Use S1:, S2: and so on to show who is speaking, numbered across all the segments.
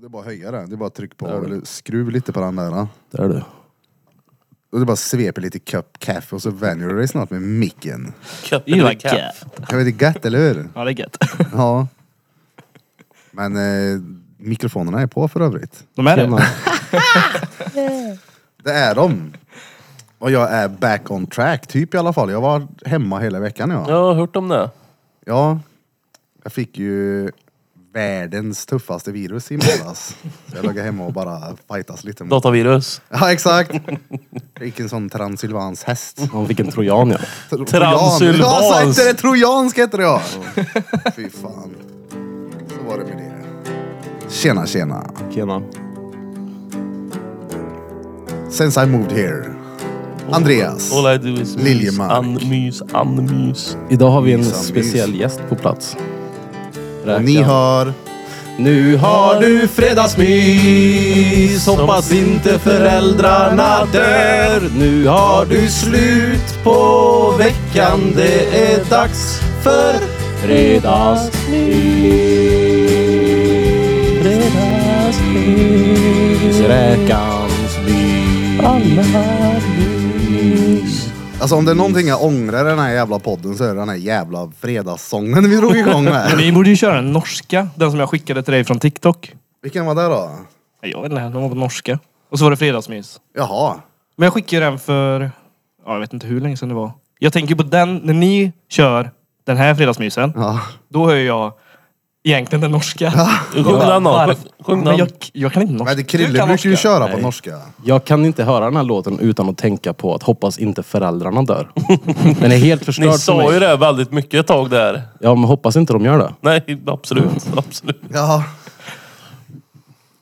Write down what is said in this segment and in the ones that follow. S1: Det är bara att höja den. Det är bara att trycka på eller skruv lite på den där.
S2: Där du.
S1: Och det bara sveper lite cup kaffe och så vänjer du dig snart med micken.
S3: Köpte
S2: Det
S3: du
S2: var
S3: en katt?
S2: gött.
S1: Kan vi inte gött, eller hur?
S2: Ja, det är gött.
S1: Ja. Men eh, mikrofonerna är på för övrigt.
S2: De är det.
S1: Det är de. Och jag är back on track, typ i alla fall. Jag var hemma hela veckan ja.
S3: Jag har hört om det.
S1: Ja. Jag fick ju världens tuffaste virus i måndags. Så jag låg hemma och bara fightas lite. Mot.
S3: Datavirus.
S1: Ja exakt. Jag gick en sån transylvans häst.
S2: Han fick en trojan ja.
S1: Trojan.
S3: Transylvans.
S1: Ja exakt, det är trojansk heter det ja. Fy fan. Så var det med det. Tjena tjena.
S2: Tjena.
S1: Since I moved here. Andreas.
S3: All I do is mys,
S1: Liljemark.
S3: anmys, anmys.
S2: Idag har vi en
S1: Mysam, mys.
S2: speciell gäst på plats.
S1: Och ni hör...
S2: Nu har du fredagsmys. Hoppas inte föräldrarna dör. Nu har du slut på veckan. Det är dags för fredagsmys. Fredagsmys. Räkans mys.
S1: Alltså om det är någonting jag ångrar i den här jävla podden så är det den här jävla fredagssången vi drog igång med.
S4: Vi borde ju köra den norska, den som jag skickade till dig från TikTok.
S1: Vilken var det då?
S4: Nej, Jag vet inte, den var på norska. Och så var det fredagsmys.
S1: Jaha.
S4: Men jag skickade den för, ja, jag vet inte hur länge sedan det var. Jag tänker på den, när ni kör den här fredagsmysen,
S1: Ja.
S4: då hör jag egentligen den norska.
S3: Sjung den då. Sjung
S4: Men
S3: den.
S4: jag, jag kan inte norska.
S1: Men det Krille
S4: Du kan
S1: brukar ju
S4: norska.
S1: köra på norska.
S2: Jag kan inte höra den här låten utan att tänka på att hoppas inte föräldrarna dör. Den är helt förstörd
S3: Ni
S2: för
S3: sa
S2: mig.
S3: ju det väldigt mycket ett tag där.
S2: Ja, men hoppas inte de gör det.
S3: Nej, absolut. absolut.
S1: Ja.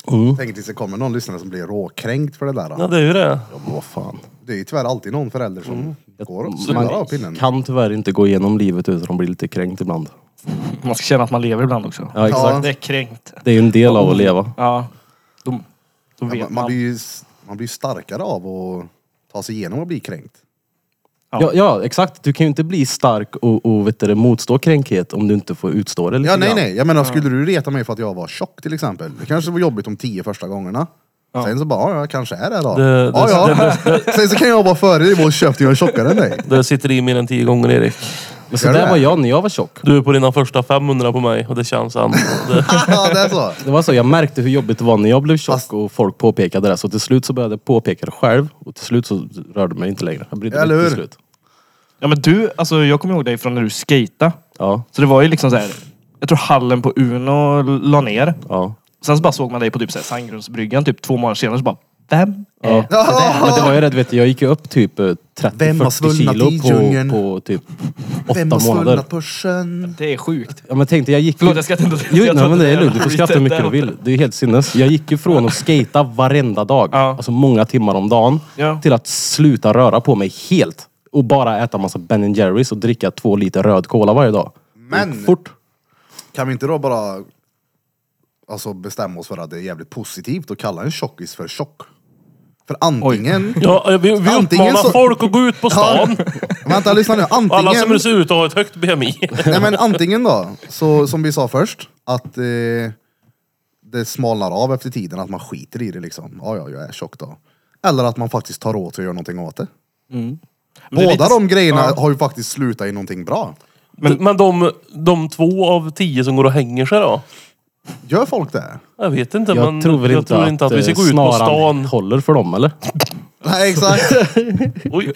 S4: Oh.
S2: Mm.
S1: Tänk tills det kommer någon lyssnare som blir råkränkt för det där.
S3: Ja,
S1: Då.
S3: det är ju det.
S2: Ja, men vad fan.
S1: Det är ju tyvärr alltid någon förälder som
S4: Mm.
S1: går och
S2: Man
S1: snurrar av pinnen.
S2: kan tyvärr inte gå igenom livet utan att bli lite kränkt ibland.
S4: Man ska känna att man lever ibland också.
S2: Ja, exakt.
S1: Ja.
S4: Det är kränkt.
S2: Det är ju en del av att leva.
S4: Ja. Då, då vet
S1: Ja, man, man, blir ju, s- man blir ju starkare av att ta sig igenom och bli kränkt.
S4: Ja.
S2: Ja, ja, exakt. Du kan ju inte bli stark och, och vet du, det, motstå kränkhet om du inte får utstå det lite
S1: Ja, nej,
S2: grann.
S1: nej. Jag menar, skulle du reta mig för att jag var tjock till exempel? Det kanske var jobbigt de tio första gångerna. Sen så bara, ja, jag kanske är det då.
S3: Det- det-
S1: ja, ja. Sen så kan jag vara före dig och köpa jag är tjockare än dig.
S3: Det sitter i mer än tio gånger Erik.
S2: Men så
S1: Gör
S2: där
S1: det?
S2: var jag när jag var tjock.
S3: Du är på dina första 500 på mig och det känns än. Det,
S1: ja, det är så.
S2: Det var så, jag märkte hur jobbigt det var när jag blev tjock
S1: Fast-
S2: och folk påpekade det. Så till slut så började jag påpeka det själv och till slut så rörde det mig inte längre. Jag brydde mig
S1: Eller
S2: inte till
S1: hur?
S2: slut.
S4: Ja men du, alltså jag kommer ihåg dig från när du skejtade.
S2: Ja,
S4: Så det var ju liksom så här. jag tror hallen på Uno la ner.
S2: ja.
S4: Sen så bara såg man dig på typ så här Sandgrundsbryggan typ två månader senare så bara Vem?
S2: Ja.
S4: är-
S2: Men det var ju det, du vet, jag gick ju upp typ eh,
S1: Vem har
S2: 30-40
S1: svullnat i
S2: kilo
S1: djungeln?
S2: på, på typ åtta
S1: Vem har
S2: månader.
S1: svullnat på sjön?
S4: Det är sjukt.
S2: Ja men tänkte jag gick...
S4: Förlåt jag skrattar inte.
S2: Jo,
S4: Jag
S2: nej,
S4: tror
S2: men
S4: inte
S2: det är
S4: är
S2: lugnt. Du får skratta hur mycket du vill. Det är helt sinnes. Jag gick ju från att skata varenda dag,
S4: Ja.
S2: alltså många timmar om dagen,
S4: Ja.
S2: till att sluta röra på mig helt. Och bara äta massa Ben Jerrys och dricka två liter röd cola varje dag.
S1: Men-
S2: Det gick Fort.
S1: Kan vi inte då bara alltså, bestämma oss för att det är jävligt positivt att kalla en tjockis för tjock? För antingen...
S3: ja, vi vi
S1: Antingen
S3: uppmanar
S1: så-
S3: folk att gå ut på stan.
S1: Vänta, lyssna nu.
S3: Alla som
S1: Antingen,
S3: ser ut att ha ett högt BMI.
S1: nej, men antingen då, så, som vi sa först, att eh, det smalnar av efter tiden, att man skiter i det liksom. Ja, ja, jag är tjock då. Eller att man faktiskt tar åt sig och gör någonting åt det.
S4: Mm. Men det är
S1: Båda
S4: lite-
S1: de grejerna
S4: Ja.
S1: har ju faktiskt slutat i någonting bra.
S3: Men, men de, de två av tio som går och hänger sig då?
S1: Gör folk det?
S3: Jag vet inte,
S2: Jag
S3: men
S2: tror väl
S3: jag
S2: inte,
S3: tror inte att, vi ska
S2: eh,
S3: gå ut på
S2: snaran
S3: stan.
S2: håller för dem eller?
S1: Nej, exakt.
S3: Oj.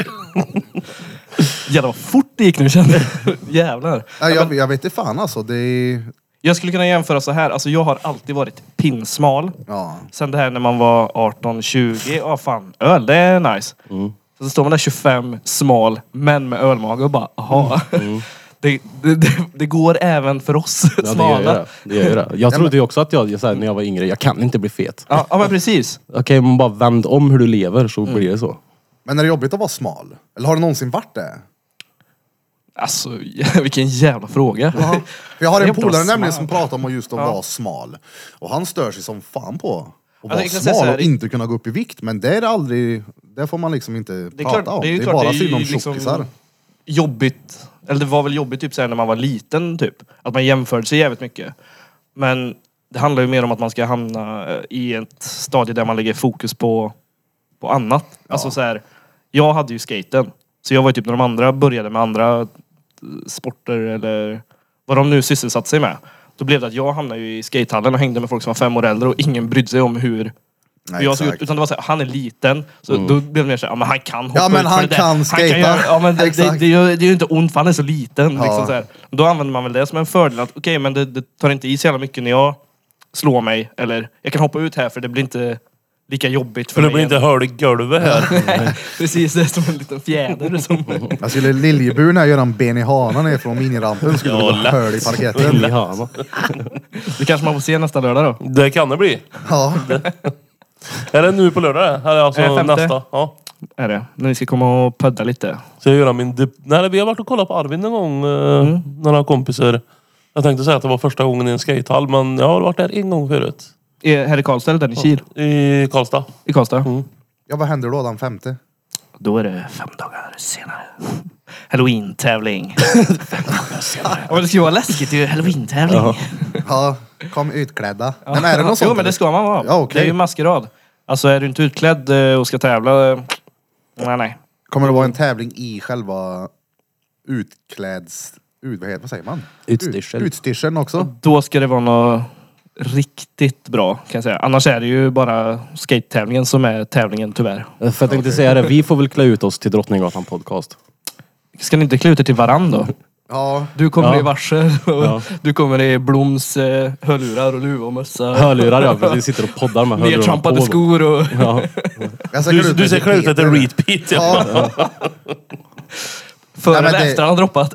S4: Jävlar vad fort det gick nu kände jag. Jävlar.
S1: Nej, jag, jag vet inte fan alltså. Det är...
S4: Jag skulle kunna jämföra så här. Alltså jag har alltid varit pinsmal.
S1: Ja.
S4: Sen det här när man var 18-20. Ja fan, öl det är nice.
S2: Mm.
S4: Så står man där 25, smal, men med ölmage och bara aha. Det, det, det, det går även för oss
S2: Mm. Ja, det gör ju
S4: smala.
S2: det. det, gör ju det. Jag trodde ju också att jag, jag så här, när jag var yngre, jag kan inte bli fet.
S4: Ja, ja men precis.
S2: Okej, men bara vänd om hur du lever så blir det så.
S1: Men är det jobbigt att vara smal? Eller har det någonsin varit det?
S4: Alltså vilken jävla fråga.
S1: För jag har
S4: Det är
S1: en
S4: inte att
S1: polare
S4: vara
S1: nämligen som
S4: smal.
S1: pratar om att just att vara smal. Och han stör sig som fan på att
S4: Alltså,
S1: vara
S4: jag kan säga så
S1: smal
S4: här,
S1: och
S4: det-
S1: inte kunna gå upp i vikt. Men det är det aldrig, det får man liksom inte
S4: Det är,
S1: prata
S4: klart,
S1: om.
S4: det är ju klart
S1: bara
S4: det är
S1: synd om
S4: ju liksom
S1: tjockisar.
S4: jobbigt. Eller det var väl jobbigt typ så här när man var liten typ. Att man jämförde sig jävligt mycket. Men Det handlar ju mer om att man ska hamna eh, i ett stadie där man lägger fokus på, på annat. Alltså så här, jag hade ju skaten. Så jag var ju typ när de andra började med andra eh, sporter eller vad de nu sysselsatte sig med. Då blev det att jag hamnade ju i skatehallen och hängde med folk som var fem år äldre och ingen brydde sig om hur
S1: Nej,
S4: hur jag såg ut.
S1: exakt. Mm.
S4: Utan det var såhär, han är liten. Så då blev det mer såhär, ja men han kan hoppa
S1: Ja, men
S4: ut för
S1: han
S4: det där.
S1: kan skata.
S4: göra- ja, men det, det,
S1: Exakt.
S4: det, gör- det är ju inte ont för han är så liten.
S1: Ja.
S4: Liksom, så här. Då använder man väl det som en fördel. att Okej, men det, det tar inte i så jävla mycket när jag slår mig. Eller jag kan hoppa ut här för det blir inte lika jobbigt för,
S3: För det
S4: mig.
S3: blir inte hål i golvet här.
S4: Nej, Precis, det är som en liten fjäder. Som...
S1: Jag skulle liljeburen här göra en ben i hanan ner från minirampen skulle det
S3: Ja,
S1: vara
S3: lätt.
S1: höl i parketten.
S2: Inne i Hama.
S4: det kanske man får se nästa lördag då.
S3: Det kan det bli.
S1: Ja,
S3: Är det nu på lördag? Eller alltså
S4: Eh, femte.
S3: nästa? Ja.
S4: Är det. När vi ska komma och pödda lite.
S3: Ska jag göra min... dip- Nej, vi har varit och kollat på Arvin en gång. eh, Några kompisar. Jag tänkte säga att det var första gången i en skatehall, men jag har varit där en gång förut.
S4: Är- Här i Karlstad eller där i Kil?
S3: I Karlstad.
S4: I Karlstad?
S1: ja vad händer då den femte?
S4: Då är det fem dagar senare. Halloween-tävling. Ja, men det ska ju vara läskigt. Det är ju halloween-tävling.
S1: Ja, kom utklädda. Men är det något sånt?
S4: Jo, men det ska man vara.
S1: Ja, okej.
S4: Det är ju maskerad. Alltså är du inte utklädd eh, och ska tävla... eh, Nej, nej.
S1: Kommer det vara en tävling i själva utkläds... Ut, vad, heter, vad säger man?
S2: Utstyrsel.
S1: Ut, utstyrseln också?
S4: Då ska det vara något riktigt bra kan jag säga. Annars är det ju bara skate-tävlingen som är tävlingen tyvärr.
S2: För jag tänkte säga det, vi får väl klä ut oss till Drottninggatan podcast.
S4: Ska ni inte klä ut er till varann då?
S1: Ja.
S4: Du kommer
S2: Ja.
S4: i varsel och
S2: Ja.
S4: du kommer i Bloms eh, hörlurar och luva och mössa.
S2: Hörlurar ja, för vi sitter och poddar med hörlurarna
S4: Nertrampade
S2: på.
S4: skor och...
S2: Ja.
S1: Jag ska klä
S3: Du,
S1: ut
S3: du
S1: mig
S3: ser
S1: till
S3: klä ut dig till
S1: Peter.
S3: Reed Pete. Ja.
S1: Ja,
S4: Före
S1: Nej, men
S4: eller
S1: det-
S4: efter han har droppat.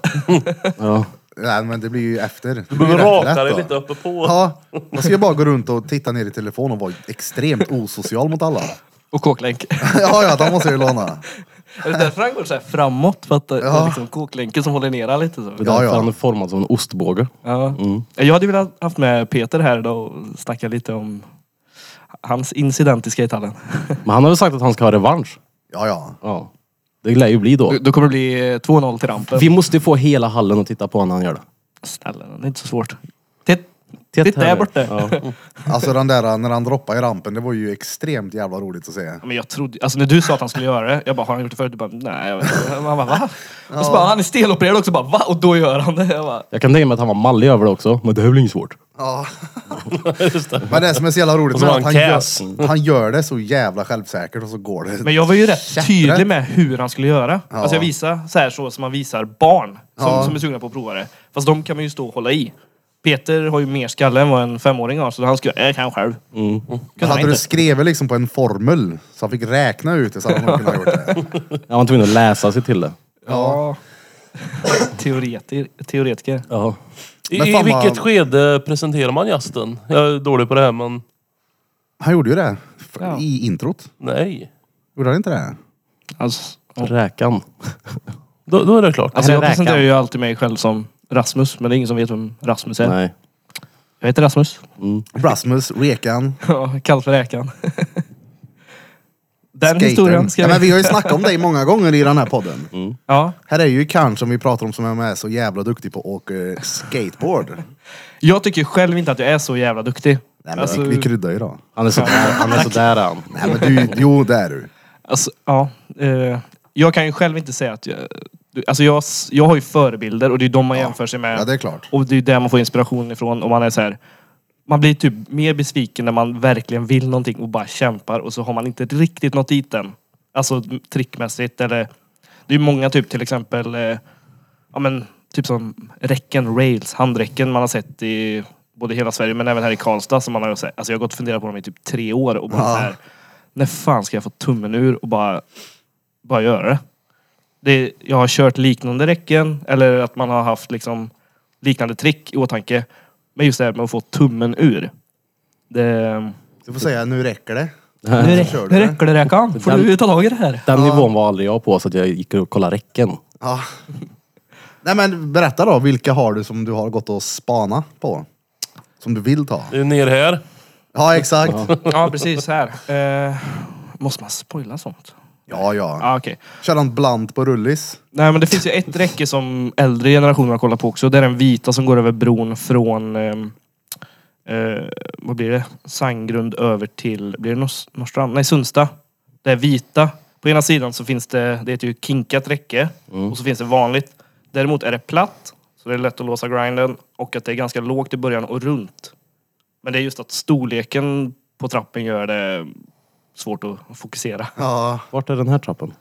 S2: Ja.
S1: nej men det blir ju efter. Det
S3: Du
S1: blir
S3: behöver
S1: rätt
S3: raka
S1: lätt
S3: dig
S1: då.
S3: lite uppe på.
S1: Ja, man ska ju bara gå runt och titta ner i telefonen och vara extremt osocial mot alla.
S4: Och kåklänk.
S1: Ja, ja, de måste jag ju låna.
S4: Är det därför han går så här framåt? För att det
S1: Ja.
S4: är liksom kåklänken som håller ner han lite så.
S2: Det är
S1: Ja,
S2: därför
S1: ja.
S2: han är formad som en ostbåge.
S4: Ja.
S2: Mm.
S4: Jag hade velat haft med Peter här idag och snacka lite om hans incident i skatehallen.
S2: Men han har väl sagt att han ska ha revansch.
S1: Ja, ja.
S2: Ja. Det lär ju bli då.
S4: Då- Då kommer det bli eh, 2-0 till rampen.
S2: Vi måste ju få hela hallen att titta på när han gör det.
S4: Snälla, det är inte så svårt. Titt,
S2: Titt
S4: titta
S2: här
S4: där
S2: nu.
S4: borta.
S2: Ja.
S1: Alltså den där när han droppade i rampen, det var ju extremt jävla roligt att se.
S4: Men jag trodde, alltså när du sa att han skulle göra det, jag bara har han gjort det förut? Du bara nej, jag vet inte. Man bara va? Och så bara han är stelopererad också bara va? Och då gör han det. Jag bara,
S2: Jag kan tänka mig att han var mallig över det också, men det är väl inget svårt.
S1: Ja. Men det som är så jävla roligt
S3: Och så
S1: med
S3: var
S1: att han
S3: han
S1: gör,
S3: kass.
S1: han gör det så jävla självsäkert och så går det.
S4: Men jag var ju rätt
S1: Käpprätt.
S4: tydlig med hur han skulle göra.
S1: Ja.
S4: Alltså jag visade så här så som man visar barn som,
S1: Ja.
S4: som är sugna på att prova det. Fast de kan man ju stå och hålla i. Peter har ju mer skalle än vad en femåring har så han skulle, jag kan själv.
S1: Men
S4: Kunde han
S1: hade du
S4: inte.
S1: skrivit liksom på en formel så han fick räkna ut det så hade han nog kunnat gjort det.
S2: Han var tvungen att läsa sig till det.
S4: Ja. Teoretiker. teoretiker.
S2: Ja.
S3: I,
S1: Men
S3: i
S1: fan,
S3: vilket
S1: vad-
S3: skede presenterar man gästen? Jag är dålig på det här, men
S1: Han gjorde ju det f-
S4: Ja.
S1: i introt.
S3: nej.
S1: Gjorde han inte det?
S4: Alltså,
S2: Räkan.
S3: Då, då är det klart.
S4: alltså
S2: Eller
S4: jag
S2: räkan.
S4: presenterar ju alltid mig själv som Rasmus men det är ingen som vet vem Rasmus är.
S2: Nej.
S4: Jag heter Rasmus.
S1: Rasmus, Rekan,
S4: Ja, kallt för räkan. Den
S1: Skatern.
S4: historien ska
S1: Ja, men
S4: jag...
S1: vi har ju snackat om dig många gånger i den här podden.
S2: Mm.
S4: Ja.
S1: Här är ju Karn som vi pratar om som är med så jävla duktig på att åka eh, skateboard.
S4: Jag tycker själv inte att jag är så jävla duktig.
S1: Nej, men
S4: Alltså-
S1: vi, vi kryddar ju då.
S2: Han är sådär han. Är sådär, han.
S1: Nej men du, jo det är du.
S4: Alltså, ja. Eh, jag kan ju själv inte säga att jag... du- Alltså jag, s- jag har ju förebilder och det är de man jämför sig med.
S1: Ja det är klart.
S4: Och det är där man får inspiration ifrån. Och man är så här, Man blir typ mer besviken när man verkligen vill någonting och bara kämpar och så har man inte riktigt nått dit än. Alltså trickmässigt eller... Det är ju många typ till exempel... Eh, ja men typ som räcken, rails, handräcken man har sett i både hela Sverige men även här i Karlstad som man har sett. Alltså jag har gått och funderat på dem i typ tre år och bara
S1: Ja.
S4: så här, när fan ska jag få tummen ur och bara, bara göra det? det? Jag har kört liknande räcken eller att man har haft liksom liknande trick i åtanke. Men just det här med att få tummen ur. Det,
S1: Du får säga nu räcker det.
S4: nu,
S1: kör du
S4: rä- nu
S1: det.
S4: räcker det Räkan. Får du ta tag i det här?
S2: Den nivån var aldrig jag på så att jag gick och kollade räcken.
S1: Ja. Nej men berätta då, vilka har du som du har gått och spana på? Som du vill ta?
S3: Det är ner här.
S1: Ja exakt.
S4: Ja precis, här. Eh, måste man spoila sånt?
S1: Ja
S4: Ja
S1: ja.
S4: ah, okej.
S1: Kör han bland på rullis?
S4: Nej men det finns ju ett räcke som äldre generationer har kollat på också. Det är den vita som går över bron från ehm, eh, vad blir det? Sandgrund över till, blir det Nors- Norrstrand? Nej, Sundsta. Det är vita. På ena sidan så finns det, det heter ju kinkat räcke. Och så finns det vanligt. Däremot är det platt, så det är lätt att låsa grinden. Och att det är ganska lågt i början och runt. Men det är just att storleken på trappen gör det svårt att fokusera.
S1: Ja,
S2: Vart är den här trappen?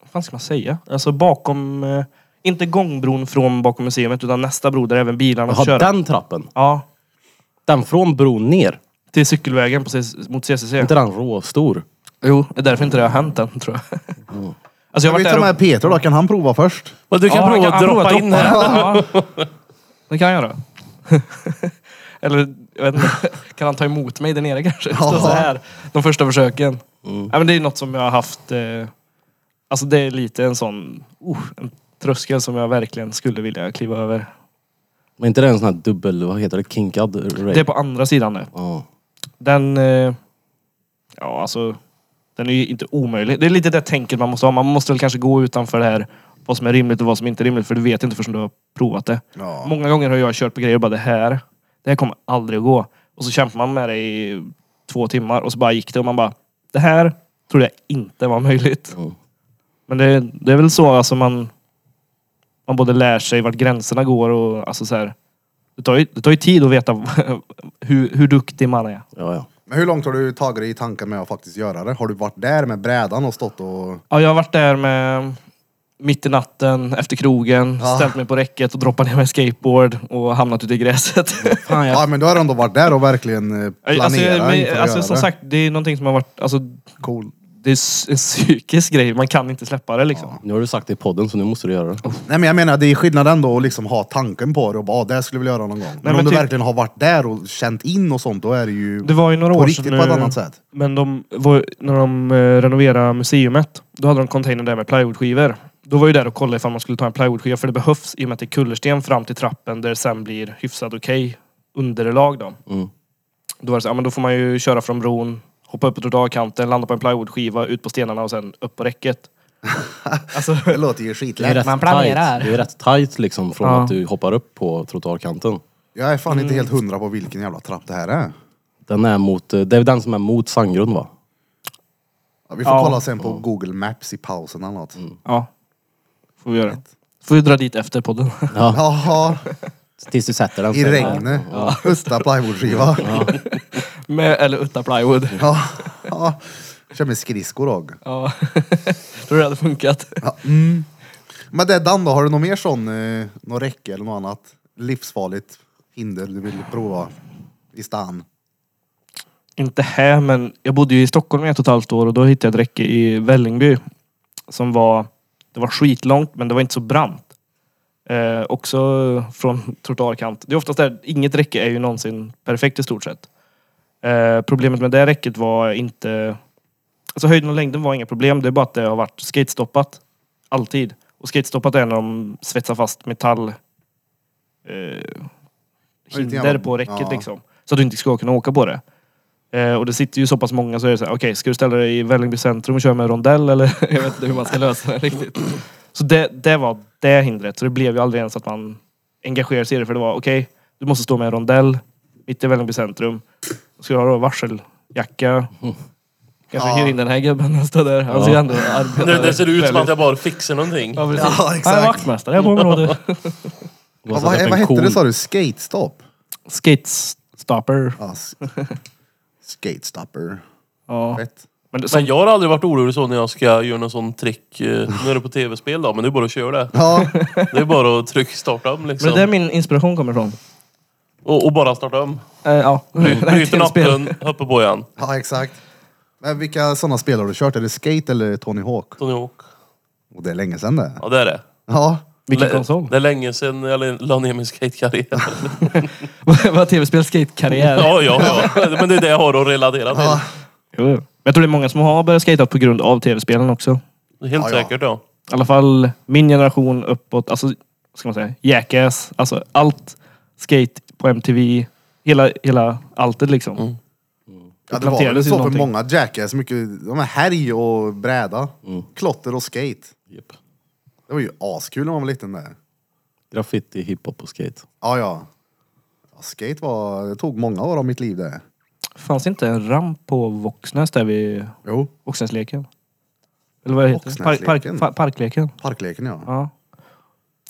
S4: Vad fan ska man säga? Alltså bakom, eh, inte gångbron från bakom museet utan nästa bro där även bilarna
S2: Jaha,
S4: kör.
S2: den trappen.
S4: Ja,
S2: Den från bron ner.
S4: till cykelvägen på C- mot CCC.
S2: Inte den råstor.
S4: Jo, det är därför inte det har hänt än tror jag.
S3: Mm.
S4: Alltså
S1: jag
S4: jag har
S1: vill
S4: varit
S1: ta
S4: där och...
S1: med Peter då, kan han prova först?
S3: Men du kan
S4: Ja,
S3: prova
S4: han
S3: att
S4: han
S3: droppa
S4: provar
S3: in här.
S4: Ja. Det kan jag då. Eller, jag vet inte. Kan han ta emot mig där nere kanske? Stå så här. De första försöken.
S3: Mm.
S4: Ja, men det är något som jag har haft... Eh, alltså det är lite en sån... Oh, en tröskel som jag verkligen skulle vilja kliva över.
S2: Men inte det en sån här dubbel, vad heter det, kinkad rail?
S4: Det är på andra sidan nu.
S2: Ja.
S4: Den... Eh, ja, alltså... Den är ju inte omöjlig. Det är lite det tänket man måste ha. Man måste väl kanske gå utanför det här. Vad som är rimligt och vad som inte är rimligt. För du vet inte förrän du har provat det.
S1: Ja.
S4: Många gånger har jag kört på grejer och bara det här. Det här kommer aldrig att gå. Och så kämpar man med det i två timmar och så bara gick det och man bara. Det här trodde jag inte var möjligt.
S2: Mm.
S4: Men det, det är väl så alltså man... Man både lär sig vart gränserna går och alltså så här. Det tar ju, det tar ju tid att veta hur, hur duktig man är.
S2: Ja, ja.
S1: Men hur långt har du tagit dig i tanken med att faktiskt göra det? Har du varit där med brädan och stått och...
S4: Ja, jag har varit där med mitt i natten, efter krogen,
S1: Ja.
S4: ställt mig på räcket och droppat ner med skateboard och hamnat ute i gräset.
S2: Fan, jag...
S1: Ja men du har ändå varit där och verkligen eh, planerat
S4: alltså, jag- men,
S1: inför att
S4: alltså
S1: göra
S4: som
S1: det.
S4: sagt, det är någonting som har varit... Alltså,
S1: Cool.
S4: det är s- en psykisk grej. Man kan inte släppa det liksom.
S2: Nu har du sagt det i podden så nu måste du göra det.
S1: Nej men jag menar det är skillnad ändå att liksom ha tanken på det och bara ah, det här skulle jag vilja göra någon gång. Men,
S4: men
S1: om du
S4: typ-
S1: verkligen har varit där och känt in och sånt då är det ju
S4: Det var ju några
S1: på
S4: år
S1: riktigt
S4: sedan
S1: på ett
S4: nu,
S1: annat sätt.
S4: Men de var, när de eh, renoverade museumet, då hade de containern där med plywoodskivor. Då var ju där och kollade ifall man skulle ta en plywoodskiva, för det behövs i och med att det är kullersten fram till trappen där det sen blir hyfsat okej underlag då.
S2: Mm.
S4: Då var det så, ja, men då får man ju köra från bron, hoppa upp på trottoarkanten, landa på en plywoodskiva, ut på stenarna och sen upp på räcket. alltså,
S1: Det låter ju skitlätt.
S5: Man planerar.
S2: Tight. Det är rätt tight liksom från
S4: Ja.
S2: att du hoppar upp på trottoarkanten.
S1: Jag är fan
S4: Mm.
S1: inte helt hundra på vilken jävla trapp det här är.
S2: Den är mot, eh, det är den som är mot Sandgrund va?
S1: Ja, vi får
S4: Ja. Mm.
S1: kolla sen på Google Maps i pausen eller något.
S4: ja. Får vi göra. Får vi dra dit efter podden.
S2: Ja.
S1: Jaha,
S2: Tills du sätter den.
S1: i
S2: så-
S1: regnet. Usta plywoodskiva. Ja.
S4: med, eller utan plywood.
S1: Ja. Ja. Kör med skridskor och.
S4: Ja. Tror du det hade funkat?
S1: Men det är Dan då, har du något mer sån, eh, något räcke eller något annat livsfarligt hinder du vill prova i stan?
S4: Inte här, men jag bodde ju i Stockholm i ett och ett halvt år och då hittade jag ett räcke i Vällingby. Som var, det var skitlångt men det var inte så brant. Eh, också från trottoarkant. Det är oftast där, inget räcke är ju någonsin perfekt i stort sett. Eh, problemet med det räcket var inte... Alltså höjden och längden var inga problem, det är bara att det har varit skatestoppat. Alltid. Och skatestoppat är när de svetsar fast metall... Eh,
S1: Lite
S4: hinder
S1: grann.
S4: på räcket
S1: Ja.
S4: liksom. Så att du inte ska kunna åka på det. Eh, och det sitter ju så pass många så är det så här, okej ska du ställa dig i Vällingby centrum och köra med rondell eller? jag vet inte hur man ska lösa det riktigt. Så det, det var det hindret. Så det blev ju aldrig ens att man engagerade sig i det. För det var okej, du måste stå med en rondell mitt i Vällingby centrum. Ska du ha då varseljacka? Kanske
S1: Ja.
S4: hyr in den här gubben och stå där. Han ser ju ändå arbetare
S3: Det, det ser ut som
S4: Väldigt-
S3: att jag bara fixar någonting.
S4: Ja, precis.
S1: Ja, exakt.
S4: Han är vaktmästare här på området.
S2: Du
S1: Ja,
S2: har satt upp
S1: vad
S2: en
S1: vad hette
S2: cool-
S1: det sa du? Skatestop?
S4: Skatestopper.
S1: Ja, s- Skatestopper.
S4: Ja.
S1: Fett.
S4: Men det, som,
S3: Men jag har aldrig varit orolig så när jag ska göra någon sån trick. eh, Nu är det på tv-spel då, men det är bara att köra det.
S1: Ja,
S3: Det är bara att trycka starta om
S4: men det är där
S3: liksom.
S4: min inspiration kommer ifrån.
S3: Och, och bara starta om.
S4: Eh, ja.
S3: Bryter
S4: Tv-spel.
S3: nappen, hoppa på igen.
S1: ja exakt. Men vilka sådana spel har du kört? Är det Skate eller Tony Hawk?
S3: Tony Hawk.
S1: Och det är länge sedan det.
S3: Ja, det är det.
S1: Ja.
S4: Vilken
S3: Lä-
S4: konsol?
S3: Det är länge sedan jag la ner min skatekarriär.
S4: Vad tv-spel skatekarriär.
S3: Ja, ja, ja. Men det är det jag har att relatera
S1: Ja.
S3: till.
S4: Jo, jo. Jag tror det är många som har börjat skata på grund av tv-spelen också.
S3: Helt
S1: Ja, ja.
S3: säkert ja.
S4: I alla fall min generation uppåt. Alltså, vad ska man säga? Jackass. Alltså allt skate på MTV. Hela, hela alltet liksom.
S1: Mm. Ja, det var väl
S4: planterades ju
S1: så för
S4: någonting.
S1: många Jackass. Mycket, de här härj och bräda. Klotter och skate.
S2: Japp.
S1: Det var ju askul när man var liten där.
S2: Graffiti, hiphop och skate.
S1: Ja, ja. Skate var, det tog många år av mitt liv det.
S4: Fanns inte en ramp på Våxnäs där vid
S1: Jo,
S4: Våxnäsleken? Eller vad heter det? Park, park,
S1: Våxnäsleken?
S4: fa- parkleken?
S1: parkleken ja.
S4: Ja.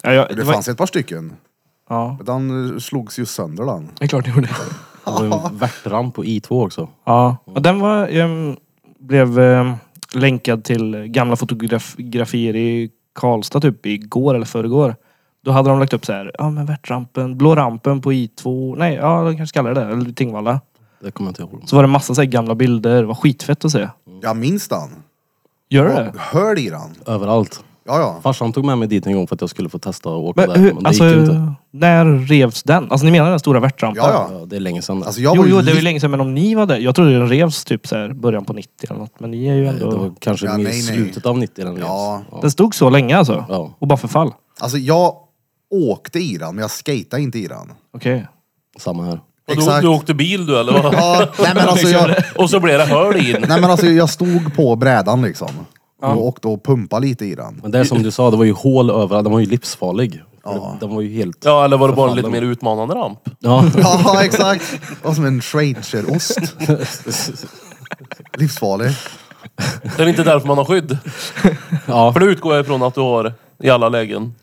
S4: ja, jag,
S1: Det,
S4: det, var,
S1: fanns ett par stycken.
S4: ja.
S1: Den eh, slogs ju sönder den.
S4: det är klart det gjorde.
S2: Det var ju en värtramp på I2 också.
S4: Ja. Och den var, ehm, blev ehm, länkad till gamla fotografier i Karlstad typ igår eller förrgår. Då hade de lagt upp så här, ja men värtrampen, blå rampen på I2, nej ja de kanske kallar det det, eller Tingvalla.
S2: Det kommer jag inte ihåg.
S4: Så var det massa så här gamla bilder, det var skitfett att se.
S1: Jag minns den.
S4: Gör du det?
S1: Jag höll i den.
S2: Överallt.
S1: Ja, ja.
S2: Farsan tog med mig dit en gång för att jag skulle få testa att åka
S4: Men,
S2: där.
S4: hur,
S2: Men det
S4: alltså,
S2: gick ju inte.
S4: när revs den? Alltså ni menar den stora värtrampen?
S1: Ja, ja.
S2: Ja, det är länge sedan.
S1: Alltså jag
S4: jo,
S1: var ju
S4: jo, det är ju
S1: lit-
S4: länge sedan, men om ni var där. Jag trodde den revs typ så här början på 90 eller något, men ni är ju
S2: det
S4: ändå...
S2: var kanske
S1: Ja,
S2: mer
S1: nej, nej.
S2: slutet av 90 den
S1: Ja.
S2: revs.
S4: Den stod så länge alltså?
S2: Ja.
S4: Och bara förfall?
S1: Alltså jag åkte i den, men jag skatade inte i den.
S4: Okej.
S2: ja, samma här.
S3: Och du,
S1: Exakt.
S3: du åkte bil du eller? Vad?
S1: Ja, nej, men alltså, jag,
S3: Och så blev det hål in.
S1: nej men alltså jag stod på brädan liksom. Och åkte och pumpade lite i den.
S2: Men det är som du sa, det var ju hål överallt. Den var ju livsfarlig. Ja. Den var ju helt...
S3: Ja, eller var det bara en lite mer utmanande ramp?
S2: Ja.
S1: Ja exakt. Det var som en schweizerost. Livsfarlig.
S3: Det är inte därför man har skydd.
S2: ja.
S3: För det utgår jag ifrån att du har i alla lägen.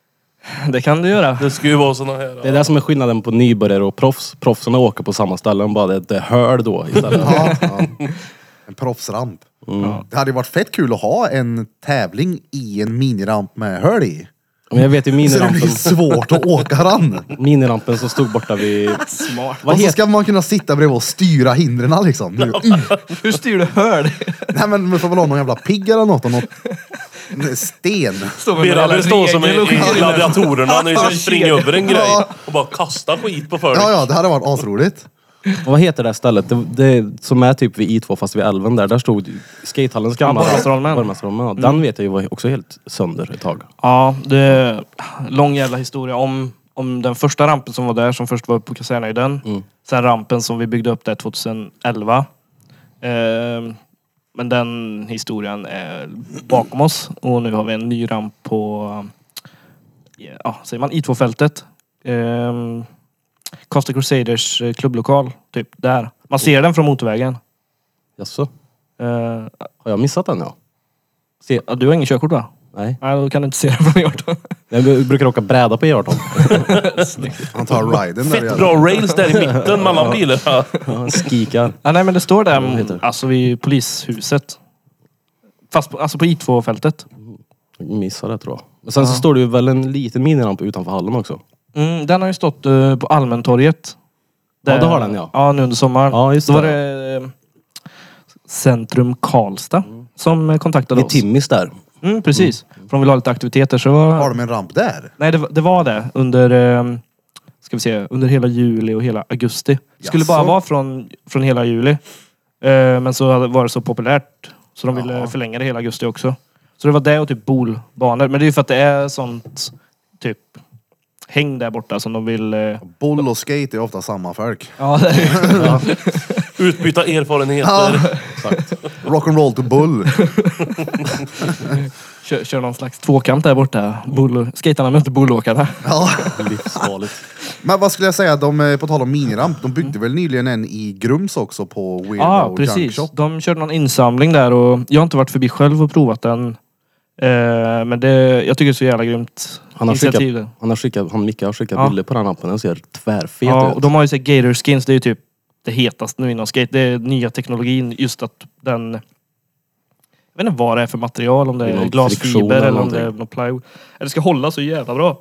S4: Det kan du göra.
S3: Det ska ju vara såna här...
S2: Det är det som är skillnaden på nybörjare och proffs. Proffsen åker på samma ställen, bara det, det är höl då istället.
S1: Ja, ja. En proffsramp.
S3: Mm.
S1: Det hade ju varit fett kul att ha en tävling i en miniramp med höl i.
S2: Men jag vet ju
S1: Så det blir
S2: minirampen,
S1: svårt att åka den.
S2: minirampen som stod borta vid...
S4: Smart.
S1: Och så ska man kunna sitta bredvid och styra hindren liksom. Nu, mm.
S4: Hur styr du hörd?
S1: Nej men man får väl ha någon jävla pigg eller något. Och något en sten.
S4: Står med någon
S3: Birra
S4: jävla
S3: står som i,
S4: regel och skit.
S3: i gladiatorerna när
S4: Ja,
S3: vi springer
S4: kedja.
S3: över en grej
S1: Ja.
S3: och bara kastar skit på folk.
S1: Ja ja, det hade varit asroligt.
S2: Vad heter det här stället? Det, det, som är typ vid I2 fast vid älven där. Där stod ju skatehallens gamla...
S4: Borgmästarholmen.
S2: Borgmästarholmen, ja.
S1: Mm.
S2: Den vet jag ju var också helt sönder ett tag.
S4: Ja, det är lång jävla historia om, om den första rampen som var där, som först var på Kasernhöjden. Sen rampen som vi byggde upp där 2011. Ehm, men den historien är bakom oss och nu har vi en ny ramp på, ja, säger man I2-fältet. Ehm, Costa Crusaders eh, klubblokal, typ där. Man ser den från motorvägen.
S2: Jaså?
S4: Ehm,
S2: Har jag missat den ja? Se,
S4: ja, du har ingen körkort va?
S2: nej.
S4: Nej, då kan du inte se den från E18.
S2: Jag brukar åka bräda på E18.
S1: Han tar riden där
S3: Fett
S1: igen.
S3: bra rails där i mitten mellan bilarna.
S2: Ja, Skikar.
S4: Ja, nej men det står där,
S2: heter
S4: mm,
S2: det?
S4: alltså vid polishuset. Fast på, alltså på I2-fältet.
S2: Jag missade det tror jag. Men sen så står det ju väl en liten miniramp utanför hallen också.
S4: Mm, den har ju stått eh, på Allmäntorget.
S2: Ja, det har den, ja.
S4: Ja, nu under sommaren.
S2: Ja, just
S4: Då var
S2: det.
S4: det eh, Centrum Karlstad som eh, kontaktade
S2: Vid
S4: oss.
S2: Timmis där.
S4: Mm, precis. För de ville ha lite aktiviteter så var...
S1: Har de en ramp där?
S4: Nej, det, var- det var det under, eh, ska vi se, under hela juli och hela augusti. Det skulle bara
S1: Jaså?
S4: vara från, från hela juli. Eh, men så hade- var det så populärt så de ville
S1: Ja.
S4: förlänga det hela augusti också. Så det var det och typ bolbanor. Men det är ju för att det är sånt typ häng där borta som de vill... Eh,
S1: Boll och skate är ofta samma folk.
S4: ja, det är-
S3: Utbyta erfarenheter.
S1: Rock'n'roll to bull.
S4: kör, kör någon slags tvåkamp där borta. Bull, skaterna möter bullåkarna.
S1: Ja.
S2: Livsfarligt.
S1: Men vad skulle jag säga, de, eh, på tal om miniramp, de byggde väl nyligen en i Grums också på Weirdo
S4: Ja,
S1: Junk
S4: Ah, precis.
S1: Shop?
S4: De körde någon insamling där och jag har inte varit förbi själv och provat den. Eh, men det, jag tycker det är så jävla grymt
S2: Han har skickat,
S4: initiativ. det.
S2: han har skickat, han Micke har skickat
S4: Ja.
S2: bilder på den rampen. Den ser tvärfet
S4: Ja, och
S2: ut.
S4: de har ju såhär gator skins, det är ju typ det hetaste nu inom skate. Det är nya teknologin, just att den... Jag vet inte vad det är för material, om det
S2: Det är
S4: är
S2: någon friktion
S4: glasfiber
S2: eller
S4: eller om det är
S2: någonting.
S4: någon plywood. Ja, Det ska hålla så jävla bra.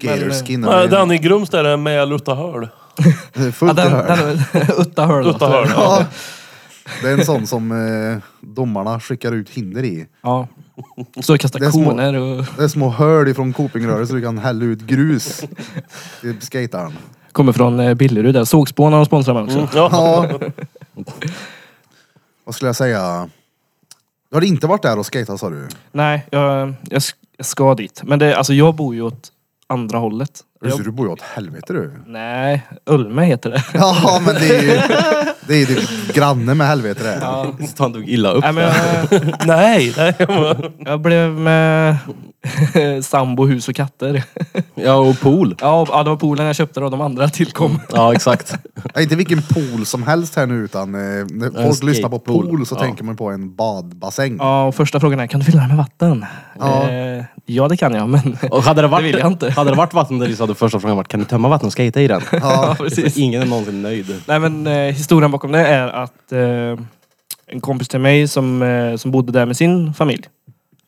S1: Gatorskin.
S3: eh, Nej, Den i Grums där är med Lutta Hörl.
S4: Ja,
S1: Fullt
S4: den,
S1: gehör.
S4: den, utta alltså. hörl.
S3: Lutta Hörl. Ja.
S1: Ja. Det är en sån som eh, domarna skickar ut hinder i.
S4: Ja. Så kasta
S1: Det är små-
S4: koner och...
S1: Det är små hål ifrån copingröret så du kan hälla ut grus till skataren.
S4: Kommer från eh, Billerud där. Sågspån har de sponsrat med också.
S3: Ja.
S1: Ja. Vad skulle jag säga? Du hade inte varit där och skatat sa du?
S4: Nej, jag, jag, sk- jag ska dit. Men det, alltså, jag bor ju åt andra hållet.
S1: Så
S4: Jag,
S1: du bor ju åt helvete du.
S4: nej, Ölme heter det.
S1: Ja men det är ju, det är ju typ granne med helvete det.
S2: Så han tog illa upp.
S4: nej, men jag,
S3: Nej, nej.
S4: jag blev med sambo, hus och katter.
S2: Ja, och pool.
S4: ja, och- ja, det var poolen jag köpte och de andra
S1: Mm.
S4: tillkom.
S2: Ja, exakt.
S1: Nej, inte vilken pool som helst här nu utan eh, när folk lyssnar på
S2: skatepool.
S1: pool så
S2: Ja.
S1: tänker man på en badbassäng.
S4: Ja, och första frågan är, kan du fylla den med vatten?
S1: Ja.
S4: Eh, ja, det kan jag, men...
S2: Och hade det varit,
S4: Det vill jag inte.
S2: Hade det varit vatten där i så hade första frågan varit, kan du tömma vatten och skata i den?
S4: ja,
S2: Så Ingen är någonsin nöjd.
S4: Nej men eh, historien bakom det är att eh, en kompis till mig som, eh, som bodde där med sin familj.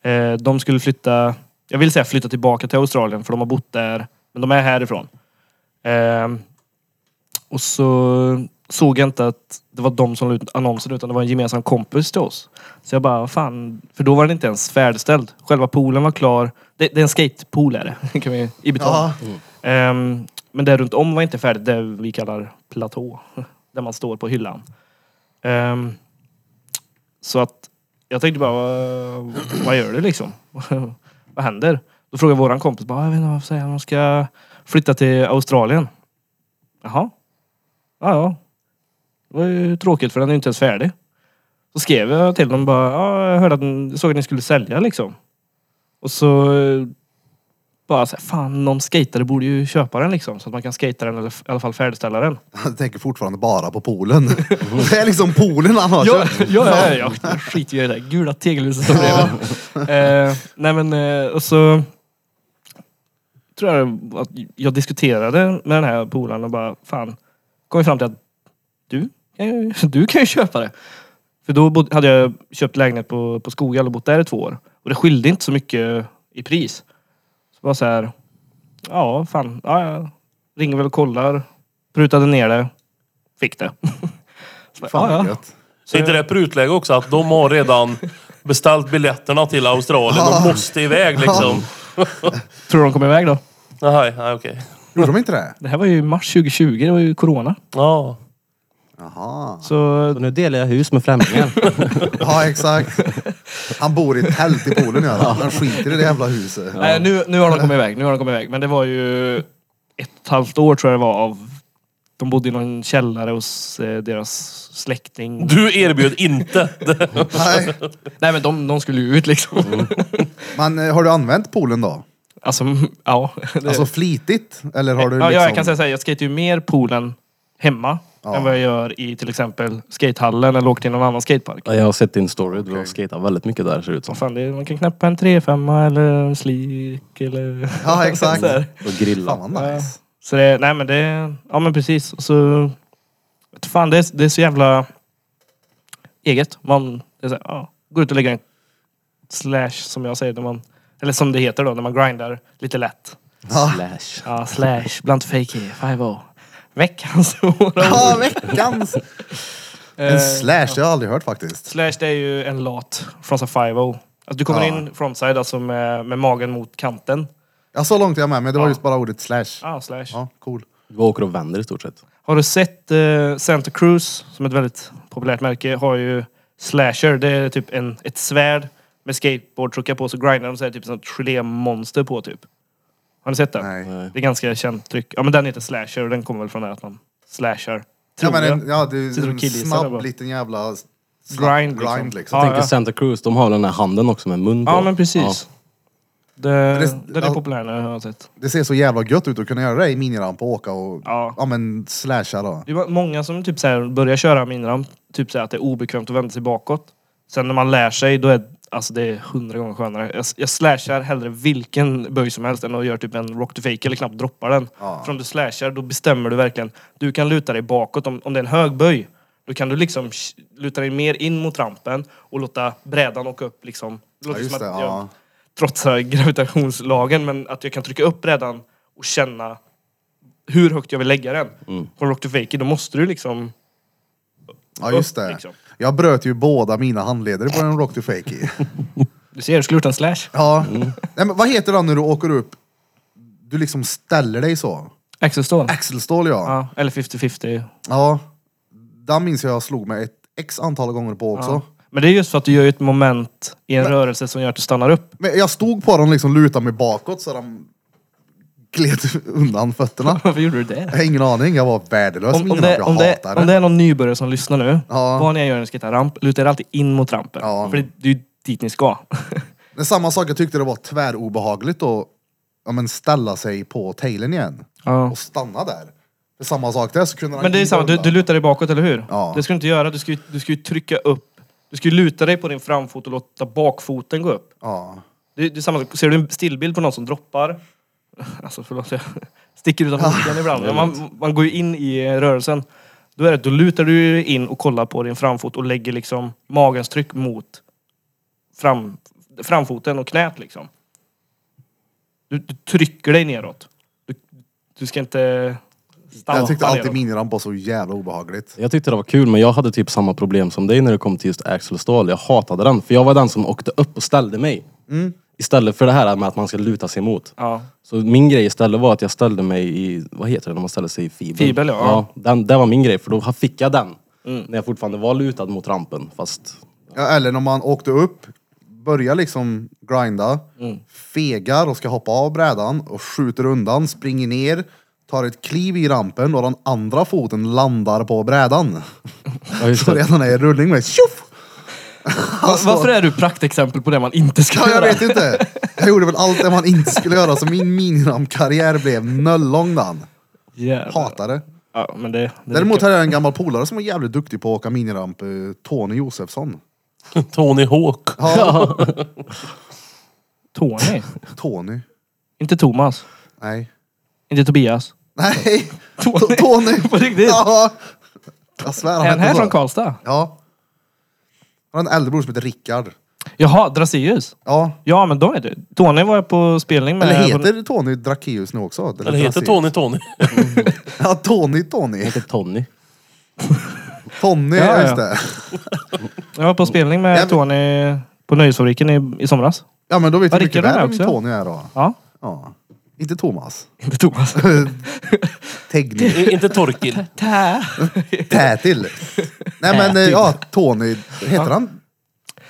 S4: Eh, de skulle flytta, jag vill säga flytta tillbaka till Australien för de har bott där. Men de är härifrån. Eh, och så såg jag inte att det var de som la ut annonsen utan det var en gemensam kompis till oss. Så jag bara, "Vad fan. För då var den inte ens färdigställd. Själva poolen var klar. Det, det är en skatepool är det. kan vi, I betong.
S1: Ja.
S4: Ehm, men det runt om var inte färdigt, det vi kallar platå. Där man står på hyllan. Ehm, så att jag tänkte bara, vad, vad gör du liksom? vad händer? Då frågade våran kompis, bara, "Ah, jag vet inte vad jag ska säga, de ska flytta till Australien. Jaha. Ja, ja. Det var ju tråkigt för den är ju inte ens färdig. Så skrev jag till dem bara, ja, jag hörde att ni, såg att ni skulle sälja liksom. Och så bara så här, fan någon skatare borde ju köpa den liksom. Så att man kan skata den eller f- i alla fall färdigställa den.
S1: Jag tänker fortfarande bara på poolen. det är liksom poolen han har
S4: Ja,
S1: köpt.
S4: ja, ja, ja. Jag skiter ju i det där gula tegelhuset som bredvid. eh, nej men, eh, och så tror jag att jag diskuterade med den här polaren och bara, fan, kom vi fram till att du, kan ju- du kan ju köpa det. För då bod, hade jag köpt lägenhet på, på Skoghall och bott där i två år. Och det skilde inte så mycket i pris. Så bara så här, ja fan, ja, jag ringer väl och kollar. Prutade ner det, fick det. Så bara,
S1: Fan
S4: ja, ja.
S1: vad gött.
S3: Så inte det är prutläge också att de har redan beställt biljetterna till Australien och måste iväg liksom.
S4: Tror du de kom iväg då?
S3: Nej, nej okej.
S1: Gjorde de inte det?
S4: Det här var ju i mars 2020, det var ju corona.
S3: Ja.
S1: Jaha.
S4: Så
S2: Så nu delar jag hus med främlingar.
S1: Ja exakt. Han bor i ett tält i poolen gör han. Han skiter i det jävla huset.
S4: nej, nu, nu har de kommit iväg, nu har de kommit iväg. Men det var ju ett och ett halvt år tror jag det var av... De bodde i någon källare hos eh, deras släkting.
S3: Du erbjöd inte.
S1: Nej.
S4: Nej men de, de skulle ju ut liksom.
S1: Mm. Men eh, har du använt poolen då?
S4: Alltså, ja. Det,
S1: Alltså flitigt? Eller har du
S4: ja,
S1: liksom...
S4: ja. Jag kan säga såhär, jag skater ju mer poolen hemma
S1: Ja.
S4: än vad jag gör i till exempel skatehallen eller åker till någon annan skatepark.
S2: Ja, jag har sett din story. Du har skatat väldigt mycket där ser det ut som.
S4: Vad fan, det, är- man kan knäppa en 3-5 eller en slik eller...
S1: Ja exakt.
S4: Så här.
S2: Och grilla.
S1: Fan vad nice.
S4: Så det, nej men det, ja men precis. Och så, vet fan det är, det är så jävla eget. Man det är så här, ja, går ut och lägger en slash som jag säger, när man, eller som det heter då, när man grindar lite lätt.
S1: Ja.
S2: Slash.
S4: Ja, slash, blunt fake five oh. o Veckans hårda ord.
S1: Ja, veckans!
S4: Eh,
S1: En slash, det har jag aldrig hört faktiskt.
S4: Slash det är ju en lat, frontside five o Alltså du kommer
S1: Ja.
S4: in frontside alltså med, med magen mot kanten.
S1: Ja, så långt är jag med, men det var
S4: Ja.
S1: just bara ordet slash.
S4: Ja, slash.
S1: Ja, cool.
S2: Du åker och vänder i stort sett.
S4: Har du sett eh, Santa Cruz, som är ett väldigt populärt märke, har ju slasher. Det är typ en, ett svärd med skateboardtruckar på, så grindar de så här, typ som ett gelémonster på typ. Har ni sett den?
S1: Nej.
S4: Det är ganska känt tryck. Ja men den heter slasher och den kommer väl från det här att man slashar.
S1: Ja,
S4: Tror
S1: men
S4: jag.
S1: en, ja, det
S4: Sitter
S1: är
S4: och
S1: en
S4: killgissar där bara.
S1: snabb liten jävla... Snabb
S4: Grind, liksom.
S1: grind liksom.
S4: Ja,
S2: Tänker
S4: ja.
S2: Santa Cruz, de har den här handen också med mun på.
S4: Ja men precis. Det,
S1: det-
S4: den är
S1: ja.
S4: populär nu har jag sett.
S1: Det ser så jävla gött ut att kunna göra det i miniramp och åka och...
S4: Ja.
S1: Ja, men slasha då.
S4: Det var många som typ så här börjar köra miniramp, typ så här att det är obekvämt att vända sig bakåt. Sen när man lär sig, då är alltså det är hundra gånger skönare. Jag, jag slashar hellre vilken böj som helst än att göra typ en rock to fake eller knappt droppar den.
S1: Ja.
S4: För om du slashar, då bestämmer du verkligen. Du kan luta dig bakåt. Om, om det är en hög böj, då kan du liksom sh- luta dig mer in mot rampen och låta brädan åka upp liksom.
S1: Ja,
S4: Det låter
S1: just
S4: som
S1: det.
S4: att
S1: Ja.
S4: jag trotsar gravitationslagen, men att jag kan trycka upp brädan och känna hur högt jag vill lägga den.
S1: Mm.
S4: På rock to fake, då måste du liksom...
S1: ja, just
S4: upp,
S1: det.
S4: liksom.
S1: Jag bröt ju båda mina handleder på en rock to fakey.
S4: Du ser, du skulle gjort en slash.
S1: Ja. Nej, men vad heter det när du åker upp? Du liksom ställer dig så.
S4: Axelstål.
S1: Axelstål ja.
S4: Ja, eller 50-50.
S1: Ja. Den minns jag jag slog mig ett x antal gånger på också.
S4: Men det är just för att du gör ju ett moment i en rörelse som gör att du stannar upp.
S1: Men jag stod på den och liksom lutade mig bakåt så de gled undan fötterna.
S4: Varför gjorde du det?
S1: Jag har ingen aning, jag var värdelös
S4: Om, om,
S1: miniramp.
S4: det,
S1: Jag
S4: om, det,
S1: hatar
S4: om
S1: det.
S4: det är någon nybörjare som lyssnar nu,
S1: Ja.
S4: vad ni än gör när ni ska hitta ramp, luta er alltid in mot rampen.
S1: Ja.
S4: För det, det är ju dit ni ska.
S1: Men samma sak, jag tyckte det var tvärobehagligt att ja, men ställa sig på tailen igen.
S4: Ja.
S1: Och stanna där. För samma sak där så kunde han
S4: Men det är
S1: glida
S4: samma, du,
S1: undan.
S4: du lutar dig bakåt, eller hur?
S1: Ja.
S4: Det ska du inte göra. Du ska, ju- du ska ju trycka upp. Du ska ju luta dig på din framfot och låta bakfoten gå upp.
S1: Ja.
S4: Det, det är samma, sak. ser du en stillbild på någon som droppar, alltså förlåt, jag sticker utanför midjan ibland. Men man, man går ju in i rörelsen. Då är det, då lutar du ju in och kollar på din framfot och lägger liksom magens tryck mot fram, framfoten och knät liksom. Du, du trycker dig neråt. Du, du ska inte stampa
S1: Jag tyckte alltid
S4: neråt.
S1: miniramp var så jävla obehagligt.
S2: Jag tyckte det var kul men jag hade typ samma problem som dig när det kom till just Axel Ståhl. Jag hatade den för jag var den som åkte upp och ställde mig.
S4: Mm.
S2: Istället för det här med att man ska luta sig emot.
S4: Ja.
S2: Så min grej istället var att jag ställde mig i, vad heter det när man ställer sig i fibel?
S4: Fibel, ja. Mm.
S2: den, det var min grej för då fick jag den. När jag fortfarande var lutad mot rampen fast...
S1: Ja, eller när man åkte upp, börjar liksom grinda,
S4: Mm.
S1: fegar och ska hoppa av brädan och skjuter undan, springer ner, tar ett kliv i rampen och den andra foten landar på brädan.
S2: Ja, just
S1: Så
S2: det.
S1: redan är i rullning med tjoff! Alltså-
S4: Varför är du praktexempel på det man inte ska
S1: Ja, jag
S4: göra?
S1: vet inte. Jag gjorde väl allt det man inte skulle göra så min miniramkarriär blev nöllång den.
S4: Jävlar.
S1: Hatar det.
S4: Ja, men det, det
S1: Däremot hade jag en gammal polare som var jävligt duktig på att åka miniramp, eh, Tony Josefsson.
S3: Tony Hawk.
S1: Ja,
S4: Tony.
S1: Tony.
S4: inte Thomas.
S1: Nej.
S4: Inte Tobias.
S1: Nej! Tony! Tony.
S4: På riktigt?
S1: Ja. Jag svär, han
S4: Är han
S1: hette
S4: här
S1: så.
S4: från Karlstad?
S1: Ja. Han har en äldre bror som heter Rickard.
S4: Jaha, Dracius.
S1: Ja.
S4: Ja, men de är det. Tony var jag på spelning med.
S1: Eller heter Tony Drakeus nu också?
S3: Eller heter
S1: Drakeus?
S3: Tony Tony?
S1: Ja, Tony Tony.
S2: Jag heter Tony.
S1: Tony,
S4: Ja,
S1: ja,
S4: ja.
S1: just det.
S4: Jag var på spelning
S1: Ja,
S4: med
S1: men-
S4: Tony på Nöjesfabriken i, i somras.
S1: Ja, men då vet
S4: Ja,
S1: du mycket
S4: Rickard är
S1: väl
S4: med
S1: vem
S4: också.
S1: Tony är då.
S4: Ja.
S1: Ja. Inte Thomas.
S4: Inte Thomas.
S1: Tegni.
S3: I- Inte Torkil.
S4: Tä.
S1: Tätil. Nej men eh, ja, Tony. Heter han?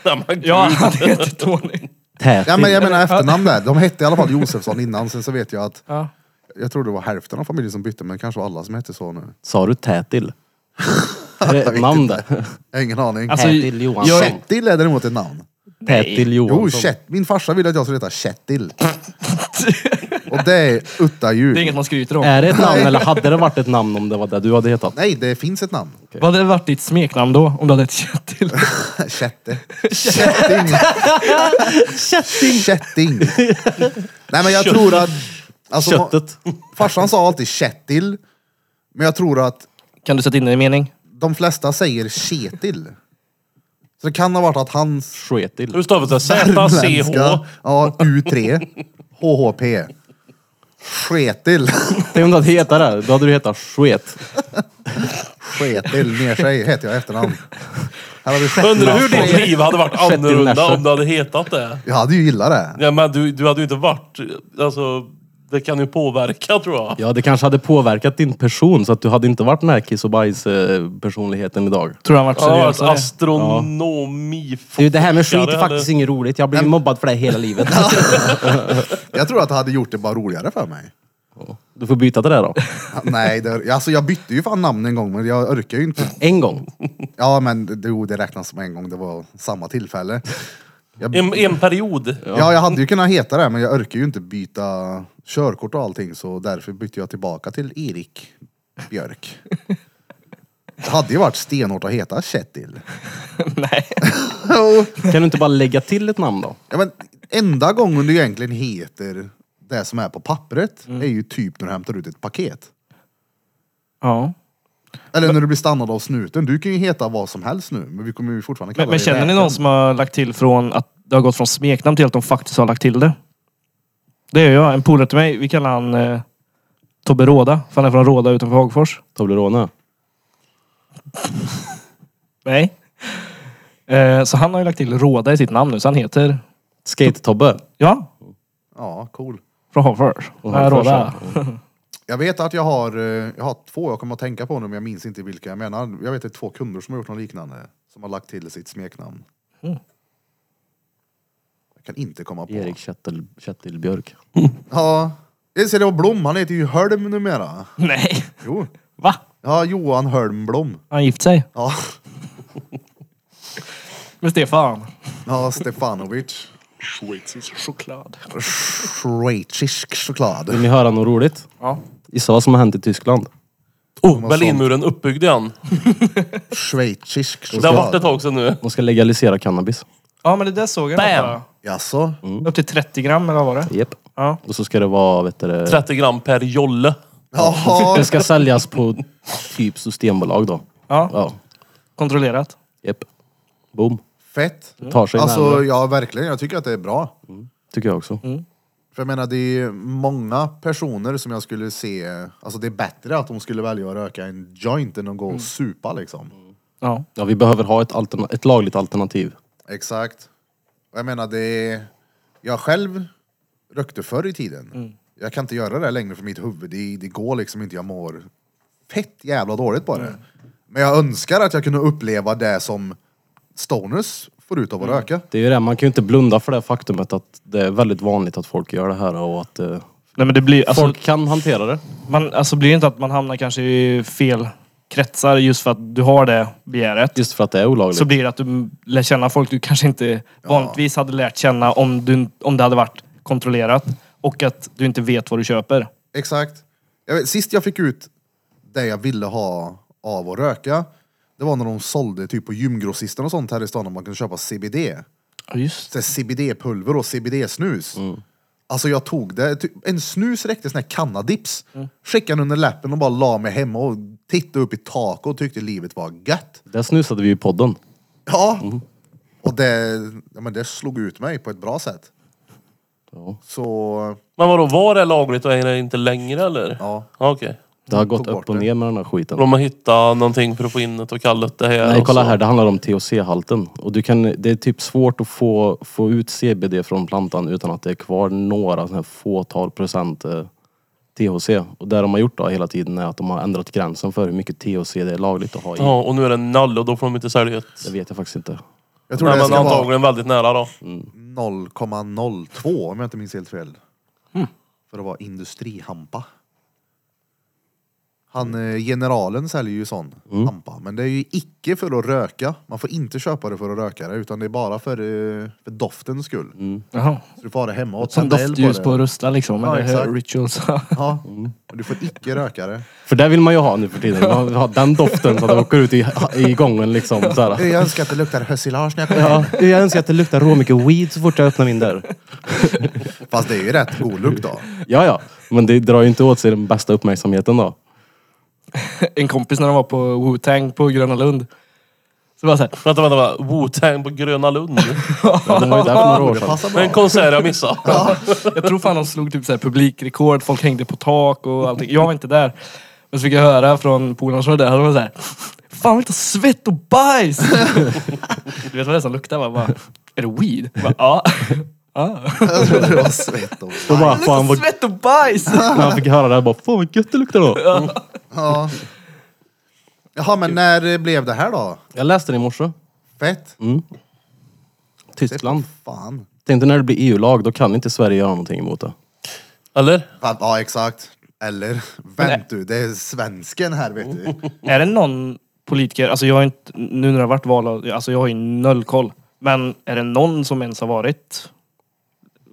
S3: Nej, men gud.
S4: Ja, han heter Tony.
S2: Tätil.
S1: Ja men jag menar efternamn där. De hette i alla fall Josefsson innan. Sen så vet jag att,
S4: Ja.
S1: jag tror det var hälften av familjen som bytte men kanske var alla som hette så nu.
S2: Sa du Tätil? Är det ett namn där?
S1: Jag har ingen aning.
S4: Alltså,
S2: Tätil Johansson.
S4: jag-
S1: Kettil är däremot ett namn.
S2: Tätil
S1: Jo,
S2: Johansson.
S1: Kett, min farsa ville att jag skulle heta Kettil. Och det är utta
S4: Det är inget
S1: djur.
S4: man skryter om.
S2: Är det ett namn eller hade det varit ett namn om det var det du hade hetat?
S1: Nej, det finns ett namn.
S4: Vad hade varit ditt smeknamn då? Om du hade ett kött till?
S1: Kätte. Kätting. Kätting. Nej men jag tror att... Alltså,
S2: Köttet.
S1: Farsan sa alltid Kettil. Men jag tror att
S4: Kan du sätta in det i mening?
S1: de flesta säger Ketil. Så det kan ha varit att hans
S2: Sketil.
S3: Hur stavas det? Z-C-H?
S1: Ja, U3. HHP. Sketil.
S2: Tänk om du hade hetat det. Då hade du hetat Sket.
S1: Sketil ner sig heter jag i efternamn. Här har vi Sketil.
S3: Undrar hur ditt liv hade varit
S2: Shetland
S3: annorlunda
S2: Nashville.
S3: om du hade hetat det.
S1: Jag hade ju gillat det.
S3: Ja, men du, du hade ju inte varit... Alltså, det kan ju påverka tror jag.
S2: Ja, det kanske hade påverkat din person så att du hade inte varit den här kiss och bajs eh, personligheten idag.
S4: Tror du han varit
S3: Ja,
S4: seriös?
S3: alltså, astronomi...
S2: Du, det här med skit
S3: Ja, det
S2: är faktiskt
S3: hade-
S2: inget roligt. Jag har blivit mobbad för det hela livet.
S1: Jag tror att det hade gjort det bara roligare för mig.
S2: Du får byta till det då.
S1: Nej, det, alltså jag bytte ju fan namn en gång men jag orkar ju inte.
S2: En gång.
S1: Ja men det, jo, det räknas som en gång, det var samma tillfälle. Jag,
S3: En, en period.
S1: ja jag hade ju kunnat heta det men jag orkar ju inte byta körkort och allting så därför bytte jag tillbaka till Erik Björk. Det hade ju varit stenhårt att heta Kjetil.
S4: Nej.
S1: Jo.
S2: Kan du inte bara lägga till ett namn då?
S1: Ja, men enda gången du egentligen heter det som är på pappret
S4: Mm.
S1: är ju typ när du hämtar ut ett paket.
S4: Ja.
S1: Eller när du blir stannad av snuten. Du kan ju heta vad som helst nu, men vi kommer ju fortfarande kalla
S4: Men, men
S1: dig
S4: känner ni
S1: räken.
S4: någon som har lagt till från att det har gått från smeknamn till att de faktiskt har lagt till det? Det är jag. En polare till mig, vi kallar han eh, Tobbe Råda. För han är från Råda utanför Hagfors.
S2: Toblerone?
S4: Nej. Eh, så han har ju lagt till Råda i sitt namn nu, så han heter...
S2: Skate-Tobbe?
S4: Ja,
S1: Ja, cool.
S4: från Hagfors.
S2: Och
S4: Nej,
S2: Hagfors,
S4: Råda.
S1: Jag vet att jag har, eh, jag har två jag kommer att tänka på nu, men jag minns inte vilka jag menar. Jag vet att två kunder som har gjort något liknande, som har lagt till sitt smeknamn.
S4: Mm.
S1: Jag kan inte komma på.
S2: Erik Kettil, Kettilbjörk.
S1: Ja. Jag ser det var Blom, han heter ju Hölm numera.
S4: Nej.
S1: Jo.
S4: Va?
S1: Ja, Johan Hölm Blom.
S4: Har han gift sig?
S1: Ja,
S4: Med Stefan?
S1: ja Stefanovic.
S4: Schweizisk choklad.
S1: Schweizisk choklad.
S2: Vill ni höra något roligt?
S4: Ja.
S2: Gissa vad som har hänt i Tyskland?
S3: Oh, Berlinmuren uppbyggd igen.
S1: Schweizisk
S3: Det har varit ett
S1: choklad.
S3: tag sedan nu.
S2: De ska legalisera cannabis.
S4: ja, men det där såg jag.
S3: Bam!
S4: något,
S1: Jaså?
S3: Mm.
S4: va? Upp till 30 gram eller vad var det?
S2: Yep.
S4: Ja.
S2: Och så ska det vara, vet du, det-
S3: 30 gram per jolle.
S1: Jaha.
S3: Mm.
S2: det ska säljas på typ systembolag då.
S4: ja.
S2: Ja,
S4: Kontrollerat.
S2: yep. Boom.
S1: Fett.
S2: Det tar sig
S1: Alltså
S2: närmare,
S1: ja, verkligen. Jag tycker att det är bra.
S2: tycker jag också.
S1: För jag menar, det är ju många personer som jag skulle se... Alltså det är bättre att de skulle välja att röka en joint än att gå och supa liksom.
S4: Ja.
S2: Ja, vi behöver ha ett, alterna- ett lagligt alternativ.
S1: Exakt. Och Jag menar, det... Jag själv rökte förr i tiden. Jag kan inte göra det här längre för mitt huvud. Det, det går liksom inte. Jag mår fett jävla dåligt på det. Men jag önskar att jag kunde uppleva det som stoners får ut av att röka.
S2: Det är ju det, man kan ju inte blunda för det faktumet att det är väldigt vanligt att folk gör det här och att eh,
S4: Nej, men det blir, alltså,
S2: folk kan hantera det.
S4: man, alltså, blir det inte att man hamnar kanske i fel kretsar just för att du har det begäret?
S2: Just för att det är olagligt.
S4: så blir det att du lär känna folk du kanske inte vanligtvis hade lärt känna om, du, om det hade varit kontrollerat. Och att du inte vet vad du köper.
S1: Exakt. Jag vet, sist jag fick ut det jag ville ha av att röka, det var när de sålde typ på gymgrossisten och sånt här i stan, att man kunde köpa CBD.
S4: Ja, just
S1: så här CBD-pulver och CBD-snus. Alltså jag tog det, ty- en snus räckte sån här cannadips. Skickade den under läppen och bara la mig hemma och tittade upp i taket och tyckte livet var gött.
S2: Det snusade vi ju i podden.
S1: Ja! Och det, ja, men det slog ut mig på ett bra sätt.
S2: Ja.
S1: Så,
S3: Men vadå, var det lagligt och är det inte längre eller?
S1: ja.
S3: Ja, Okej.
S2: Det har
S1: Tog
S2: gått
S1: bort
S2: upp och
S1: det.
S2: ner med den här skiten.
S3: De har hittat någonting för att få in det och kallat det här.
S2: Nej,
S3: och
S4: Alltså-
S2: kolla
S3: så.
S2: här. Det handlar om THC-halten. Och du kan, det är typ svårt att få, få ut CBD från plantan utan att det är kvar några sån här fåtal procent eh, THC. Och det de har gjort då hela tiden är att de har ändrat gränsen för hur mycket THC det är lagligt att ha i.
S3: Ja, och nu är det noll och då får de inte sälja ett.
S2: Det vet jag faktiskt inte.
S1: Jag tror
S3: Nej,
S1: det
S3: men
S1: ska vara
S3: antagligen väldigt nära då.
S2: Mm.
S1: 0,02 om jag inte minns helt fel. För att vara industrihampa. Han, eh, generalen säljer ju sån
S4: Mm.
S1: hampa. Men det är ju icke för att röka. Man får inte köpa det för att röka det. Utan det är bara för, eh, för doftens skull.
S4: Jaha.
S1: Så du får ha det hemma och
S4: Mm. Som
S1: tända eld på
S4: doftljus
S1: det.
S4: på Mm. Rustla liksom.
S1: Ja,
S4: eller
S1: exakt.
S4: rituals.
S1: Ja. Och du får icke röka det.
S2: För det vill man ju ha nu för tiden. Man vill ha den doften så att det åker ut i, i gången liksom. Så
S1: Eh,
S2: här.
S1: Jag önskar att det luktar hösilage när jag kommer
S2: Ja,
S1: hem.
S2: jag önskar att det luktar rå mycket weed så fort jag öppnar min dörr.
S1: Fast det är ju rätt god lukt då.
S2: Ja, ja. Men det drar ju inte åt sig den bästa uppmärksamheten då.
S4: en kompis när de var på Wu-Tang på Gröna Lund. Så bara så här,
S3: Vänta, vänta, vänta. Wu-Tang på Gröna Lund.
S2: Ja, det var ju där för några år
S1: Det
S2: sedan.
S1: passar
S3: Det är en
S1: bra.
S3: konsert jag missade.
S4: jag tror fan de slog typ så här publikrekord. Folk hängde på tak och allting. Jag var inte där. Men så fick jag höra från polarna som var där. De var så här, fan luktar svett och bajs. du vet vad det som luktar? va? Bara, är det weed? Jag Bara, ja. Ah.
S1: Jag trodde det var svett och
S2: Då bara, fan
S4: Luktar
S2: vad
S4: svett och bajs!
S2: När han fick höra det här bara, fan vad gött det luktar då.
S1: Ja. Jaha, men när blev det här då?
S2: Jag läste det i morse.
S1: Fett?
S2: Tyskland.
S1: Fan.
S2: Tänkte när det blir EU-lag, då kan inte Sverige göra någonting emot det.
S3: Eller?
S1: Fan, Ja, exakt. Eller, vänt du, det är svensken här vet du.
S4: Är det någon politiker, alltså jag har inte, nu när det har varit val, alltså jag har ju noll koll. Men är det någon som ens har varit?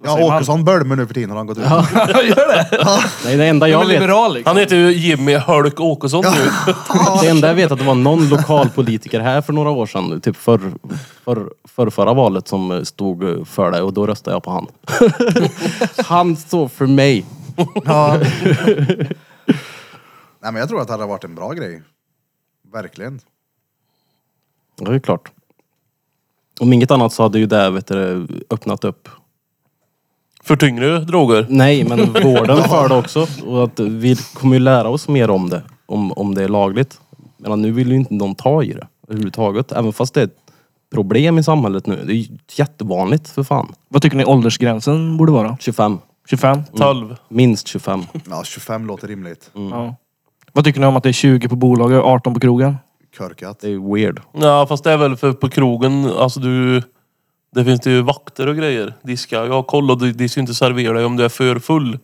S4: Vad säger
S1: Ja,
S4: man?
S1: Åkesson Bölme nu för tiden har han gått ut.
S4: Gör det?
S2: Nej, det enda
S4: Jag är
S2: jag vet,
S4: liberal liksom.
S3: Han heter ju Jimmy Hölk Åkesson nu.
S2: det enda jag vet att det var någon lokal politiker här för några år sedan, typ för, för, för förra valet som eh, stod eh, för det och då röstade jag på han. han står för mig.
S1: Ja. Nej, men jag tror att det hade varit en bra grej. Verkligen.
S2: Ja, Det är ju klart. Om inget annat så hade ju det vet du, öppnat upp.
S3: För tyngre droger.
S2: Nej, men vården för det också. Och att vi kommer ju lära oss mer om det, om, om det är lagligt. Men nu vill ju inte någon ta i det överhuvudtaget. Även fast det är ett problem i samhället nu. Det är ju jättevanligt för fan.
S4: Vad tycker ni åldersgränsen borde vara?
S2: 25. Mm.
S4: 25?
S3: 12.
S2: Minst 25.
S1: Ja, 25 låter rimligt.
S2: Mm.
S4: Ja. Vad tycker ni om att det är 20 på bolaget och 18 på krogen?
S1: Körkat.
S2: Det är ju weird.
S3: Ja, fast det är väl för på krogen, alltså du... Det finns det ju vakter och grejer. Diska. Jag har koll och de, de ska ju inte servera dig om du är för full.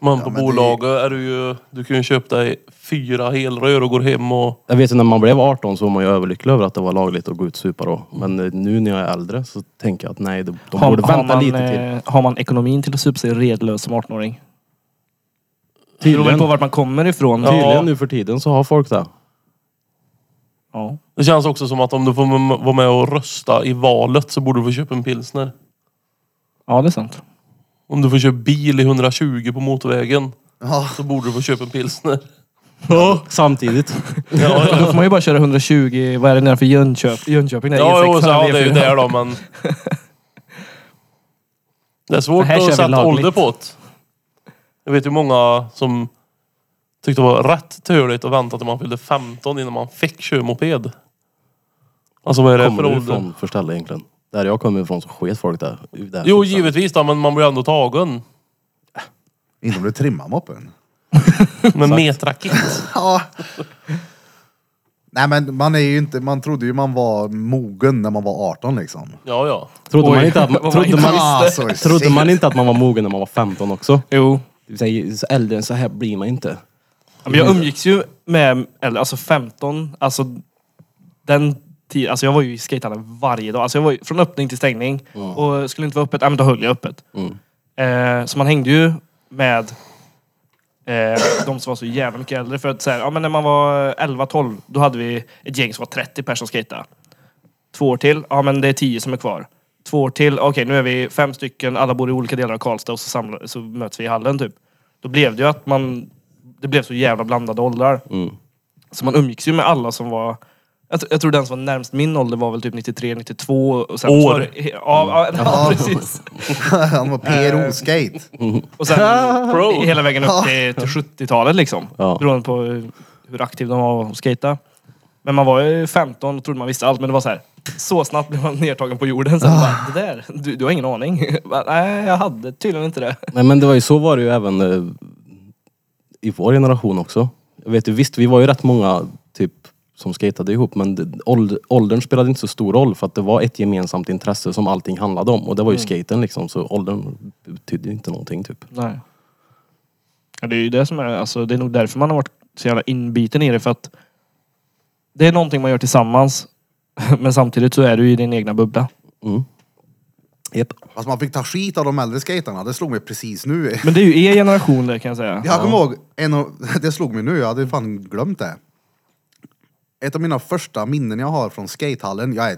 S3: Men på
S1: men det-
S3: bolaget är du ju... Du kan ju köpa dig fyra helrör och går hem och...
S2: Jag vet ju när man blev 18 så var man ju överlycklig över att det var lagligt att gå ut och supa då. Men eh, nu när jag är äldre så tänker jag att nej, de, de borde vänta
S4: man,
S2: lite till.
S4: eh, har man ekonomin till att supa sig redlös som 18-åring? Det beror väl
S2: Tydligen,
S4: på vart man kommer ifrån.
S2: tydligen
S3: Ja.
S2: nu för tiden så har folk det.
S4: Ja.
S3: Det känns också som att om du får m- vara med och rösta i valet så borde du få köpa en pilsner.
S4: ja, det är sant.
S3: Om du får köpa bil i 120 på motorvägen
S1: Ja,
S3: så borde du få köpa en pilsner.
S2: Samtidigt.
S3: Ja,
S4: Då
S3: ja.
S4: får man ju bara köra 120, vad är det nedanför Jönköp, Jönköping? Där
S3: Ja,
S4: E6,
S3: jo, så, ja,
S4: fan,
S3: det är ju
S4: E4.
S3: där då, men... Det är svårt
S4: Det här kör
S3: att
S4: vi
S3: sätta
S4: lagligt.
S3: ålder på det. Jag vet ju många som tyckte det var rätt turligt att vänta till man fyllde 15 innan man fick köra moped. Alltså vad är det
S2: Kommer
S3: för
S2: du
S3: ålder?
S2: ifrån för ställe egentligen? Där jag kommer ifrån så sket folk där. där
S3: Jo,
S2: fortfarande.
S3: givetvis då, men man blir ändå tagen.
S1: inte om du trimmar moppen.
S3: Med metrakitt.
S1: Ja. Nej men man är ju inte, man trodde ju man var mogen när man var 18 liksom.
S3: Ja, ja.
S2: Trodde,
S4: Oj,
S2: man inte, att,
S4: vad man
S2: trodde,
S4: inte
S2: man,
S1: Ah, så
S2: trodde
S1: shit.
S2: man inte att man var mogen när man var 15 också?
S4: Jo.
S2: Det vill säga, så äldre än så här blir man inte.
S4: Ja, Men jag umgicks ju med, eller alltså 15, alltså den tiden, alltså jag var ju i skatehallen varje dag. Alltså jag var ju från öppning till stängning. Och skulle det inte vara öppet, ja men då höll jag öppet.
S3: Mm.
S4: Eh, så man hängde ju med eh, de som var så jävla mycket äldre. För att så här, ja men när man var 11-12, då hade vi ett gäng som var 30 personer som skejtade. Två år till, ja men det är 10 som är kvar. Två år till, okej nu är vi fem stycken, alla bor i olika delar av Karlstad och så, samlar, så möts vi i hallen typ. Då blev det ju att man, det blev så jävla blandade åldrar. Så man umgicks ju med alla som var jag, tr- jag tror den som var närmst min ålder var väl typ 93, 92. Och sen,
S3: År.
S4: så var det- Ja, ja, ja, precis.
S1: Han var PRO-skate.
S4: Och sen
S3: Pro.
S4: hela vägen upp till, till 70-talet liksom.
S2: Ja.
S4: Beroende på hur- hur aktiv de var och skata. Men man var ju 15 och trodde man visste allt. Men det var så här. Så snabbt blev man nedtagen på jorden. Sen bara, det där, du, du har ingen aning. Bara, Nej, jag hade tydligen inte det.
S2: Nej men det var ju så var det ju även eh, i vår generation också. Jag vet ju, visst vi var ju rätt många typ som skatade ihop men det- åld- åldern spelade inte så stor roll för att det var ett gemensamt intresse som allting handlade om och det var ju skaten liksom så åldern betydde inte någonting typ.
S4: Nej. Ja, det är ju det som är, alltså det är nog därför man har varit så jävla inbiten i det för att det är någonting man gör tillsammans men samtidigt så är du i din egna bubbla.
S2: Mm. Yep.
S1: Alltså man fick ta skit av de äldre skaterna, det slog mig precis nu.
S4: Men det är ju er generation det kan jag säga.
S1: Jag kommer ihåg, en av, det slog mig nu, jag hade fan glömt det. Ett av mina första minnen jag har från skatehallen, jag är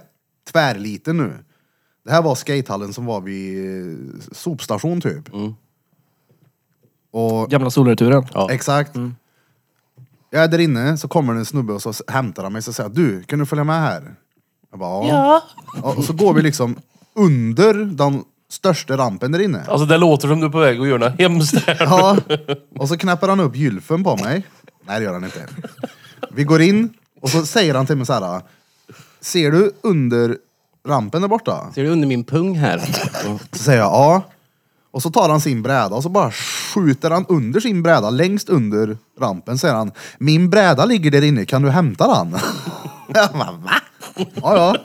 S1: tvärliten nu. Det här var skatehallen som var vid eh, sopstation typ. Och
S4: Gamla solreturen.
S2: Ja.
S1: Exakt. Jag är där inne, så kommer det en snubbe och så s- hämtar han mig och säger du, kan du följa med här? Jag bara, ja. Och så går vi liksom under den största rampen där inne.
S3: Alltså det låter som du är på väg att göra något hemskt där.
S1: Ja. Och så knäpper han upp gylfen på mig. Nej det gör han inte. Vi går in och så säger han till mig så här. Ser du under rampen där borta?
S2: Ser du under min pung här?
S1: Så säger jag ja. Och så tar han sin bräda och så bara skjuter han under sin bräda, längst under rampen, säger han. Min bräda ligger där inne, kan du hämta den? jag bara, va? Ja, ja.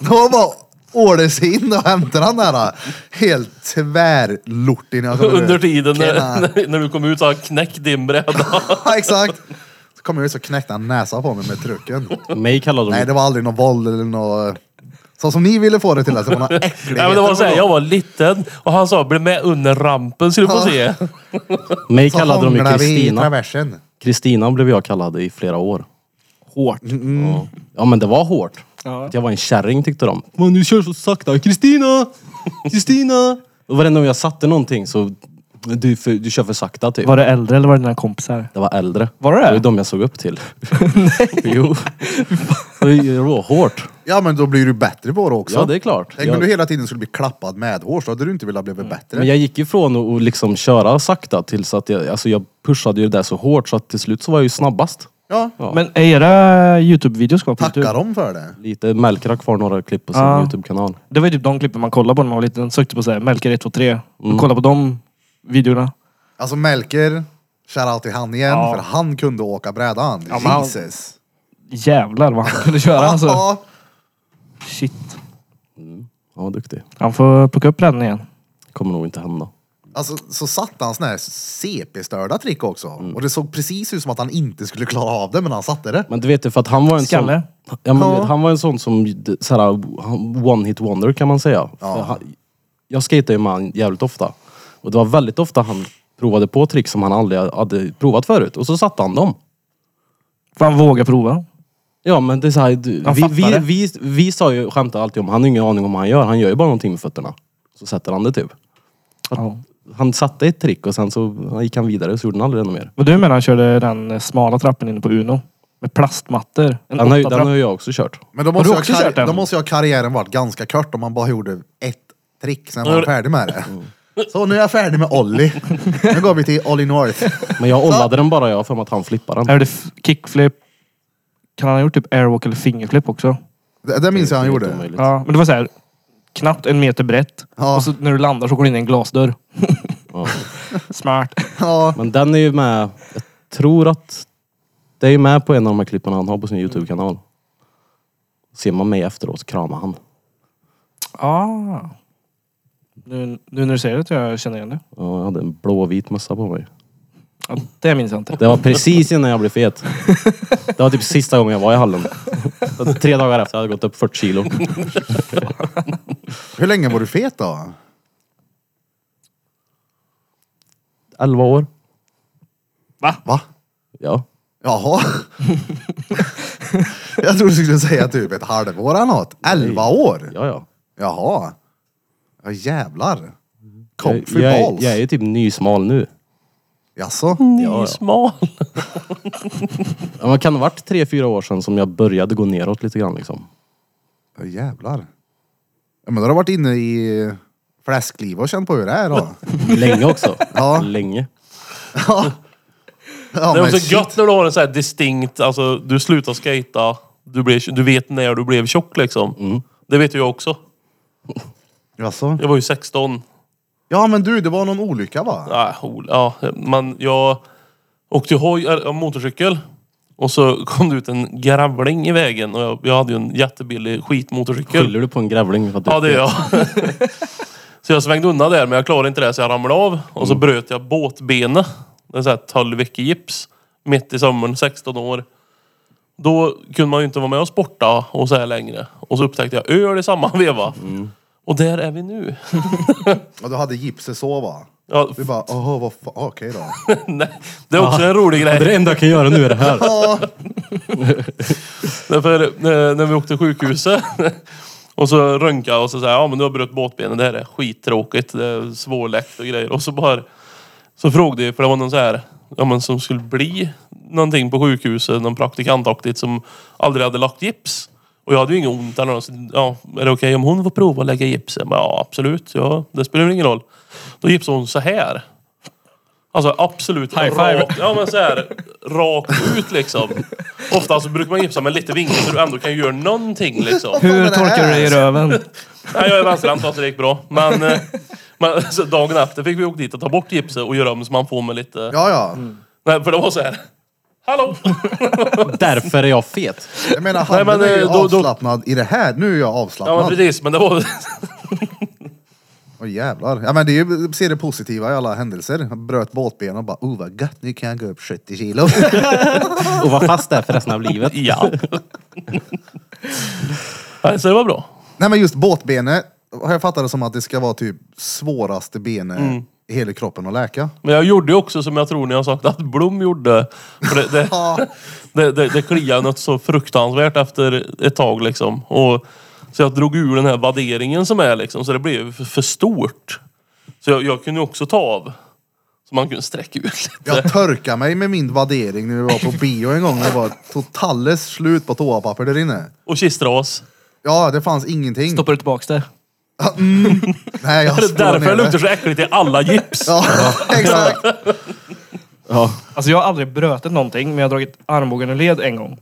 S1: Då bara ålade sig in och hämtade han den här helt tvärlortig. när jag kommer ut.
S3: Under tiden
S1: Tjena.
S3: när, när- när du kom ut så har han knäckt din bräda.
S1: Ja, exakt. Så kom jag ut så knäckte han näsa på mig med trucken.
S2: Mig kallade de
S1: Nej, det var aldrig någon våld eller något... eh, Så som ni ville få det till att det var några
S3: Nej, men det var så här,
S1: äckligheter.
S3: jag var liten och han sa bli med under rampen så du får se.
S2: mig
S1: Så
S2: kallade de ju
S1: hånglade vi i
S2: Kristina.
S1: traversen.
S2: Kristina blev jag kallad i flera år.
S4: Hårt.
S2: Ja. Ja men det var hårt.
S4: Ja.
S2: Att jag var en kärring tyckte de. Men du kör så sakta. Kristina! Kristina! Och varenda gång jag satte någonting så... Du, för, du kör för sakta typ.
S4: Var det äldre eller var det dina kompisar?
S2: Det var äldre.
S4: Var det det?
S2: Det var de jag såg upp till. jo. Det var hårt.
S1: Ja, men då blir du bättre på det också.
S2: Ja det är klart.
S1: Tänk om du
S2: Jag,
S1: hela tiden skulle bli klappad med hår så hade du inte velat bli bättre.
S2: men jag gick ifrån att att liksom köra sakta tills att jag... Alltså jag pushade ju det där så hårt så att till slut så var jag ju snabbast.
S1: Ja,
S2: Ja.
S4: Men är era Youtube-videos kvar på
S1: tacka
S4: Youtube?
S1: dem för det.
S2: Lite Melker har kvar några klipp på sin
S4: Ja.
S2: Youtube-kanal.
S4: Det var ju typ de klippen man kollade på när man var liten. Sökte på såhär Melker 123. Mm. Kolla på de videorna.
S1: Alltså Melker, shoutout till han igen,
S4: Ja.
S1: för han kunde åka brädan.
S4: men han-
S1: Jesus.
S4: Jävlar vad han kunde köra alltså.
S1: Ja,
S4: Shit.
S2: Ja duktig.
S4: Han får plocka upp den igen.
S2: Kommer nog inte hända.
S1: Alltså, så satte han såna här CP-störda trick också. Och det såg precis ut som att han inte skulle klara av det, men han satte det.
S2: Men du vet ju för att han var en
S4: Skalle.
S2: sån... Ja, men
S1: Ja.
S2: du vet, han var en sån som, så one hit wonder kan man säga. För Han, jag skejtade ju med han jävligt ofta. Och det var väldigt ofta han provade på trick som han aldrig hade provat förut. Och så satte han dem.
S4: För han vågar prova.
S2: Ja men det är såhär, du,
S4: Han
S2: vi,
S4: fattar
S2: vi,
S4: det.
S2: vi, vi sa ju, skämtade alltid om, han har ingen aning om vad han gör. Han gör ju bara någonting med fötterna. Så sätter han det typ.
S4: Ja.
S2: Han satte ett trick och sen så gick han vidare så gjorde han aldrig ännu mer.
S4: Vad du menar han körde den smala trappen inne på Uno? Med plastmattor. En
S2: Den har, ju-
S4: åttatrapp.
S2: den har ju jag också kört.
S1: Men då måste,
S4: du
S1: jag
S4: också kört
S1: karri-
S4: den?
S1: då måste jag karriären varit ganska kort om han bara gjorde ett trick, sen var han färdig med det.
S2: Mm.
S1: Så nu är jag färdig med Olli. Nu går vi till Olli North.
S2: Men jag ollade den bara, jag har för mig att han flippade den.
S4: Här är det f- kickflip. Kan han ha gjort typ airwalk eller fingerflip också?
S1: Det, det minns jag han
S2: Det är
S1: gjorde.
S2: omöjligt.
S4: Ja, men det var så här knappt en meter brett.
S1: Ja.
S4: Och så när du landar så går du in i en glasdörr.
S2: Ja.
S4: Smart.
S1: Ja,
S2: Men den är ju med, jag tror att det är ju med på en av de här klippen han har på sin Youtube-kanal. Ser man mig efteråt så kramar han.
S4: Ah. Nu, nu när du säger det tror jag jag känner igen det.
S2: Ja, Jag hade en blåvit mössa på mig.
S4: Ja, det minns jag inte.
S2: Det var precis innan jag blev fet. Det var typ sista gången jag var i hallen. Så Tre dagar efter hade jag gått upp 40 kilo.
S1: hur länge var du fet då?
S2: 11 år.
S1: Va?
S2: Ja.
S1: Jaha. jag trodde du skulle säga typ ett halvår eller något. Elva år?
S2: Ja, ja.
S1: Jaha. Ja jävlar.
S2: Jag,
S1: Comfy
S2: jag, är-
S1: balls.
S2: jag är ju typ nysmal nu.
S1: Jaså?
S2: ja.
S3: Nysmal.
S2: Ja, Man kan ha varit tre, fyra år sedan som jag började gå neråt lite grann liksom.
S1: Ja jävlar. Ja men då har du varit inne i fläskliv och känt på hur det är då.
S2: Länge också.
S1: Ja.
S2: Länge.
S1: Ja,
S3: Det är
S1: men
S3: också
S1: shit.
S3: gött när du har en så här distinkt, alltså du slutar skata, du, blir, du vet när du blev tjock liksom.
S1: Mm.
S3: Det vet ju jag också.
S1: Jaså?
S3: Jag var ju 16.
S1: Alltså. Ja men du, det var någon olycka va?
S3: Ah, hol- ja, men jag åkte hoj, äh, motorcykel och så kom det ut en grävling i vägen och jag, jag hade ju en jättebillig skitmotorcykel.
S2: Skyller du på en grävling? För att du
S3: Ja, det är jag. så jag svängde undan där, men jag klarade inte det så jag ramlade av. Och så bröt jag båtbenet. Det är så här 12 veckor gips. Mitt i sommaren, 16 år. Då kunde man ju inte vara med och sporta och så här längre. Och så upptäckte jag öl i samma veva. Och där är vi nu.
S1: Och du hade gipset så va?
S3: Ja,
S1: Du bara, åh vad fan, okej då.
S3: nej, det är också en rolig grej.
S2: Det är det enda jag kan göra nu är det här.
S3: Därför eh, när, när vi åkte till sjukhuset och så röntgade och så sa jag, ja men du har brutit båtbenen, det här är skittråkigt, det är svårläkt och grejer. Och så bara, så frågade jag, för det var någon så här, ja men som skulle bli någonting på sjukhuset, någon praktikantaktigt som aldrig hade lagt gips. Och jag hade ju inget ont eller något, så, ja är det okej om hon får prova att lägga gips? Jag bara, ja absolut, ja, det spelar väl ingen roll. Då gipsade hon så här. Alltså absolut
S4: High five.
S3: rakt, ja men så här, rakt ut liksom. Ofta så brukar man gipsa med lite vinkel så du ändå kan göra någonting liksom.
S1: Vad
S4: Hur
S1: var det
S4: torkar du
S1: här?
S4: dig i röven?
S3: Nej, jag är vänsterhänt så det gick bra. Men, eh, men så dagen efter fick vi åka dit och ta bort gipset och göra om så man får med lite...
S1: Ja ja.
S3: Nej, för det var så här. Hallå!
S2: Därför är jag fet.
S1: Jag menar, hade
S3: men,
S1: du är ju
S3: eh, då- då-
S1: avslappnad i det här. Nu är jag
S3: Ja men
S1: avslappnad. Åh
S3: precis, men det var...
S1: jävlar. Ja men det är ju, se det positiva i alla händelser. Jag bröt båtben och bara, oh vad gött, nu kan jag gå upp 70 kilo.
S2: Och var fast där för resten av livet.
S3: Ja. Nej, så det var bra.
S1: Nej men just båtbenet har jag fattat det som att det ska vara typ svåraste benet
S3: Mm.
S1: i hela kroppen att läka.
S3: Men jag gjorde ju också som jag tror ni har sagt att Blom gjorde. För det, det, det, det, det kliade något så fruktansvärt efter ett tag liksom. Och, så jag drog ur den här vadderingen som är liksom, så det blev för, för stort. Så jag, jag kunde ju också ta av. Så man kunde sträcka ut lite.
S1: Jag törkade mig med min vaddering när vi var på bio en gång och det var totalt slut på toapapper där inne.
S3: Och kistras.
S1: Ja, det fanns ingenting. mm.
S4: Stoppar du tillbaks det?
S1: Nej, jag
S3: Det är
S1: slår
S3: därför
S1: ner
S3: det luktar
S1: det.
S3: så äckligt i alla gips.
S1: Ja, exakt.
S2: Ja.
S4: Alltså jag har aldrig brötit någonting, men jag har dragit armbågen ur led en gång.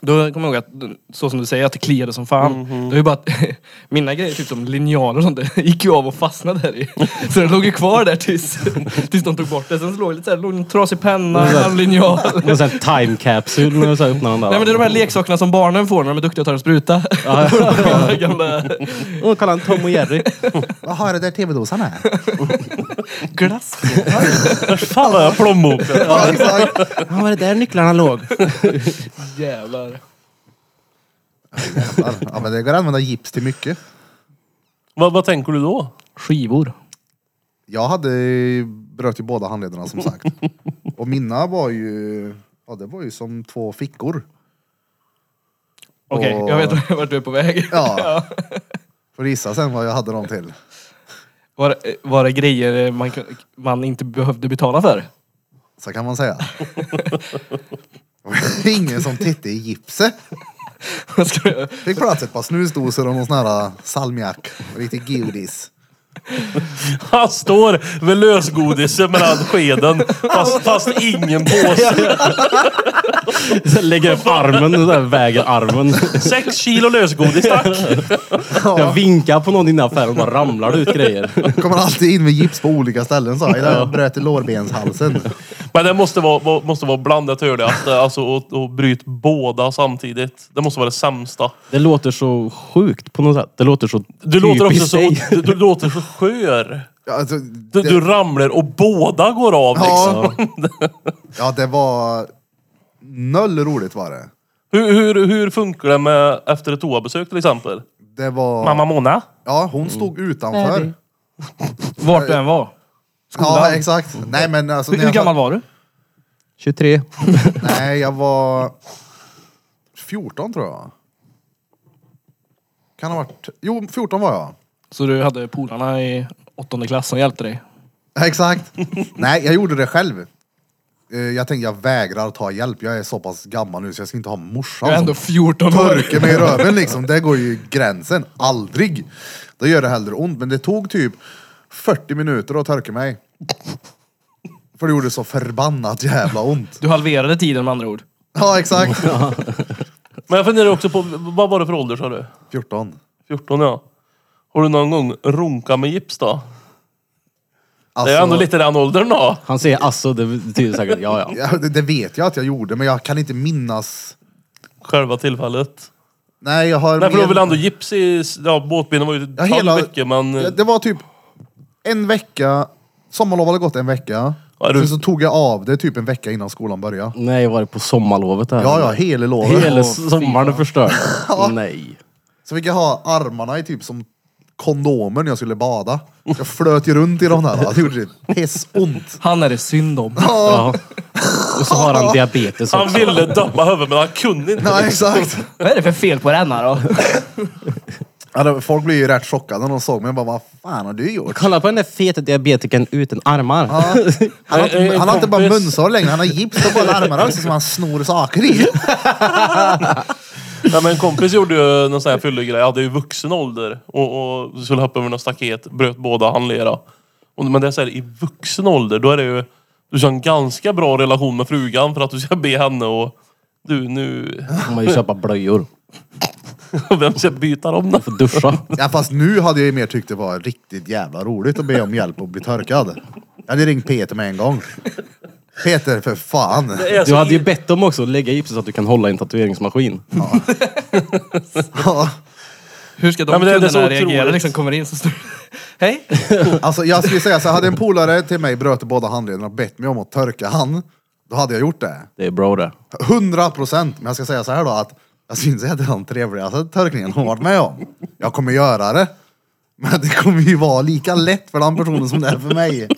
S4: Då kommer jag ihåg att, så som du säger, att det kliade som fan. Det var ju bara att mina grejer, typ som linjaler och sånt, det gick ju av och fastnade där i. Så den låg ju kvar där tills, tills de tog bort det. Sen så låg det lite såhär, låg en trasig penna, en halv linjal.
S2: En sån här time capsule när du så här öppnar den där.
S4: Nej men det är de här leksakerna som barnen får när de är duktiga och tar en spruta. De gamla
S2: Åh, kolla en Tom och Jerry.
S1: Vad har det där tv-dosan här?
S4: glass.
S3: Fan vad jag plånboken.
S1: ja, exakt.
S2: Ja, var det där nycklarna låg?
S4: Jävlar.
S1: Ja, men det går att använda gips till mycket.
S3: Vad, vad tänker du då?
S4: Skivor.
S1: Jag hade bröt ju båda handlederna som sagt. Och mina var ju, ja det var ju som två fickor.
S4: Okej,
S1: Och-
S4: jag vet vart du är på väg.
S1: Ja. Får gissa sen vad jag hade dem till.
S4: Var, det- var det grejer man, kun- man inte behövde betala för?
S1: Så kan man säga. Ingen som tittade i gipset.
S4: Ska jag-
S1: Fick plats ett par snusdosor och någon sån här äh, salmiak. Och lite godis.
S3: Han står med lösgodiset mellan skeden. Fast, fast ingen påse.
S2: Så lägger upp armen och där väger armen.
S3: Sex kilo lösgodis tack.
S2: Jag vinkar på någon i den affären och bara ramlar det ut grejer.
S1: Kommer alltid in med gips på olika ställen sa jag. Jag bröt i lårbenshalsen.
S3: Men det måste vara, vara- måste vara blandat hörde jag. Att, eh, Alltså och, och bryt båda samtidigt. Det måste vara det sämsta.
S2: Det låter så sjukt på något sätt. Det låter så
S3: Du låter också
S2: typiskt
S3: så,
S2: dig.
S3: du, du låter så skör.
S1: Ja, Alltså,
S3: Du,
S1: det,
S3: du ramlar och båda går av liksom.
S1: ja. ja, det var noll roligt var det.
S3: Hur, hur, hur funkar det med efter ett toabesök till exempel?
S1: Det var...
S3: Mamma Mona?
S1: Ja, hon stod utanför.
S4: Vart du än var.
S1: Ja, exakt. Nej, men alltså... när
S4: Hur, hur
S1: jag-
S4: gammal var du?
S2: 23.
S1: Nej, jag var 14 tror jag. Kan ha varit... Jo, 14 var jag.
S4: Så du hade polarna i åttonde klass som hjälpte dig?
S1: Exakt. Nej, jag gjorde det själv. Eh, Jag tänkte jag vägrar ta hjälp. Jag är så pass gammal nu så jag ska inte ha morsan
S4: Jag är
S1: som
S4: ändå 14 år.
S1: torkar mig i röven liksom. Det går ju gränsen. Aldrig. Då gör det hellre ont. Men det tog typ 40 minuter att torka mig. För det gjorde så förbannat jävla ont.
S4: Du halverade tiden med andra ord.
S1: Ja, exakt.
S3: Men jag funderar också på, vad var det för ålder sa du?
S1: 14.
S3: 14 ja. Har du någon gång runkat med gips då?
S1: Alltså,
S3: Det är ändå lite den åldern då.
S2: Han säger alltså, det betyder säkert ja ja.
S1: Ja, det, det vet jag att jag gjorde, men jag kan inte minnas.
S3: Själva tillfället.
S1: Nej, jag har...
S3: Nej för
S1: mer-
S3: då vill ändå gips i... Ja båtbenen var ju
S1: Ja,
S3: halv
S1: hela-
S3: vecka men...
S1: Ja, Det var typ en vecka. Sommarlov hade gått en vecka.
S3: Ja, du-
S1: Sen så tog jag av det typ en vecka innan skolan började.
S2: Nej, var det på sommarlovet där?
S1: Ja, ja, hela lovet.
S2: Hela
S4: Åh,
S2: sommaren är förstörd. Nej.
S1: Så fick jag ha armarna i typ som kondomer när jag skulle bada. Jag flöt ju runt i de här. Det gjorde pissont.
S4: Han är det synd om.
S2: Ja. Och så har han diabetes
S3: Han
S2: också.
S3: ville döma huvudet men han kunde inte.
S1: Ja, exakt.
S4: Vad är det för fel på denna då?
S1: Ja, det- folk blev ju rätt chockade när de såg mig. Jag bara, vad fan har du gjort?
S2: Kolla på den där feta diabetikern utan armar.
S1: Ja. Han har,
S3: Eh, eh,
S1: inte, han har inte bara
S3: kompis.
S1: munsår längre, han har gips på båda armarna också som han snor saker i.
S3: Nej men en kompis gjorde ju någon sån här fyllig grej. Jag hade ju vuxen ålder och, och skulle hoppa över något staket, bröt båda handlederna. Och- Men det är så här, i vuxen ålder, då är det ju... Du ska ha en ganska bra relation med frugan för att du ska be henne och... Du nu...
S2: Får man ju köpa blöjor.
S3: Vem ska byta dem då?
S2: Får duscha.
S1: Ja, fast nu hade jag ju mer tyckt det var riktigt jävla roligt att be om hjälp och bli törkad. Jag hade ringt Peter med en gång. Peter, för fan.
S3: Det är så
S2: Du hade ju
S3: i-
S2: bett dem också att lägga gipset så att du kan hålla i en tatueringsmaskin.
S1: Ja,
S4: Hur ska de
S3: Ja, men det- det är
S4: kunderna
S3: så
S4: reagera?
S3: otroligt.
S4: Liksom kommer in så står Hej!
S1: alltså, jag skulle säga så här, hade en polare till mig bröt båda handlederna och bett mig om att törka han, då hade jag gjort det.
S2: Det är bra det.
S1: 100 procent. Men jag ska säga så här då att jag syns att det är den trevligaste törkningen hon varit med om. Jag kommer göra det. Men det kommer ju vara lika lätt för den personen som det är för mig.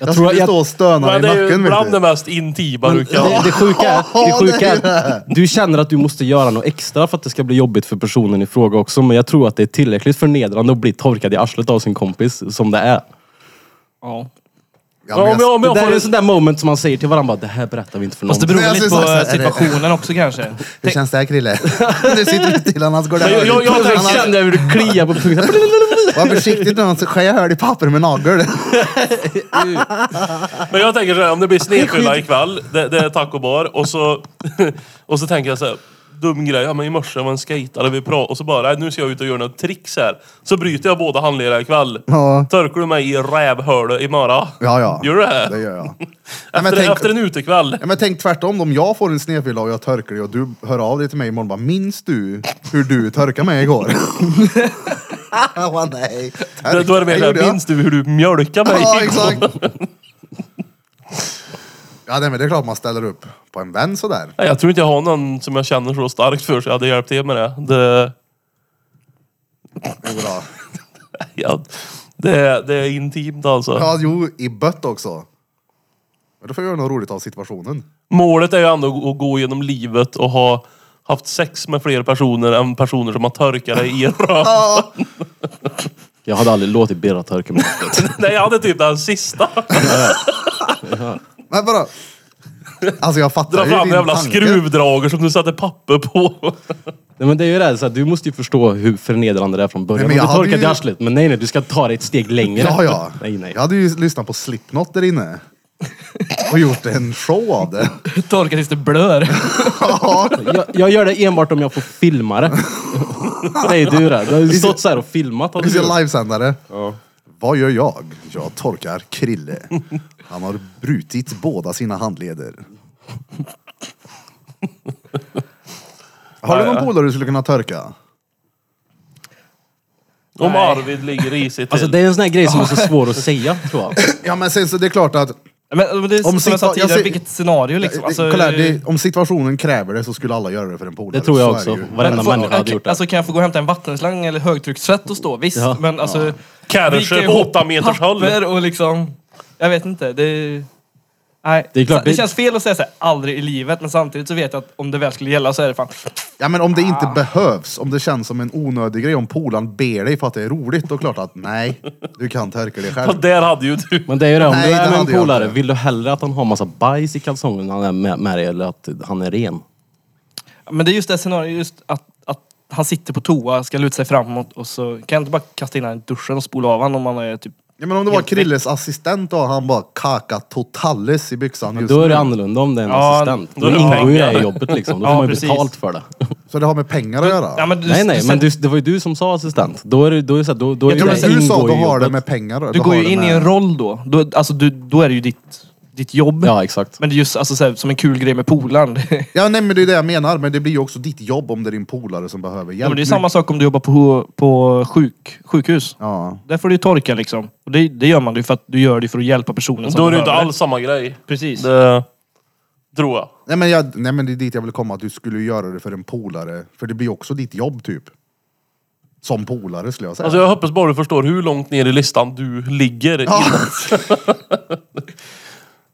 S1: Jag
S2: tror
S1: skulle
S2: jag-
S1: stå och stöna i
S3: Men det är ju
S1: nacken. vet
S3: bland
S1: du.
S3: det mest intima du kan...
S2: Det, det sjuka är, det
S1: Ja,
S2: sjuka
S1: det
S2: är, du känner att du måste göra något extra för att det ska bli jobbigt för personen i fråga också. Men jag tror att det är tillräckligt förnedrande att bli torkad i arslet av sin kompis som det är.
S4: Ja.
S1: Ja,
S3: Ja,
S1: men
S3: om jag, om
S2: Det
S3: jag
S2: där är
S3: får
S2: en sån där moment som man säger till varandra, bara, det här berättar vi inte för någon.
S4: Fast det beror
S1: Nej,
S4: lite
S1: alltså, så här-
S4: på situationen också kanske.
S1: Hur känns det här Krille? nu sitter du till annars går det
S3: Men jag- jag- jag-
S1: Han
S2: jag
S1: har-
S2: kände hur du kliade på tungan.
S1: Var försiktig nu, så skär jag hörde i papper med nagel.
S3: Men jag tänker så här, om det blir snedfylla ikväll, det, det är tacobar och så, och så tänker jag så här, dum grej, ja men i morse var en skejtare vi pratade och så bara, nej, nu ska jag ut och göra något tricks här. Så bryter jag båda handlederna ikväll.
S1: Ja.
S3: Törkar du mig i rävhålet imorgon?
S1: Ja, ja.
S3: Gör du det? här?
S1: Det gör jag. Nej,
S3: Efter,
S1: men tänk,
S3: efter en utekväll.
S1: ja, men tänk tvärtom, om jag får en snedfylla och jag törkar dig och du hör av dig till mig imorgon bara Minns du hur du törkade mig igår? Åh nej.
S3: Då- Då är det mer
S1: Det
S3: såhär,
S1: gjorde jag.
S3: minns du hur du mjölkade mig?
S1: Ja, exakt. Ja, nej, men det är klart man ställer upp på en vän sådär.
S3: Nej, jag tror inte jag har någon som jag känner så starkt för så jag hade hjälpt till med det. Det,
S1: Det är bra.
S3: ja, det, det är intimt alltså.
S1: Ja, jo, i bött också. Men då får jag göra något roligt av situationen.
S3: Målet är ju ändå att gå genom livet och ha haft sex med fler personer än personer som har törkat dig i en röv.
S1: Ja,
S2: Jag hade aldrig låtit Birra törka mig.
S3: Nej, jag hade typ den sista.
S1: men vadå? Alltså jag
S3: Dra
S1: fattar
S3: fram den jävla
S1: tanke.
S3: skruvdrager som du satte papper på.
S2: Nej men det är ju det, här, så att du måste ju förstå hur förnedrande det är från början.
S1: Nej, men
S2: Om
S1: jag
S2: du
S1: hade
S2: torkat
S1: ju-
S2: i arslet, men nej nej, du ska ta det ett steg längre.
S1: Ja, ja.
S2: Nej nej.
S1: Jag hade ju lyssnat på Slipknot där inne. Och gjort en show av det.
S4: Torka tills det blör.
S2: Jag, jag gör det enbart om jag får filma det. Nej du det. Du har ju stått så här och filmat. hade
S1: Vi
S2: du
S1: ska
S2: gjort.
S1: livesända det. Vad gör jag? Jag torkar Krille. Han har brutit båda sina handleder. Har du
S3: Ja,
S1: någon
S3: ja.
S1: polare du skulle kunna törka?
S3: Om
S4: Nej.
S3: Arvid ligger risigt till.
S2: Alltså det är en sån här grej som är så svår att säga tror jag.
S1: Ja men sen så det är klart att
S4: Men men det är
S1: Om
S4: som jag
S1: situa-
S4: sa
S1: jag
S4: tidigare,
S1: ser-
S4: vilket scenario liksom. Alltså,
S1: kolla här, det, om situationen kräver det så skulle alla göra det för en polare.
S2: Det tror jag
S1: Så är
S2: också.
S1: det ju.
S2: Varenda
S4: Får-
S2: människa hade
S4: okej,
S2: gjort det.
S4: Alltså kan jag få gå och hämta en vattenslang eller högtryckstvätt och stå? Visst,
S2: Ja.
S4: men alltså... Ja.
S3: Kärror på åtta meters håll.
S4: papper och liksom... Jag vet inte, det... Nej,
S2: Det är klart,
S4: det,
S2: det-
S4: känns fel att säga så här, aldrig i livet, men samtidigt så vet jag att om det väl skulle gälla så är det fan...
S1: Ja men om det inte behövs, om det känns som en onödig grej, om polaren ber dig för att det är roligt, då är det klart att nej, du kan törka dig själv.
S3: Ja, Där hade ju du.
S2: Men det är ju det, om
S1: Nej,
S2: du
S1: det
S2: är med en
S1: hade jag
S2: polare,
S1: inte.
S2: vill du hellre att han har massa bajs i kalsongen när han är med, med dig eller att han är ren?
S4: Men det är just det scenariot, just att, att han sitter på toa, ska luta sig framåt och så kan jag inte bara kasta in honom i duschen och spola av honom om han är typ...
S1: Ja, men om det var
S4: Helt
S1: Krilles assistent och han bara kaka totales i byxan just
S2: Då är det
S1: nu.
S2: annorlunda om det är en
S4: Ja,
S2: assistent.
S3: då
S2: Då
S3: är det
S2: ingår ju det
S3: pengar.
S2: i jobbet liksom. Då får
S4: Ja,
S2: man ju
S4: precis.
S2: betalt för det.
S1: Så det har med pengar att göra?
S4: Ja, men du,
S2: Nej, nej,
S4: du,
S2: men du, det var ju du som sa assistent. Då är det, då är det, så här, då, då är
S4: Jag
S1: ja,
S2: det
S4: tror
S2: det
S1: men du sa
S2: ingår
S1: då
S2: i
S1: har det
S2: jobbet.
S1: med pengar att-
S4: du
S1: då
S4: går
S1: har
S4: ju
S1: det
S4: in i
S1: med-
S4: en roll då. då alltså, du, då är det ju ditt, ditt jobb.
S2: Ja, exakt.
S4: Men det är just alltså, så här, som en kul grej med polaren.
S1: Ja nej men det är det jag menar, men det blir ju också ditt jobb om det är din polare som behöver
S4: Ja,
S1: hjälp.
S4: men det är samma sak om du jobbar på, på sjuk, sjukhus.
S1: Ja.
S4: Där får du ju torka liksom. Och det, det gör man ju för att du gör det för att hjälpa personen som
S3: Då är det ju inte
S4: behöver
S3: alls samma grej.
S4: Precis.
S3: Det tror jag.
S1: Nej, men jag, nej men det är dit jag vill komma, att du skulle ju göra det för en polare, för det blir ju också ditt jobb typ. Som polare skulle jag säga.
S3: Alltså jag hoppas bara du förstår hur långt ner i listan du ligger.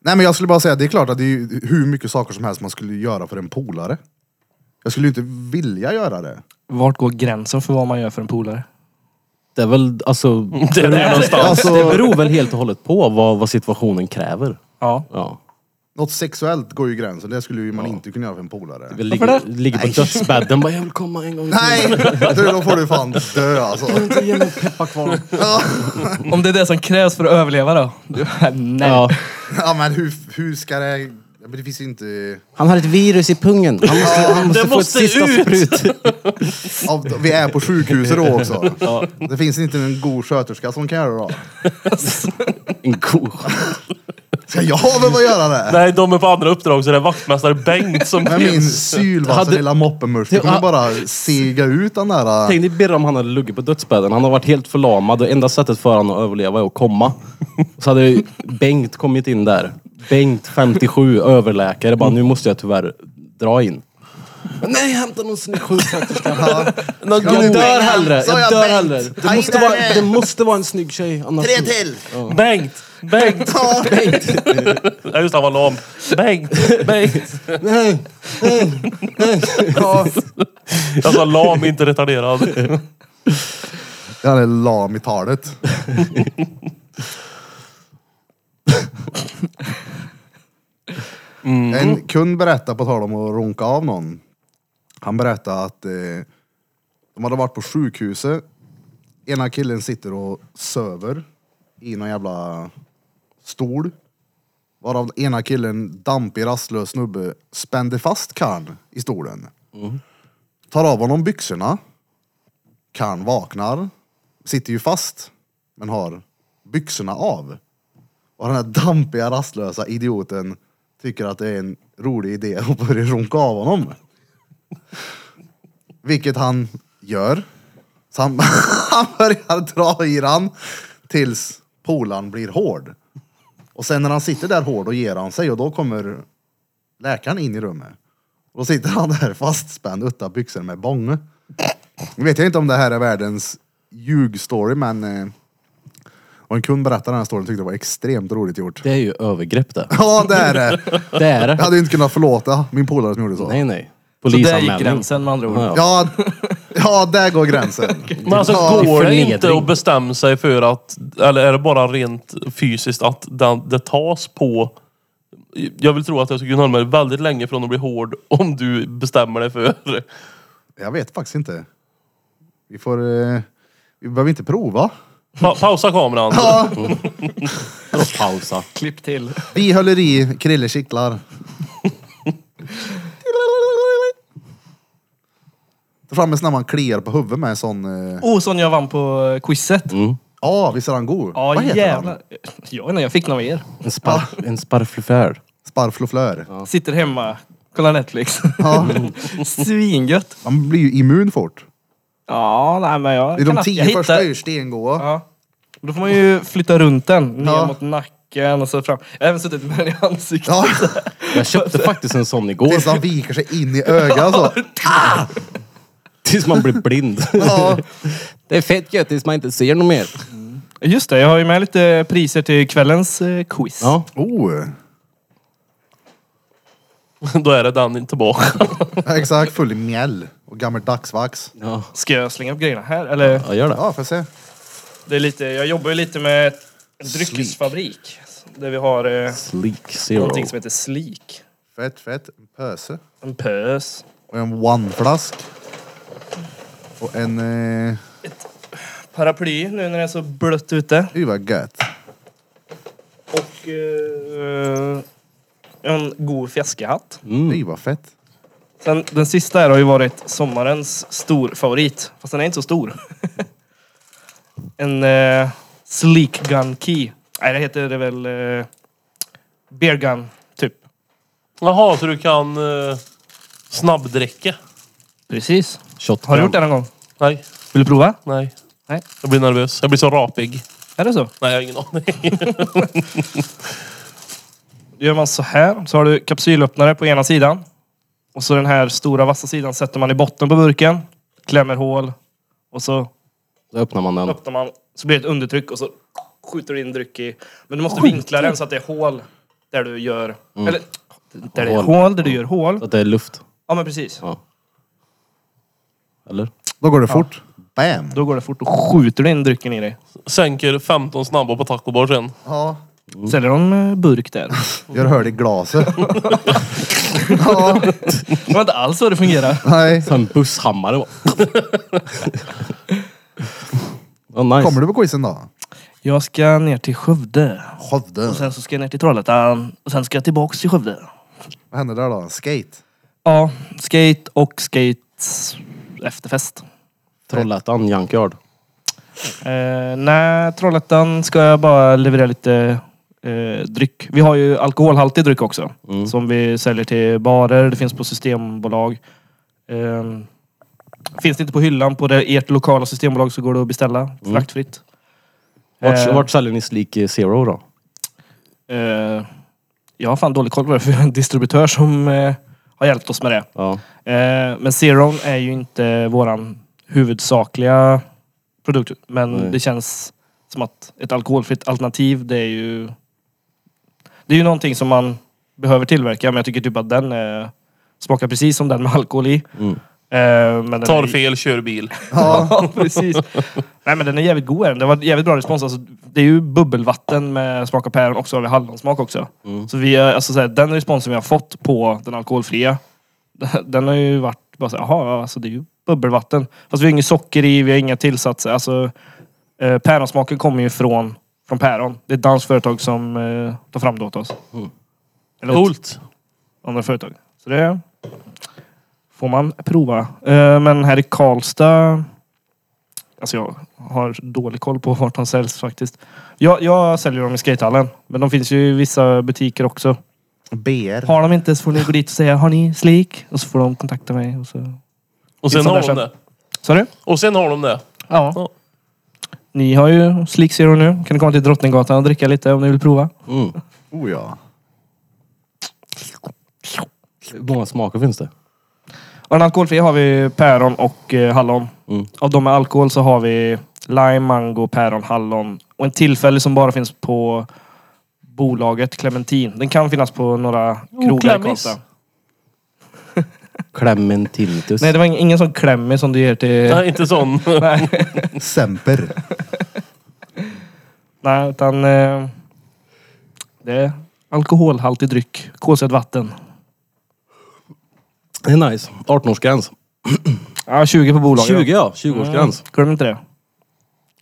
S1: Nej men jag skulle bara säga, det är klart att det är ju hur mycket saker som helst man skulle göra för en polare. Jag skulle ju inte vilja göra det.
S4: Vart går gränsen för vad man gör för en polare?
S2: Det är väl, alltså...
S3: Det är där någonstans.
S1: Alltså-
S2: Det beror väl helt och hållet på vad, vad situationen kräver.
S4: Ja.
S2: Ja.
S1: Något sexuellt går ju gränsen, det skulle ju man inte kunna göra för en polare.
S2: Vi
S4: Varför
S2: ligger,
S4: det?
S2: ligger på dödsbädden bara, jag vill komma en gång
S1: Nej! Du, då får du fan dö alltså.
S2: till. Ge mig en pepparkvarn.
S4: Om det är det som krävs för att överleva då? Nej.
S2: Ja.
S1: Ja men hur, hur ska det... Ja, men det finns ju inte...
S2: Han har ett virus i pungen. Han måste, han måste få
S3: måste
S2: ett sista
S3: ut.
S2: sprut.
S1: Ja, vi är på sjukhuset då också. Det finns inte en god sköterska som kan göra det då.
S2: En ko.
S1: Ska jag behöva göra det?
S3: Nej, de är på andra uppdrag så det är vaktmästare Bengt som
S1: Med min
S3: finns.
S1: sylvassa
S2: Hade-
S1: lilla moppemurs. Du
S2: Det-
S1: kommer bara sega ut den där... äh.
S2: Tänk dig Birra om han hade luggit på dödsbädden. Han har varit helt förlamad och enda sättet för honom att överleva är att komma. Så hade ju Bengt kommit in där. Bengt, 57, överläkare. Bara, nu måste jag tyvärr dra in. Nej, hämta någon snygg sjuksköterska.
S1: Ja.
S2: Jag
S1: Ska du
S2: dör
S1: Bengt?
S2: hellre.
S1: Sa jag
S2: Jag dör
S1: Bengt?
S2: hellre.
S1: Ta
S2: Det
S1: in
S2: måste,
S1: henne.
S2: vara, det måste vara en snygg tjej. Annars...
S1: Tre till!
S3: Bengt! Bengt!
S1: Ja.
S2: Bengt.
S3: Ja just det, han var lam. Bengt! Bengt!
S2: Nej.
S1: Ja.
S3: Jag sa lam, inte retarderad.
S1: Han är lam i talet. En kund berättade, på tal om att runka av någon. Han berättade att eh, de hade varit på sjukhuset. Ena killen sitter och söver i någon jävla stol. Varav ena killen, dampig rastlös snubbe, spände fast karln i stolen. Tar av honom byxorna. Karln vaknar. Sitter ju fast, men har byxorna av. Och den här dampiga, rastlösa idioten tycker att det är en rolig idé att börja runka av honom. Vilket han gör. Så han, han börjar dra i den tills polaren blir hård. Och sen när han sitter där hård och ger han sig och då kommer läkaren in i rummet. Och då sitter han där fastspänd utan byxor med bånge. Nu vet jag inte om det här är världens ljugstory men eh, och en kund berättade den här storyn tyckte det var extremt roligt gjort.
S2: Det är ju övergrepp det.
S1: Ja det är det!
S2: Det är
S1: Jag
S2: det.
S1: hade ju inte kunnat förlåta min polare som gjorde så.
S2: Nej, nej.
S4: Så där gick
S2: Polisanmälan.
S4: gränsen med andra ord.
S2: Ja, ja.
S1: Ja, ja, där går gränsen.
S3: Men alltså
S1: Ja,
S3: går det
S2: förnedring.
S3: inte att bestämma sig för att, eller är det bara rent fysiskt att den, det tas på jag vill tro att jag skulle kunna hålla mig väldigt länge från att bli hård om du bestämmer dig för.
S1: Jag vet faktiskt inte. Vi får... Eh, vi behöver inte prova.
S3: Pa pausa kameran.
S2: Och pausa.
S4: Klipp till.
S1: Vi håller i Krille kittlar. Ta fram en snabb man kliar på huvudet med en sån... eh,
S4: Oh, sån jag vann på eh, quizet.
S1: Ja, visst är han god?
S4: Ja,
S1: Mm. Vad heter han?
S4: jävlar. Jag vet inte, jag fick någon av er.
S2: En, sparf, en sparflufär.
S1: Sparfloflör.
S4: Sitter hemma, kollar Netflix.
S1: Ja,
S4: Svingött.
S1: han blir ju immun fort.
S4: Ja, nej men jag
S1: Det är
S4: kan
S1: de
S4: att-
S1: tio
S4: jag hittar-
S1: första är ju stengoa.
S4: Ja. Då får man ju flytta runt den, ner
S1: Ja.
S4: mot nacken och så fram. Jag har även suttit med den i ansiktet.
S1: Ja,
S2: Jag köpte faktiskt en sån
S1: tills
S2: igår.
S1: han viker sig in i ögat alltså. så.
S2: Tills man blir blind.
S1: Ja.
S2: Det är fett gött tills man inte ser något mer.
S4: Just det, jag har ju med lite priser till kvällens eh, quiz.
S2: Ja.
S1: Oh.
S3: Då är det den tillbaka.
S1: Ja, Exakt, full i mjäll och gammalt dagsvax.
S2: Ja,
S4: Ska jag slänga upp grejerna här? Eller?
S2: jag gör det.
S1: Ja, får jag se.
S4: Det är lite, jag jobbar ju lite med en dryckesfabrik. Där vi har eh,
S2: Sleek Zero.
S4: någonting som heter Sleek.
S1: Fett, fett. En pöse.
S4: En pös.
S1: Och en one-flask. Och en... Eh,
S4: Paraply nu när det är så blött ute.
S1: det var gött.
S4: Och eh, en god fiskehatt.
S2: Mm.
S1: Det var fett.
S4: Sen den sista här har ju varit sommarens stor favorit. Fast den är inte så stor. en eh, Sleek Gun Key. Nej, det heter det väl... Eh, beer Gun, typ.
S3: Jaha, så du kan eh, snabbdricka?
S4: Precis.
S2: Shot
S4: Har du gjort det någon gång?
S3: Nej,
S4: Vill du prova?
S3: nej.
S4: Nej.
S3: Jag blir nervös. Jag blir så rapig.
S4: Är det så?
S3: Nej, jag har ingen aning.
S4: Gör man så här, så har du kapsylöppnare på ena sidan. Och så den här stora vassa sidan sätter man i botten på burken. Klämmer hål. Och så
S2: Då öppnar man den.
S4: öppnar man. Så blir det ett undertryck och så skjuter du in dryck i. Men du måste vinkla den så att det är hål där du gör... Eller där det
S2: Hål.
S4: är
S2: Mm.
S4: hål, där du gör hål.
S2: Så att det är luft.
S4: Ja men precis.
S2: Ja. Eller?
S1: Då går det fort. Bam!
S4: Då går det fort och skjuter du in drycken i dig.
S3: Sänker 15 snabba på taco bar sen.
S1: Ja.
S4: Säljer de eh, burk där?
S1: Gör hål i glaset. ja,
S4: Det var inte alls så det fungerar.
S1: nej.
S2: Så en busshammare bara. Ja, nice.
S1: Kommer du på quizen då?
S4: Jag ska ner till Skövde. Och
S1: Skövde.
S4: sen så ska jag ner till Trollhättan. Och sen ska jag tillbaks till Skövde.
S1: Vad hände där då? Skate.
S4: Ja, skate och skate efterfest.
S2: Trollhättan, Junkyard.
S4: Eh, nej, Trollhättan ska jag bara leverera lite eh, dryck. Vi har ju alkoholhaltig dryck också.
S2: Mm.
S4: Som vi säljer till barer, det finns på systembolag. Eh, finns det inte på hyllan på det, ert lokala systembolag så går det att beställa fraktfritt.
S2: Mm. Vart,
S4: Eh.
S2: vart säljer ni Sleek Zero då?
S4: Eh, jag har fan dålig koll på det för vi har en distributör som eh, har hjälpt oss med det.
S2: Ja.
S4: Eh, men Zeron är ju inte våran huvudsakliga produkt. Men
S2: Nej.
S4: det känns som att ett alkoholfritt alternativ, det är ju... Det är ju någonting som man behöver tillverka, men jag tycker typ att den eh, smakar precis som den med alkohol i.
S2: Mm.
S4: Eh, men den är-
S3: Tar fel, kör bil.
S1: Ja.
S4: Ja, precis. Nej men den är jävligt god är den. Det var jävligt bra respons. Alltså, det är ju bubbelvatten med smak av päron också, eller hallonsmak också.
S2: Mm.
S4: Så vi, eh, alltså, så här, den responsen vi har fått på den alkoholfria, den har ju varit bara såhär, jaha, ja, alltså det är ju bubbelvatten. Fast vi har inget socker i, vi har inga tillsatser. Alltså, eh, päronsmaken kommer ju från, från päron. Det är ett danskt företag som eh, tar fram det åt oss. Eller åt
S3: Coolt.
S4: andra företag. Så det får man prova. Eh, Men här i Karlstad... Alltså jag har dålig koll på vart de säljs faktiskt. Jag, jag säljer dem i skatehallen. Men de finns ju i vissa butiker också.
S1: BR.
S4: Har de inte så får ni gå dit och säga Har ni slik? Och så får de kontakta mig. Och så...
S3: Och sen
S4: Sån
S3: har
S4: där
S3: de
S4: sen.
S3: det.
S4: Sa du?
S3: Och sen har de det.
S4: Ja.
S3: Ja.
S4: Ni har ju Slik Zero nu. Kan ni komma till Drottninggatan och dricka lite om ni vill prova?
S2: Mm.
S1: Oh ja.
S2: Hur många smaker finns det?
S4: Och den alkoholfria har vi päron och eh, hallon.
S2: Mm.
S4: Av de med alkohol så har vi lime, mango, päron, hallon och en tillfällig som bara finns på bolaget Clementin. Den kan finnas på några krogar i
S3: klämmis.
S4: Karlstad.
S2: Clementinitus.
S4: Nej, det var ing- ingen sån klämmig som du ger till...
S3: Nej, inte sån.
S4: Nej,
S1: Semper.
S4: Nej utan... Eh, det är alkoholhaltig dryck. Kolsyrat vatten.
S2: Det är nice. 18-årsgräns.
S4: Ja, 20 på bolaget.
S2: 20 ja, 20-årsgräns.
S4: Glöm inte det.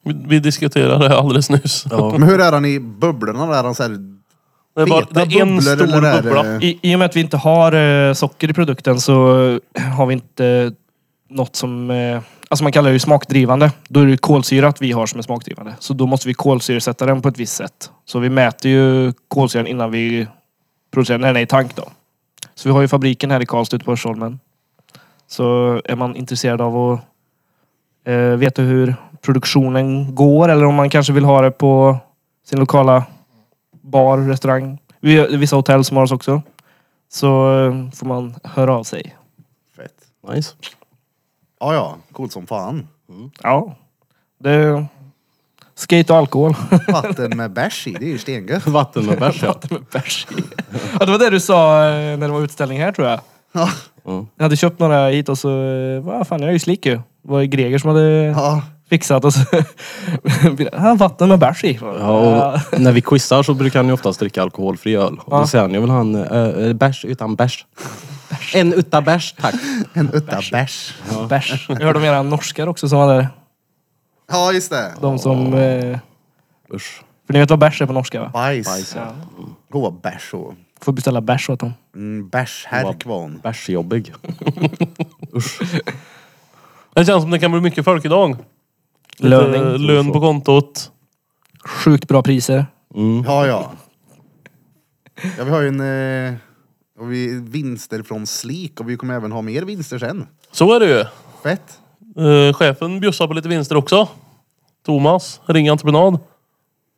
S3: Vi, vi diskuterade det alldeles nyss.
S2: Ja.
S1: Men hur är han i bubblorna där? Han så här,
S3: Det är, bara,
S1: feta
S3: det är en
S1: bubblor
S3: stor
S1: eller är det-
S3: bubbla.
S4: I, I och med att vi inte har eh, socker i produkten så eh, har vi inte eh, något som... Eh, alltså man kallar det ju smakdrivande. Då är det ju kolsyrat vi har som är smakdrivande. Så då måste vi kolsyresätta den på ett visst sätt. Så vi mäter ju kolsyran innan vi producerar den i tank då. Så vi har ju fabriken här i Karlstad ute på Örsholmen. Så är man intresserad av att eh, veta hur produktionen går eller om man kanske vill ha det på sin lokala bar, restaurang. Vi har vissa hotell som har oss också. Så eh, får man höra av sig.
S1: Fett.
S2: Mm. Nice.
S1: Ja, ja. Coolt som fan.
S4: Ja. Det... Skate och alkohol.
S1: Vatten med bärs i, det är ju stengött.
S2: Vatten med bärs ja.
S4: Med bärs i. ja, det var det du sa eh, när det var utställning här tror jag.
S1: Ja.
S2: Mm.
S4: Jag hade köpt några hit och så... eh, Vad fan, jag är ju slick ju. Det var ju Greger som hade
S1: Ja.
S4: fixat och så... Ja, vatten med bärs i.
S2: Ja, och när vi quizar så brukar han ju oftast dricka alkoholfri öl. Och
S4: Ja.
S2: då säger han, jag vill ha en äh, bärs utan bärs. En utan bärs, tack.
S1: En utta bärs.
S4: Bärs. Jag hörde om era norskar också som var där.
S1: Ja, just det.
S4: De som... eh,
S2: Usch.
S4: För ni vet vad bärs är på norska va?
S1: Bajs. Goa bärs och
S4: Får beställa bärs åt dem.
S1: mm, bärshärkvarn.
S2: Bärsjobbig.
S3: Det känns som det kan bli mycket folk idag. Lite
S4: Löning.
S3: Lön på kontot.
S4: Sjukt bra priser.
S2: Mm.
S1: Ja, ja. ja vi har ju en... Eh, och vi vinster från Slik och vi kommer även ha mer vinster sen.
S3: Så är det ju.
S1: Fett.
S3: Eh, chefen bjussar på lite vinster också. Thomas, Ring Entreprenad.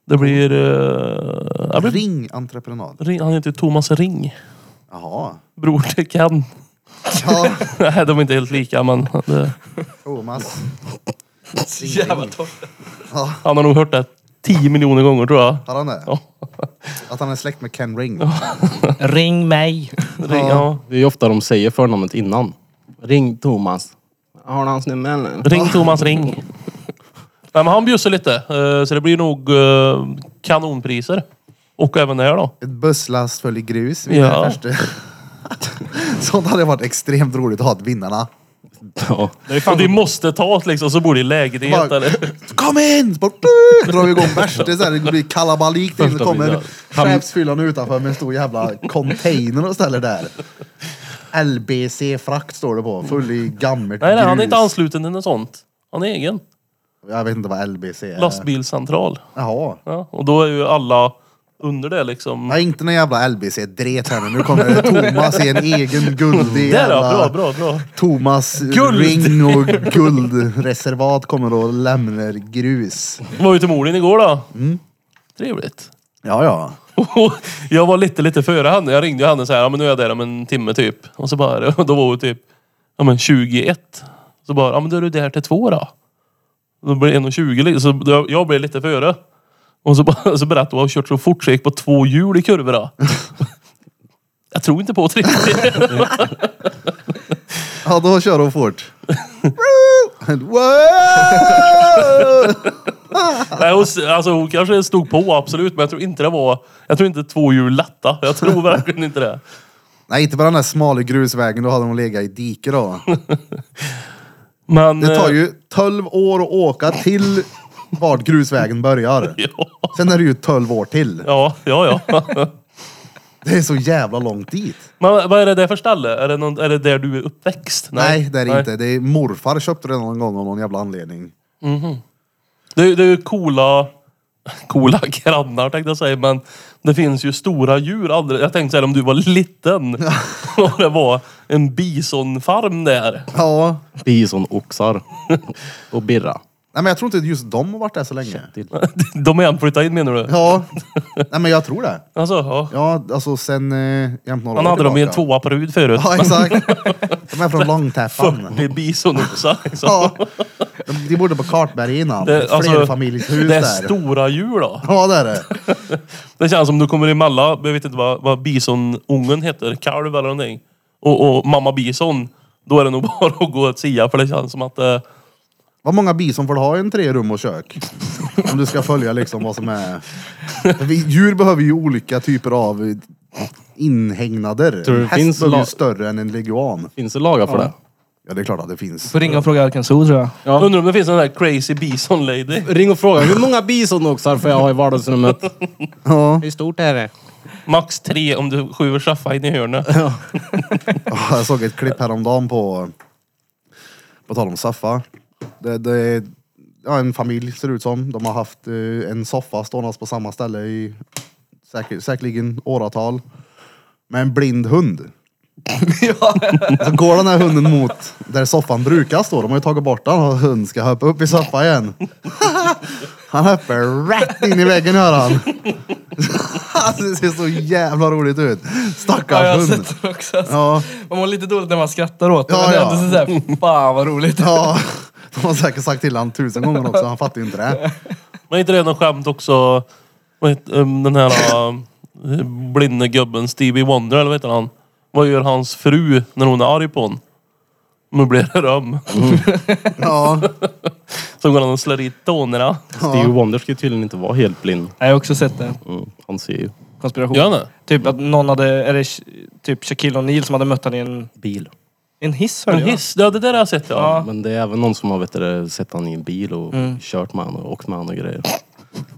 S3: Det blir... eh, ja, men-
S1: Ring entreprenad.
S3: ring, han heter ju Thomas Ring.
S1: Jaha.
S3: Bror till Ken.
S1: Ja,
S3: Nej, de är inte helt lika men det,
S1: Thomas.
S4: Jävla torrt.
S1: Ja,
S3: han har nog hört det 10 miljoner gånger tror jag.
S1: har han det?
S3: Ja.
S1: Att han är släkt med Ken Ring.
S4: Ring mig.
S3: Ring, ja.
S2: Det är ju ofta de säger förnamnet innan. Ring Thomas. Har du hans nummer eller?
S3: ring Thomas Ring. Nej, men han bjussar lite. eh, så det blir nog eh, kanonpriser. Och även det här då.
S1: Ett busslast full i grus. vid
S3: Ja.
S1: det första. Sånt hade varit extremt roligt att ha till vinnarna.
S2: Ja.
S3: Och det måste tas liksom så bor det i lägenhet
S1: Bara-
S3: eller...
S1: Kom in! Så bara, Drar vi igång värst. Det är så här, det blir kalabalik. till. Det
S2: Första
S1: kommer
S2: bilen.
S1: chefsfyllan utanför med en stor jävla container och ställer där. LBC Frakt står det på. Full i gammalt
S3: Nej, nej, han är
S1: grus. Äh.
S3: inte ansluten till något sånt. Han är egen.
S1: Jag vet inte vad LBC är.
S3: Lastbilscentral.
S1: Jaha.
S3: Ja, och då är ju alla under det liksom.
S1: Nej, inte någon jävla LBC-dret här nu. Nu kommer det Thomas i en egen guldig
S3: Där ja,
S1: jävla...
S3: bra, bra, bra.
S1: Thomas
S3: Guld.
S1: ring och guldreservat kommer och lämnar grus.
S3: Var ju till Molin igår då.
S1: Mm.
S3: Trevligt.
S1: Ja, ja.
S3: Och jag var lite, lite före henne. Jag ringde ju henne så här, ja men nu är jag där om en timme typ. Och så bara, och då var hon typ, ja men 21. Så bara, ja men då är du där till två då. Då blir det 1.20 liksom. så jag- jag blev lite före. Och så, bara, så berättade hon att hon kört så fort så jag gick på två hjul i kurvorna. jag tror inte på det riktigt.
S1: Ja, då kör hon fort. Wow!
S3: Nej, hon, alltså, hon kanske stod på absolut, men jag tror inte det var... Jag tror inte två hjul lätta. Jag tror verkligen inte det.
S1: Nej, inte på den där smala grusvägen. Då hade hon legat i diket då.
S3: Men...
S1: Det tar
S3: eh,
S1: ju 12 år att åka till vart grusvägen börjar.
S3: Ja,
S1: Sen är det ju 12 år till.
S3: eh, ja, ja. ja.
S1: Det är så jävla långt dit.
S3: Men, vad är det där för ställe? Är det, någon, är det där du är uppväxt?
S1: Nej, det är det inte. Det är morfar köpte den någon gång av någon jävla anledning.
S3: Det, är- det är ju coola, coola grannar tänkte jag säga, men det finns ju stora djur. Aldrig. Jag tänkte säga om du var liten och det var en bisonfarm där.
S1: Ja.
S2: Bisonoxar och birra.
S1: Nej, men jag tror inte just de har varit där så länge.
S3: De är flyttade in menar du?
S1: Ja. Nej, men jag tror det.
S3: Alltså, ja.
S1: Ja, alltså sen eh, jämt några
S3: Han
S1: år
S3: hade dem i en
S1: tillbaka.
S3: tvåa på Rud förut.
S1: Ja, exakt. De är från Långtäppan.
S3: 40 bisonoxar. Liksom.
S1: Ja. De- De bodde på Kartberg innan.
S3: Det-
S1: Ett
S3: alltså,
S1: Flerfamiljshus
S3: Det är
S1: där.
S3: stora djur då.
S1: Ja, det är det.
S3: Det känns som du kommer emellan, jag vet inte vad, vad bisonungen heter, kalv eller någonting. Och, och mamma bison. Då är det nog bara att gå och sia för det känns som att eh,
S1: Vad många bison får du ha i en tre rum och kök? Om du ska följa liksom vad som är... Vi, djur behöver ju olika typer av inhägnader.
S2: Tror du
S1: En
S2: det
S1: häst
S2: finns
S1: behöver ju
S2: la-
S1: större än en leguan.
S2: Finns det lagar för det?
S1: Ja, det är klart att det finns.
S4: Får ringa och fråga Arken Zoo tror jag.
S2: Ja.
S3: Undrar om det finns en sån där crazy bison lady.
S2: Ring och fråga hur många bisonoxar får jag ha i vardagsrummet?
S1: Ja,
S2: Hur stort är det?
S3: Max tre om du skjuter Shaffa in i hörnet.
S1: jag såg ett klipp häromdagen på... På tal om soffa. Det, det, ja, en familj ser det ut som. De har haft eh, en soffa ståendes på samma ställe i säker, säkerligen åratal. Med en blind hund. Så går den här hunden mot där soffan brukar stå. De har ju tagit bort den och hunden ska hoppa upp i soffan igen. Han hoppar rätt in i väggen gör han. Alltså, Det ser så jävla roligt ut.
S4: Ja, jag har
S1: Stackars hund.
S4: sett den också. Alltså.
S1: Ja,
S4: Man mår lite dåligt när man skrattar åt det,
S1: Ja,
S4: men det är
S1: ja.
S4: ändå sådär, fan vad roligt.
S1: ja. De har säkert sagt till honom tusen gånger också. Han fattar ju inte det.
S3: Men är inte det något skämt också? Vad heter, um, den här uh, blinde gubben Stevie Wonder eller vad heter han? Vad gör hans fru när hon är arg på honom? Möblerar rum.
S1: Ja,
S3: Så går han och slår i tonerna.
S2: Stevie Wonder ska ju tydligen inte vara helt blind.
S4: Jag har också sett det.
S2: Mm, han ser ju.
S4: Konspiration.
S3: Gör han det?
S4: Typ att någon hade, är det Sh- typ Shaquille O'Neal som hade mött han i en,
S2: Bil.
S4: en hiss?
S3: En
S4: hörde jag.
S3: hiss? Ja, det där har jag sett ja.
S4: Ja.
S2: Men det är även någon som har vet du, sett han i en bil och kört med han och åkt med han och grejer.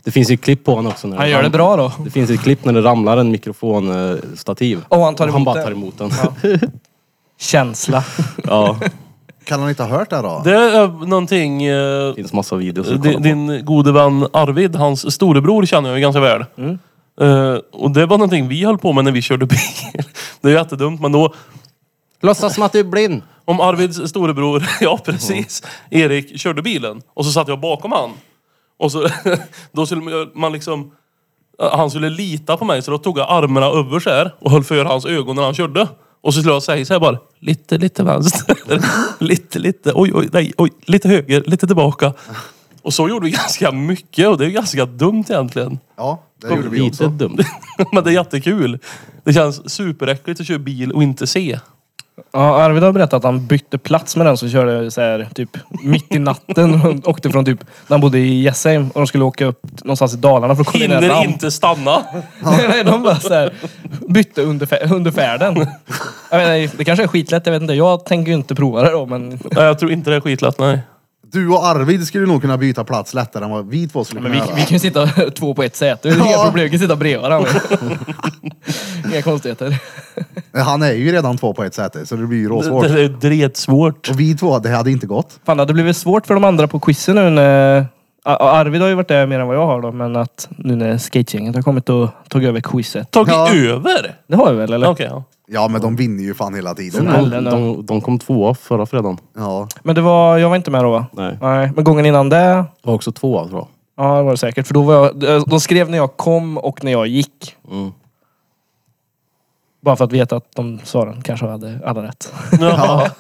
S2: Det finns ju ett klipp på honom också. När
S4: Han gör det bra då.
S2: Det finns ett klipp när det ramlar en mikrofonstativ.
S4: Och han tar emot
S2: bara
S4: den.
S2: tar emot den.
S4: Känsla.
S2: Ja.
S1: kan han inte ha hört det då?
S3: Det är eh, någonting... eh,
S2: Det finns massa videos att kolla
S3: Din,
S2: på.
S3: din gode vän Arvid, hans storebror känner jag ju ganska väl.
S2: Mm.
S3: Eh, och det var någonting vi höll på med när vi körde bil. Det är ju jättedumt men då,
S2: Låtsas som att du är blind.
S3: om Arvids storebror, ja precis, Erik körde bilen och så satt jag bakom han. Och så, då skulle man liksom, han skulle lita på mig så då tog jag armarna över så här och höll för hans ögon när han körde. Och så skulle jag säga så här bara, lite, lite vänster, lite, lite, oj, oj, nej, oj, lite höger, lite tillbaka. Och så gjorde vi ganska mycket och det är ju ganska dumt egentligen.
S1: Ja, det gjorde vi
S2: Lite
S1: också.
S2: dumt.
S3: Men det är jättekul. Det känns superäckligt att köra bil och inte se.
S4: Ja, Arvid har berättat att han bytte plats med den som körde så här, typ mitt i natten. och åkte från typ, när han bodde i Gästheim och de skulle åka upp någonstans i Dalarna för att komma in i en
S3: Hinner
S4: ramp.
S3: inte stanna.
S4: Nej, nej, de bara så här, bytte under, fä- under färden. Jag menar, det kanske är skitlätt, jag vet inte. Jag tänker ju inte prova det då, men...
S3: Nej, jag tror inte det är skitlätt, nej.
S1: Du och Arvid skulle nog kunna byta plats lättare än vad vi två skulle
S4: Men
S1: kunna
S4: vi,
S1: göra.
S4: vi kan ju sitta två på ett säte. Det är inga
S1: Ja.
S4: problem. Vi kan sitta bredvid varandra. inga konstigheter.
S1: Han är ju redan två på ett säte, så det blir ju råsvårt.
S3: Det, det är dretsvårt.
S1: Och vi två, det hade inte gått.
S4: Fan, det hade blivit svårt för de andra på quizen nu när... Ja, Arvid har ju varit där mer än vad jag har då, men att nu när skategänget har kommit och tagit över quizet.
S3: Tagit
S1: Ja.
S3: över?
S4: Det har vi väl, eller?
S3: Okej, ja.
S1: Ja, men de vinner ju fan hela tiden.
S4: Nej.
S2: De,
S4: Eller någon.
S2: de, de kom tvåa förra fredagen.
S1: Ja.
S4: Men det var... Jag var inte med då, va?
S2: Nej.
S4: Nej. Men gången innan det...
S2: Det var också tvåa tror jag.
S4: Ja, det var det säkert. För då var jag... De skrev när jag kom och när jag gick.
S2: Mm.
S4: Bara för att veta att de sa den kanske hade alla rätt.
S3: Jaha.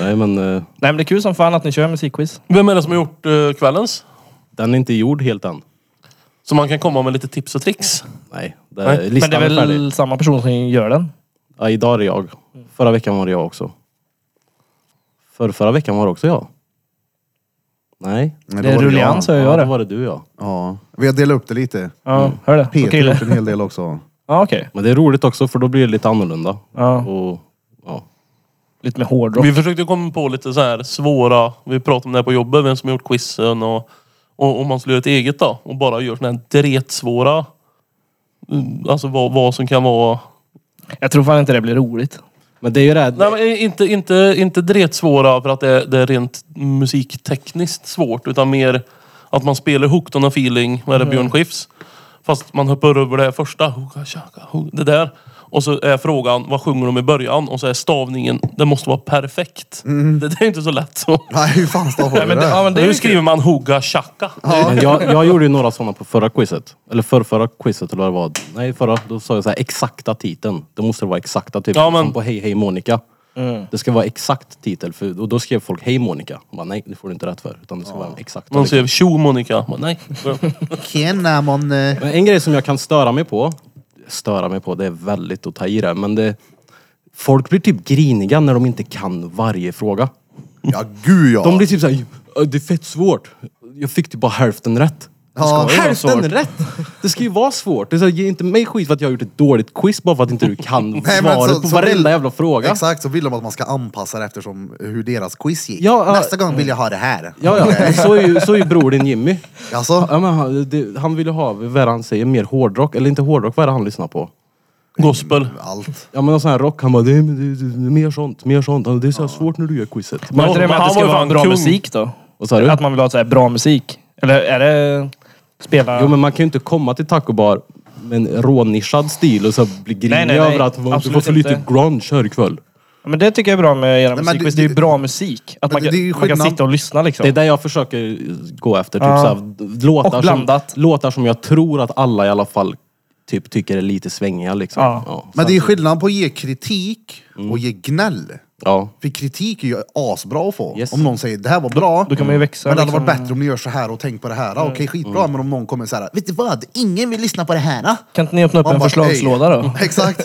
S2: Nej men eh,
S4: Nej, men det är kul som fan att ni kör musikquiz.
S3: Vem är det som har gjort eh, kvällens?
S2: den är inte gjord helt än.
S3: Så man kan komma med lite tips och tricks.
S2: Nej, det,
S3: Nej,
S4: Men
S2: listan
S4: det är
S2: är färdig.
S4: väl samma person som gör den?
S2: Ja, idag är det jag. Förra veckan var det jag också. För förra veckan var det också jag. Nej.
S1: Nej,
S4: Det
S1: då
S4: är
S1: var jag.
S4: ruljans, så jag
S2: ja,
S4: gör
S2: då
S4: det.
S2: var det du ja.
S1: Ja. Vi har delat upp det lite.
S4: Ja, hör det.
S1: Peter
S4: Okej.
S1: har gjort en hel del också.
S4: Ja, okej.
S2: Men det är roligt också för då blir det lite annorlunda.
S4: Ja,
S2: Och, ja.
S4: lite mer hårdrock.
S3: Vi försökte komma på lite så här svåra, vi pratade om det här på jobbet, vem som gjort quizen och och om man skulle göra ett eget då och bara gör sådana här dretsvåra. mm, Alltså vad, vad som kan vara...
S4: Jag tror fan inte det blir roligt.
S2: Men det är ju det här,
S3: Nej men inte, inte, inte dretsvåra för att det är, det är rent musiktekniskt svårt utan mer att man spelar hooked on a feeling, vad
S2: Mhm.
S3: är det, Björn Skifs? Fast man hoppar över det här första, hooka, tjaka, hook, det där. Och så är frågan, vad sjunger de i början? Och så är stavningen, det måste vara perfekt.
S2: Mm.
S3: Det, det är inte så lätt. Så.
S1: Nej, hur fan stavar du
S4: men det-
S1: det?
S4: ja, men- är
S3: nu
S4: ju
S3: skriver man Hoga Chaka.
S2: men jag, jag gjorde ju några sådana på förra quizet. Eller förra, förra quizet eller vad det var. Nej förra. Då sa jag så här exakta titeln. Det måste vara exakta typ.
S3: Ja, men-
S2: Som på Hej Hej Monica. Det ska vara exakt titel. För, och då skrev folk Hej Monica. Jag Bara, nej det får du inte rätt för. Utan det ska vara en exakt.
S3: Man ser tjo Monica. Men nej.
S1: Tjena, man. eh.
S2: Men en grej som jag kan störa mig på, störa mig på, det är väldigt att ta i det, men det, folk blir typ griniga när de inte kan varje fråga.
S1: Ja, gud ja.
S2: De blir typ såhär, "Ja, det är fett svårt. Jag fick typ bara hälften rätt.
S1: Ja.
S2: Det ska ju vara
S4: Hälften
S2: svårt. Det ska ju vara svårt. Det är så här, ge inte mig skit för att jag har gjort ett dåligt quiz bara för att inte du kan
S1: Nej, men
S2: svaret
S1: så-
S2: på
S1: så
S2: varenda
S1: vill-
S2: jävla fråga.
S1: Exakt, så vill de att man ska anpassa det eftersom hur deras quiz gick.
S2: Ja, ja.
S1: Nästa gång vill jag ha det här.
S2: Ja, ja. men Så är ju, så är ju bror din Jimmy.
S1: Alltså,
S2: Ja, men han, det, han vill ju ha, vad är det han säger, mer hårdrock. Eller inte hårdrock, vad är det han lyssnar på?
S3: Gospel.
S1: allt.
S2: Ja men någon sån här rock, han bara det är, det är, det är mer sånt, mer sånt. Alltså, Det är så här svårt när du gör quizet.
S4: Men var inte det med
S3: men
S4: att det
S3: han
S4: ska
S3: var ju
S4: vara
S3: fan
S4: bra
S3: kung.
S4: musik då?
S2: Vad sa du?
S4: Att man vill ha så här bra musik? Eller är det... Spela...
S2: Jo men man kan ju inte komma till taco bar med en rånischad stil och så bli grinig
S4: Nej, nej, nej.
S2: över att man
S4: Absolut
S2: får för lite
S4: inte.
S2: grunge här ikväll.
S4: Ja, Men det tycker jag är bra med era
S1: Nej, men
S4: musik.
S1: det-
S4: Det är ju
S1: det-
S4: bra musik. Att
S1: men
S4: man
S1: det- det är ju
S4: kan, man kan
S1: skillnad.
S4: sitta och lyssna liksom.
S2: Det är det jag försöker gå efter. Typ
S4: Ja.
S2: så här, låtar,
S4: Och blandat.
S2: Som, låtar som jag tror att alla i alla fall typ, tycker är lite svängiga liksom.
S4: Ja.
S2: Ja.
S1: Men det är skillnad på att ge kritik
S4: Mm.
S1: och ge gnäll.
S2: ja.
S1: För kritik är ju asbra att få.
S2: Yes.
S1: Om någon säger det här var bra,
S4: Då kan man ju växa.
S1: men det hade varit
S4: liksom. Mm.
S1: bättre om ni gör så här och tänk på det här. Okej, skitbra. Men om någon kommer så här, vet du vad? Ingen vill lyssna på det här. Då?
S4: Kan inte ni öppna upp
S1: Man
S4: en
S1: bara,
S4: förslagslåda
S1: "Ey." Mm.
S4: då? Mm.
S1: Exakt.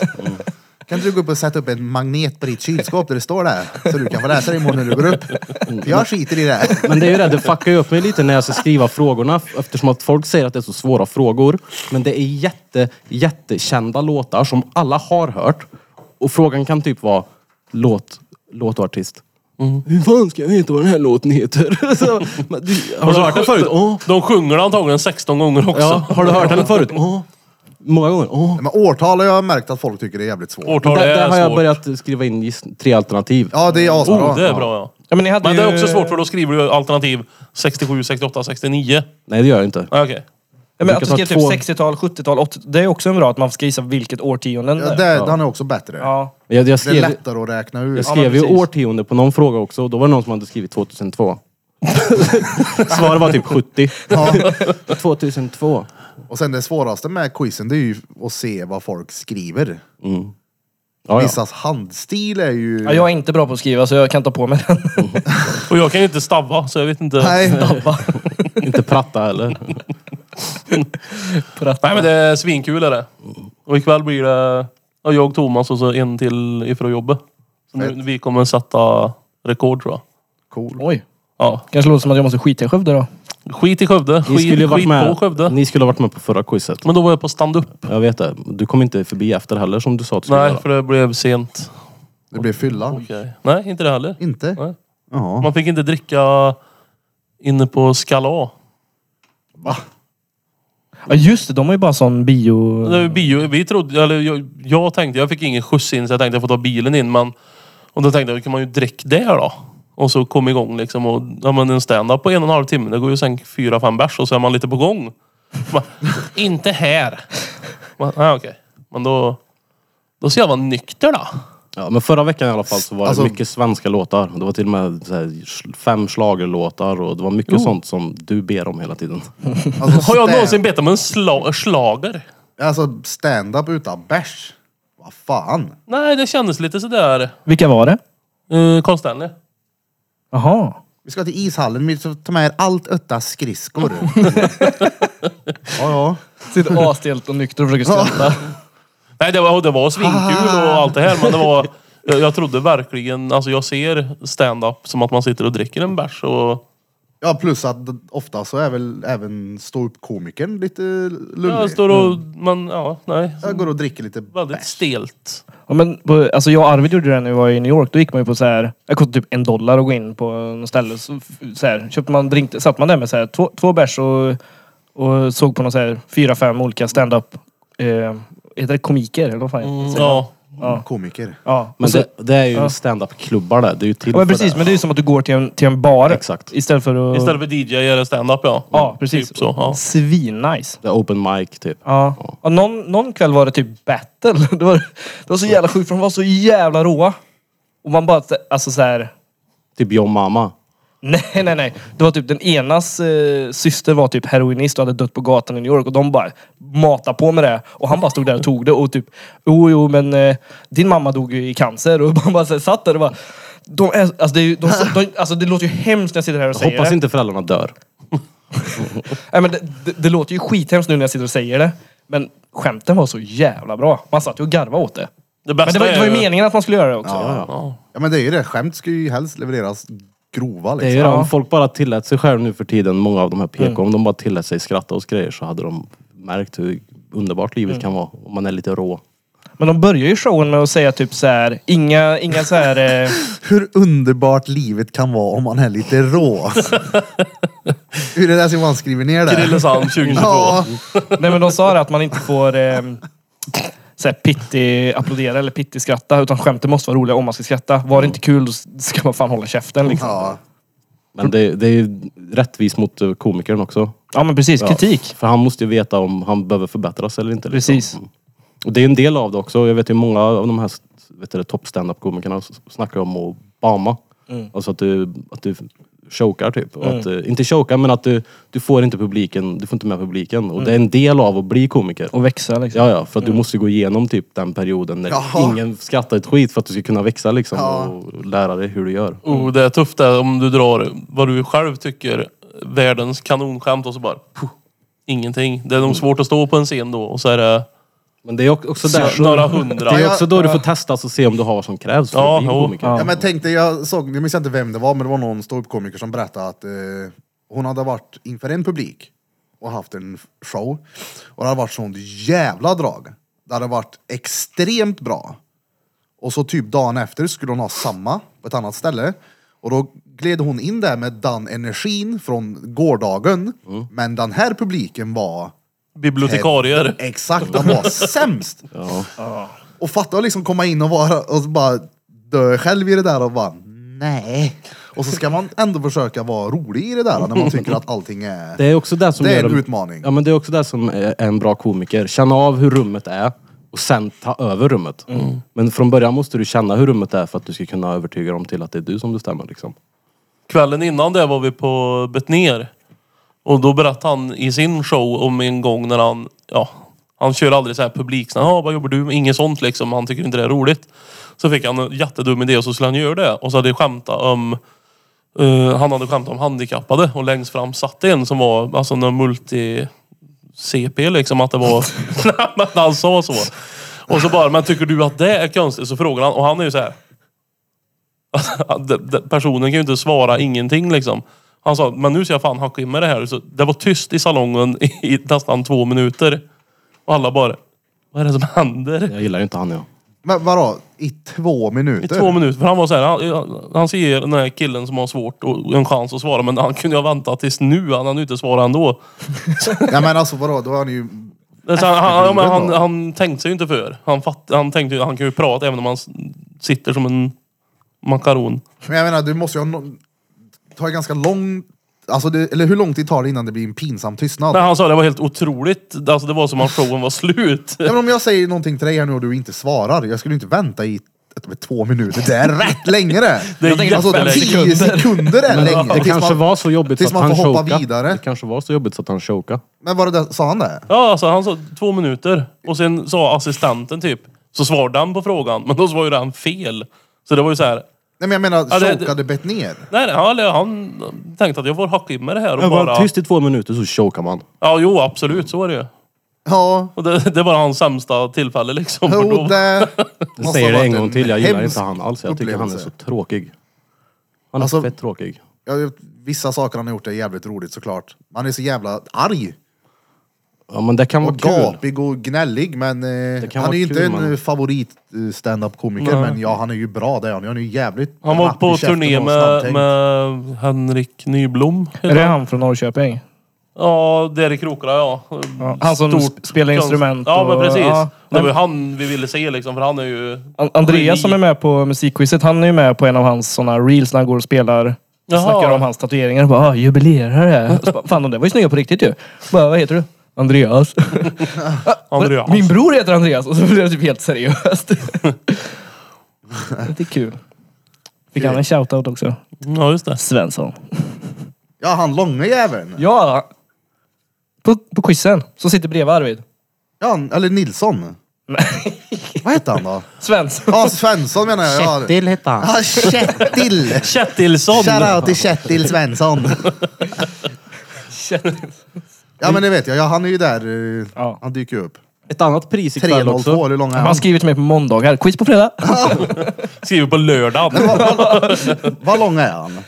S1: Kan inte du gå upp och sätta upp en magnet på ditt kylskåp där det står det? här? Så du kan få läsa det imorgon när du går upp.
S4: Mm.
S1: För jag skiter i det. här.
S2: Men det är ju det, det fuckar ju upp mig lite när jag ska skriva frågorna f- eftersom att folk säger att det är så svåra frågor. Men det är jätte, jättekända låtar som alla har hört. Och frågan kan typ vara låt, låt och artist. Mm. Hur fan ska jag veta vad den här låten heter? så, men, du, har du hört den förut? Ja.
S3: De sjunger antagligen 16 gånger också.
S2: Ja, har du hört den förut? Ja. Många gånger? Ja.
S1: Men årtal har jag märkt att folk tycker det är jävligt svårt.
S3: Årtal
S2: Där,
S3: är
S2: där har jag
S3: svårt.
S2: börjat skriva in giss- tre alternativ.
S1: Ja, det är asbra.
S3: Oh, det är bra ja.
S4: Ja, men ni hade
S3: Men det
S2: Eh.
S4: ju...
S3: är också svårt för då skriver du alternativ 67, 68, 69.
S2: Nej det gör jag inte.
S3: Ah, Okej.
S4: Ja, men
S2: brukar
S4: att du
S2: ta
S4: skriver typ
S2: två-
S4: 60-tal, 70-tal, 80-tal. Det är också en bra att man ska gissa vilket årtionde
S1: Ja,
S4: det är.
S1: det, Den är också bättre.
S4: Ja.
S2: Jag, jag
S1: Det är
S2: skrev,
S1: lättare att räkna ut.
S2: Jag skrev ju
S4: precis.
S2: årtionde på någon fråga också och då var det någon som hade skrivit 2002. Svaret var typ 70.
S1: Ja.
S2: 2002.
S1: Och sen det svåraste med quizen, det är ju att se vad folk skriver.
S2: Ja, ja.
S1: Vissas handstil är ju...
S4: ja, jag är inte bra på att skriva så jag kan ta på mig den.
S3: Och jag kan ju inte stavva så jag vet inte. Nej,
S1: Nej,
S2: Inte pratta heller.
S3: men det är svinkul är det. Och ikväll blir det ja, jag, Thomas och så en till ifrån jobbet. Så nu, vi kommer sätta rekord tror jag.
S1: cool.
S4: Oj.
S3: Ja.
S4: Kanske låter som att jag måste skita i Skövde då.
S3: Skit i Skövde.
S2: Ni skulle, ju
S3: Skit,
S2: varit
S3: skit på
S2: med,
S3: Skövde.
S2: ni skulle ha varit med på förra quizet.
S3: Men då var jag på stand-up.
S2: Jag vet det. Du kom inte förbi efter heller som du sa att du skulle
S3: Nej,
S2: göra.
S3: för det blev sent.
S1: Det blir fylla.
S3: Okej. Nej, inte det heller.
S1: Inte?
S3: Nej.
S1: Jaha.
S3: Man fick inte dricka inne på Skala.
S4: Ja just det, de har ju bara sån bio...
S3: Det var ju bio. Vi trodde, eller jag, jag tänkte, jag fick ingen skjuts in så jag tänkte jag får ta bilen in. Men, och då tänkte jag, kan man ju dricka där då? Och så kom igång liksom. Och, ja, men en stand-up på en och en halv timme, det går ju sen fyra, fem bärs och så är man lite på gång. Man, inte här. Man, nej, okej. Men då, då ska jag vara nykter då.
S2: Ja, men förra veckan i alla fall så var
S1: Alltså-
S2: det mycket svenska låtar. Det var till och med så här, sl- fem schlagerlåtar och det var mycket sånt som du ber om hela tiden.
S1: Alltså,
S3: Har jag
S1: stand-
S3: någonsin bett om en sla, slager?
S1: Alltså stand-up utan bärs. Vad fan?
S3: Nej, det kändes lite sådär.
S4: Vilka var det?
S3: Uh, Carl Stanley.
S4: Jaha.
S1: Vi ska till ishallen, vi ska ta med er allt ötta skridskor. ja, ja.
S4: Sitter asstelt och nykter och försöker skratta.
S3: Nej, det var, det var svinkul och allt det här, men det var... Jag, jag trodde verkligen, alltså jag ser stand-up som att man sitter och dricker en bärs och
S1: Ja, plus att d- ofta så är väl även ståuppkomikern lite lullig.
S3: jag
S1: Jag,
S3: står och, man, ja, nej.
S1: går och dricker lite
S3: Väldigt stelt.
S4: Ja, men, på- alltså jag och Arvid gjorde det när vi var i New York. Då gick man ju på så här, det kostade typ en dollar att gå in på något ställe. Så, f- så här, köpte man drink, satt man där med så här, två, två bärs och, och såg på någon så här, fyra, fem olika stand-up. Eh, heter det komiker? Eller vad fan heter det?
S3: Mm, ja.
S4: Ja.
S1: komiker.
S4: ja.
S2: Men
S4: Och så,
S2: det, det är ju
S4: Alltså- ja.
S2: stand-up-klubbar där. Det är ju till
S4: ja, men
S2: för
S4: precis,
S2: det.
S4: men det är ju som att du går till en, till en bar
S2: Exakt.
S4: istället för att...
S3: Istället för DJ är det stand-up ja.
S4: ja, precis.
S3: Typ så, ja.
S4: Svinnice.
S2: Det är open mic typ.
S4: Ja. ja. Någon, någon kväll var det typ battle. Det var, det var så jävla sjukt för de var så jävla råa. Och man bara, alltså så här...
S2: Typ John Mama.
S4: Nej, nej, nej. Det var typ den enas eh, syster var typ heroinist och hade dött på gatan i New York och de bara matade på med det. Och han bara stod där och tog det och typ, jo, jo, men eh, din mamma dog ju i cancer och man bara så här, satt där och bara, de är, alltså, det är ju, de, de, alltså det låter ju hemskt när jag sitter här och säger
S2: Hoppas
S4: det.
S2: inte föräldrarna dör.
S4: Nej, men det, det, det låter ju skithemskt nu när jag sitter och säger det. Men skämten var så jävla bra. Man satt ju och garvade åt det.
S3: Det bästa
S4: Men det var, det var ju
S3: är ju...
S4: meningen att man skulle göra det också.
S3: Ja.
S1: Ja men det är ju det, skämt ska ju helst levereras grova
S2: Det är
S1: liksom.
S2: ju det.
S4: Ja.
S2: Om folk bara tillät sig själv nu för tiden, många av de här PK, om de bara tillät sig skratta åt grejer så hade de märkt hur underbart livet kan vara om man är lite rå.
S4: Men de börjar ju showen med att säga typ så här, inga, inga så här... Eh,
S1: Hur underbart livet kan vara om man är lite rå. Hur är det där som man skriver ner det?
S3: Grillesand 2022.
S1: Ja,
S4: Nej men de sa det att man inte får eh, såhär pitti applådera eller pitti skratta. Utan skämten måste vara roliga om man ska skratta. Var det inte
S3: Mm.
S4: kul då ska man fan hålla käften. Liksom.
S1: ja.
S2: Men det, det är ju rättvist mot eh, komikern också.
S4: Ja men precis, kritik.
S2: För han måste ju veta om han behöver förbättras eller inte. liksom.
S4: Precis.
S2: Och det är en del av det också. Jag vet ju många av de här vet du, topp up komikerna s- snackar om att bama. Alltså att du, att du chokar typ. Och Att, eh, inte chokar men att du, du får inte publiken, du får inte med publiken. Och det är en del av att bli komiker.
S4: Och växa liksom.
S2: Ja, ja, för att du måste gå igenom typ den perioden när
S1: Jaha.
S2: ingen skrattar ett skit för att du ska kunna växa liksom
S1: Ja.
S2: och lära dig hur du gör.
S3: Oh, det är tufft det om du drar vad du själv tycker världens kanonskämt och så bara puh, ingenting. Det är nog svårt att stå på en scen då och så är det
S2: Men det är ock- också, där,
S3: några hundra.
S2: det är också då du får testas och se om du har vad som krävs för
S3: Ja,
S2: att bli en
S3: jo.
S2: komiker.
S1: Ja men tänk dig, jag såg, jag minns inte vem det var, men det var någon ståuppkomiker som berättade att eh, hon hade varit inför en publik och haft en show. Och det hade varit sånt jävla drag. Det hade varit extremt bra. Och så typ dagen efter skulle hon ha samma på ett annat ställe. Och då gled hon in där med den energin från gårdagen. Men den här publiken var
S3: Bibliotekarier.
S1: Exakt, de var sämst. Och fatta att liksom komma in och, vara, och bara dö själv i det där och bara nej. Och så ska man ändå försöka vara rolig i det där när man tycker att allting är...
S2: Det är också det som
S1: Det är
S2: gör
S1: en
S2: dem-
S1: utmaning.
S2: Ja, men det är också det som är är en bra komiker. Känna av hur rummet är och sen ta över rummet. Men från början måste du känna hur rummet är för att du ska kunna övertyga dem till att det är du som bestämmer liksom.
S3: Kvällen innan det var vi på Betnér. Och då berättade han i sin show om en gång när han, ja, han kör aldrig så här publiksnack. Ja, vad jobbar du med? Inget sånt liksom. Han tycker inte det är roligt. Så fick han en jättedum idé och så skulle han göra det. Och så hade jag skämtat om, eh, han hade skämtat om handikappade. Och längst fram satt en som var, alltså en multi... CP liksom att det var... Nej men han sa så. Och så bara, men tycker du att det är konstigt? Så frågar han och han är ju så här. D- d- Personen kan ju inte svara ingenting liksom. Han sa, men nu ska jag fan hacka in med det här. Så det var tyst i salongen i nästan två minuter. Och alla bara, vad är det som händer?
S2: Jag gillar ju inte han jag.
S1: Men vadå, i två
S3: I
S1: minuter?
S3: två minuter. För han var så här, han, han ser den här killen som har svårt och en chans att svara. Men han kunde ju ha väntat tills nu. Han hade ju inte svarat ändå.
S1: Ja men alltså vadå, då är ni ju...
S3: Så han, han, ja, men han,
S1: Efterbliven då?
S3: han tänkte sig ju inte för. Han, fatt, han tänkte ju- han kan ju prata även om han s- sitter som en makaron.
S1: Men jag menar, du måste ju ha no... Det tar ju ganska lång... Alltså det, eller hur lång tid tar det innan det blir en pinsam tystnad?
S3: Men
S1: Ja,
S3: han sa det var helt otroligt. Alltså det var som om showen var slut.
S1: men om jag säger någonting till dig här nu och du inte svarar, jag skulle inte vänta i ett- två minuter. Det är rätt länge det!
S3: Det är
S1: Alltså
S3: jättelänge.
S1: 10 sekunder är länge.
S2: Det
S1: Tills
S2: kanske
S1: man-
S2: var så jobbigt
S1: tills
S2: att
S1: man
S2: han
S1: får hoppa
S2: chokade.
S1: vidare.
S2: Det kanske var så jobbigt så att han chokade.
S1: Men var det där, sa han det?
S3: Ja, alltså han sa två minuter. Och sen sa assistenten typ, så svarade han på frågan. Men då var ju den fel. Så det var ju så här.
S1: Nej men jag menar,
S3: Ja, det-
S1: chokade bett ner.
S3: Nej, nej, han, han tänkte att jag får hacka in med det här och
S2: Jag var
S3: bara...
S2: tyst i två minuter så chokar man.
S3: Ja, jo absolut. Så är det ju.
S1: Ja.
S3: Och det, det var hans sämsta tillfälle liksom. Och
S1: Jo,
S3: då,
S1: det...
S2: Jag
S1: måste
S2: säger
S1: ha
S2: det en
S1: varit
S2: gång till, jag gillar
S1: hemsk
S2: inte han alls. Jag tycker han är
S1: upplevelse.
S2: så tråkig. Han är
S1: Alltså-
S2: fett tråkig.
S1: Ja, vissa saker han har gjort är jävligt roligt såklart. Man är så jävla arg
S2: Ja men det kan vara
S1: och
S2: kul.
S1: gapig och gnällig men eh, han
S2: kan
S1: är
S2: vara
S1: ju
S2: kul,
S1: inte en
S2: men-
S1: eh, favorit eh, stand-up komiker
S3: Nej.
S1: men ja, han är ju bra det är han. Han är ju jävligt
S3: han var
S1: rapp i
S3: på
S1: käften
S3: turné
S1: och
S3: med,
S1: snabbtänkt.
S3: med Henrik Nyblom.
S4: Är det han från Norrköping?
S3: Ja, där i Krokarna ja.
S4: Ja, han som sp- spelar
S3: konst-
S4: instrument
S3: Ja, men
S4: och-
S3: precis.
S4: ja.
S3: det var ju han vi ville se liksom, för han är ju...
S4: An- Andreas
S3: geni.
S4: som är med på musikquizet, han är ju med på en av hans såna reels när han går och spelar.
S3: Jaha.
S4: Snackar om hans tatueringar. Bara, "Ah, jubilerar här. Och så bara, Fan de där var ju snygga på riktigt ju. Bara, vad heter du? Andreas.
S3: Andreas.
S4: Min bror heter Andreas. Och så blev det typ helt seriöst. det är kul. Fick han en shoutout också?
S3: Ja, just det.
S4: Svensson.
S1: Ja, han långa jäveln. Ja.
S4: Ja! På, på quizen, som sitter bredvid Arvid.
S1: han- eller Nilsson. Vad heter han då?
S4: Svensson.
S1: Ja, Svensson menar jag. Ja.
S2: hette han.
S1: Ja, Kjettil!
S3: Kjettilsson!
S1: Shoutout till Kjettil Svensson. Ja men det vet jag, ja, han är ju där. eh,
S4: Ja.
S1: Han dyker ju upp.
S2: Ett annat pris ikväll också.
S1: 302, hur lång är
S4: Han har
S1: han?
S4: skrivit till mig på måndagar. Quiz på fredag.
S3: Skriver på lördagen.
S1: Vad lång är han?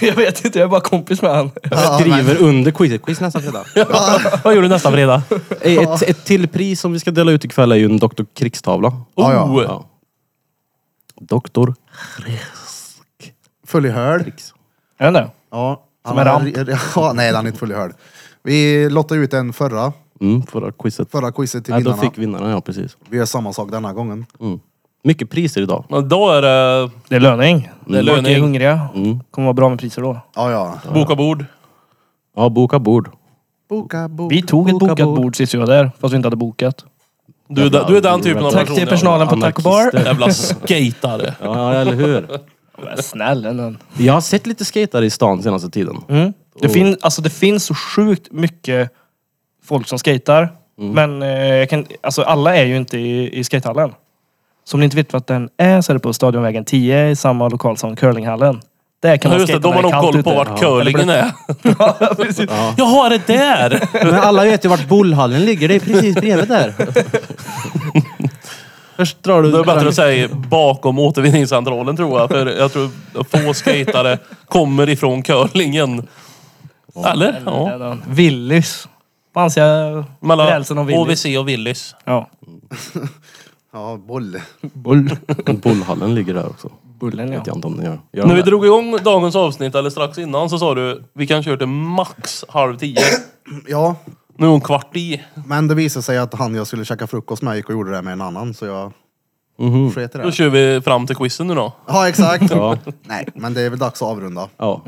S4: jag vet inte, jag är bara kompis med han.
S1: Ja,
S2: Driver under quizet. Quiz nästa fredag.
S3: Vad gör du nästa fredag?
S2: ett, ett till pris som vi ska dela ut ikväll är ju en Dr. Krigstavla.
S1: Ja, ja.
S3: Oh!
S2: Ja. Doktor.
S1: Full i höl.
S4: Är han det?
S1: Ja.
S4: Som
S1: han
S4: en
S1: har- Ja, nej, han är inte full i höl. Vi lottade ut en förra,
S2: Mm, förra quizet.
S1: förra quizet till
S2: Ja, då
S1: vinnarna.
S2: fick vinnarna, ja precis.
S1: Vi gör samma sak denna gången.
S2: Mm. Mycket priser idag.
S3: Men då är det
S4: Det är löning.
S3: Det är
S4: Folk är
S3: löning.
S4: hungriga.
S2: Mm.
S4: Kommer vara bra med priser då.
S1: Ja, ja.
S3: boka bord.
S2: Ja, boka bord.
S1: Boka, boka.
S4: Vi tog ett
S2: Boka
S4: bokat
S2: bord.
S4: bord sist vi var där, fast vi inte hade bokat.
S3: Du, är den- du är den typen av
S2: Tack
S3: person.
S4: Tack till
S3: ja.
S4: personalen på Taco Bar.
S2: Anarkister.
S3: Jävla skatare.
S2: Ja, ja, eller hur?
S4: Men Snälla nån.
S2: Jag har sett lite skatare i stan senaste tiden.
S4: Mm. Det,
S3: Oh.
S4: fin, alltså, det finns så sjukt mycket folk som skater.
S3: Mm.
S4: Men eh, jag kan, alltså, alla är ju inte i, i skatehallen. Så om ni inte vet vad den är så är det på Stadionvägen 10 i samma lokal som curlinghallen. Där kan
S3: Ja,
S4: man
S3: just det,
S4: skata
S3: de har
S4: när
S3: nog
S4: det är kallt
S3: koll på
S4: ute.
S3: vart curlingen är.
S4: Ja, precis.
S3: Jaha, är det där?
S2: Men alla vet ju vart bollhallen ligger. Det är precis bredvid där. Först drar du...
S3: Då är det bättre att säga bakom återvinningscentralen tror jag. För jag tror att få skatare kommer ifrån curlingen. Eller? Ja.
S4: Ja. Willys. På ansiga
S3: Mellan
S4: rälsen och Willys.
S3: OVC och Willys.
S4: Ja.
S1: Ja, boll.
S4: Bull.
S2: Men bollhallen ligger där också.
S4: Bullen ja.
S2: Vet jag inte om den gör. gör
S3: När vi
S2: den
S3: drog igång dagens avsnitt, eller strax innan, så sa du vi kan köra till max halv tio.
S1: Ja,
S3: Nu är hon kvart i.
S1: men det visade sig att han jag skulle käka frukost med gick och gjorde det med en annan så jag
S2: där. Mhm.
S1: sket i
S3: Då
S1: det.
S3: kör vi fram till quizen nu då.
S1: Ja, exakt.
S2: Ja.
S1: Nej, men det är väl dags att avrunda.
S2: Ja.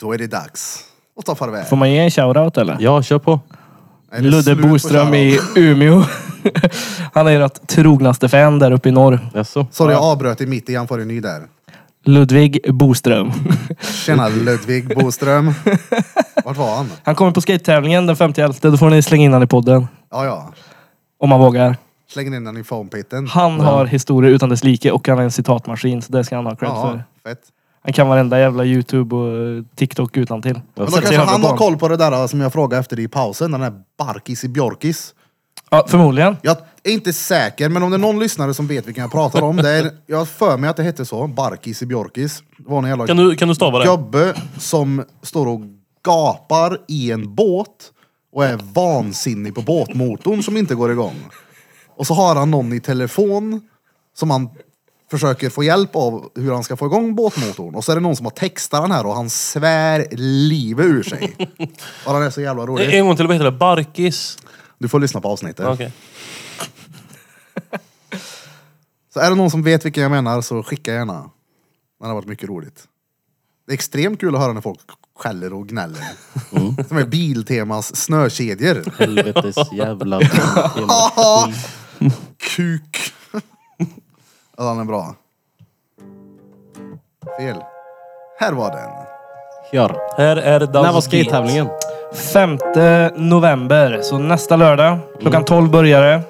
S1: Då är det dags att ta farväl.
S4: Får man ge en shoutout eller?
S2: ja, kör på.
S1: Är det
S4: Ludde
S1: slut på
S4: Boström
S1: shoutout?
S4: i Umeå. Han är ert trognaste fan där uppe i norr.
S2: Jaså?
S1: Sorry, jag avbröt i mitt igen för en ny där.
S4: Ludvig Boström.
S1: Tjena Ludvig Boström. Vart var han?
S4: Han kommer på skate-tävlingen den 5.11. Då får ni slänga in han i podden.
S1: Ja, ja.
S4: Om man vågar.
S1: Släng in den i foampitten.
S4: Han har historier utan dess like och han är en citatmaskin. Så det ska han ha cred
S1: Ja,
S4: för.
S1: fett.
S4: Han kan varenda jävla YouTube och eh, TikTok utan till.
S1: Men då
S4: Sätter
S1: kanske
S4: sig
S1: han
S4: framför
S1: har
S4: barn.
S1: koll på det där som jag frågade efter i pausen, den här Barkis i Björkis.
S4: Ja, förmodligen.
S1: Jag är inte säker, men om det är någon lyssnare som vet vilken jag pratar om. Det är, jag har för mig att det hette så, Barkis i Björkis. Det var en jävla
S3: Kan du, kan du stava det?
S1: gubbe som står och gapar i en båt och är vansinnig på båtmotorn som inte går igång. Och så har han någon i telefon som han försöker få hjälp av hur han ska få igång båtmotorn. Och så är det någon som har textat den här och han svär livet ur sig. Och den är så jävla rolig.
S3: En gång till, vad heter det? Barkis?
S1: Du får lyssna på avsnittet.
S3: Okej.
S1: Så är det någon som vet vilken jag menar så skicka gärna. Det har varit mycket roligt. Det är extremt kul att höra när folk skäller och gnäller. Som är Biltemas snökedjor.
S2: Helvetes jävla...
S1: Kuk. Ja, den är bra. Fel. Här var den.
S2: Kör.
S3: Här är Daz
S2: När var
S3: Beat.
S2: skate-tävlingen?
S4: 5 november, så nästa lördag. Klockan 12 börjar det.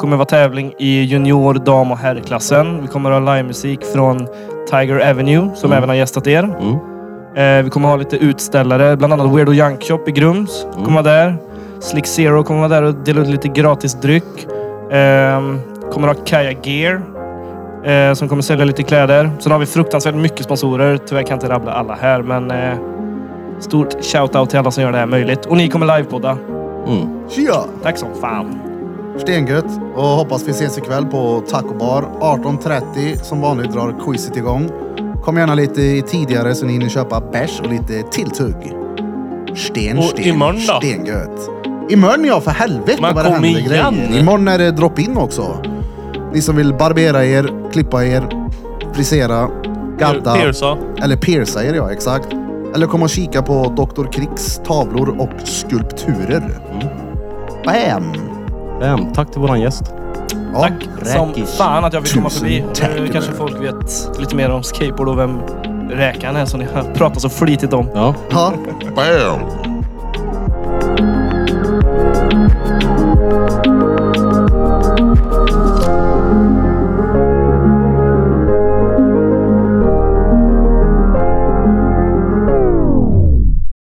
S4: kommer vara tävling i junior-, dam och herrklassen. Vi kommer att ha livemusik från Tiger Avenue, som även har gästat er.
S2: Mm,
S4: Eh, vi kommer ha lite utställare, bland annat Weirdo Junk Shop i Grums. kommer vara där. Slick Zero kommer vara där och dela ut lite gratis dryck. Ehm, kommer ha Kaja Gear eh, som kommer sälja lite kläder. Sen har vi fruktansvärt mycket sponsorer. Tyvärr kan jag inte rabbla alla här, men eh, stort shout-out till alla som gör det här möjligt. Och ni kommer livepodda.
S2: Mm.
S1: Tja!
S4: Tack som fan.
S1: Stengött och hoppas vi ses ikväll på Taco Bar 18.30. Som vanligt drar quizet igång. Kom gärna lite tidigare så ni hinner köpa bärs och lite tilltugg. Sten,
S3: Och
S1: sten,
S3: imorgon då?
S1: stengött. Imorgon ja, för helvete
S3: Men
S1: vad det
S3: kom
S1: händer
S3: igen.
S1: grejer. Imorgon är det drop-in också. Ni som vill barbera er, klippa er, frisera, gadda.
S3: Piersa.
S1: Eller pierca er ja, exakt. Eller kom och kika på Dr. Kricks tavlor och skulpturer.
S3: Mm.
S1: Bam!
S2: Bam, tack till våran gäst.
S1: Ja.
S4: Tack som
S2: Räkish.
S4: fan att jag fick komma
S1: Tusen
S4: förbi. Och Nu
S1: tack.
S4: kanske folk vet lite mer om skateboard och vem räkan är som ni har pratat så flitigt om.
S2: Ja.
S1: Ja. Bam!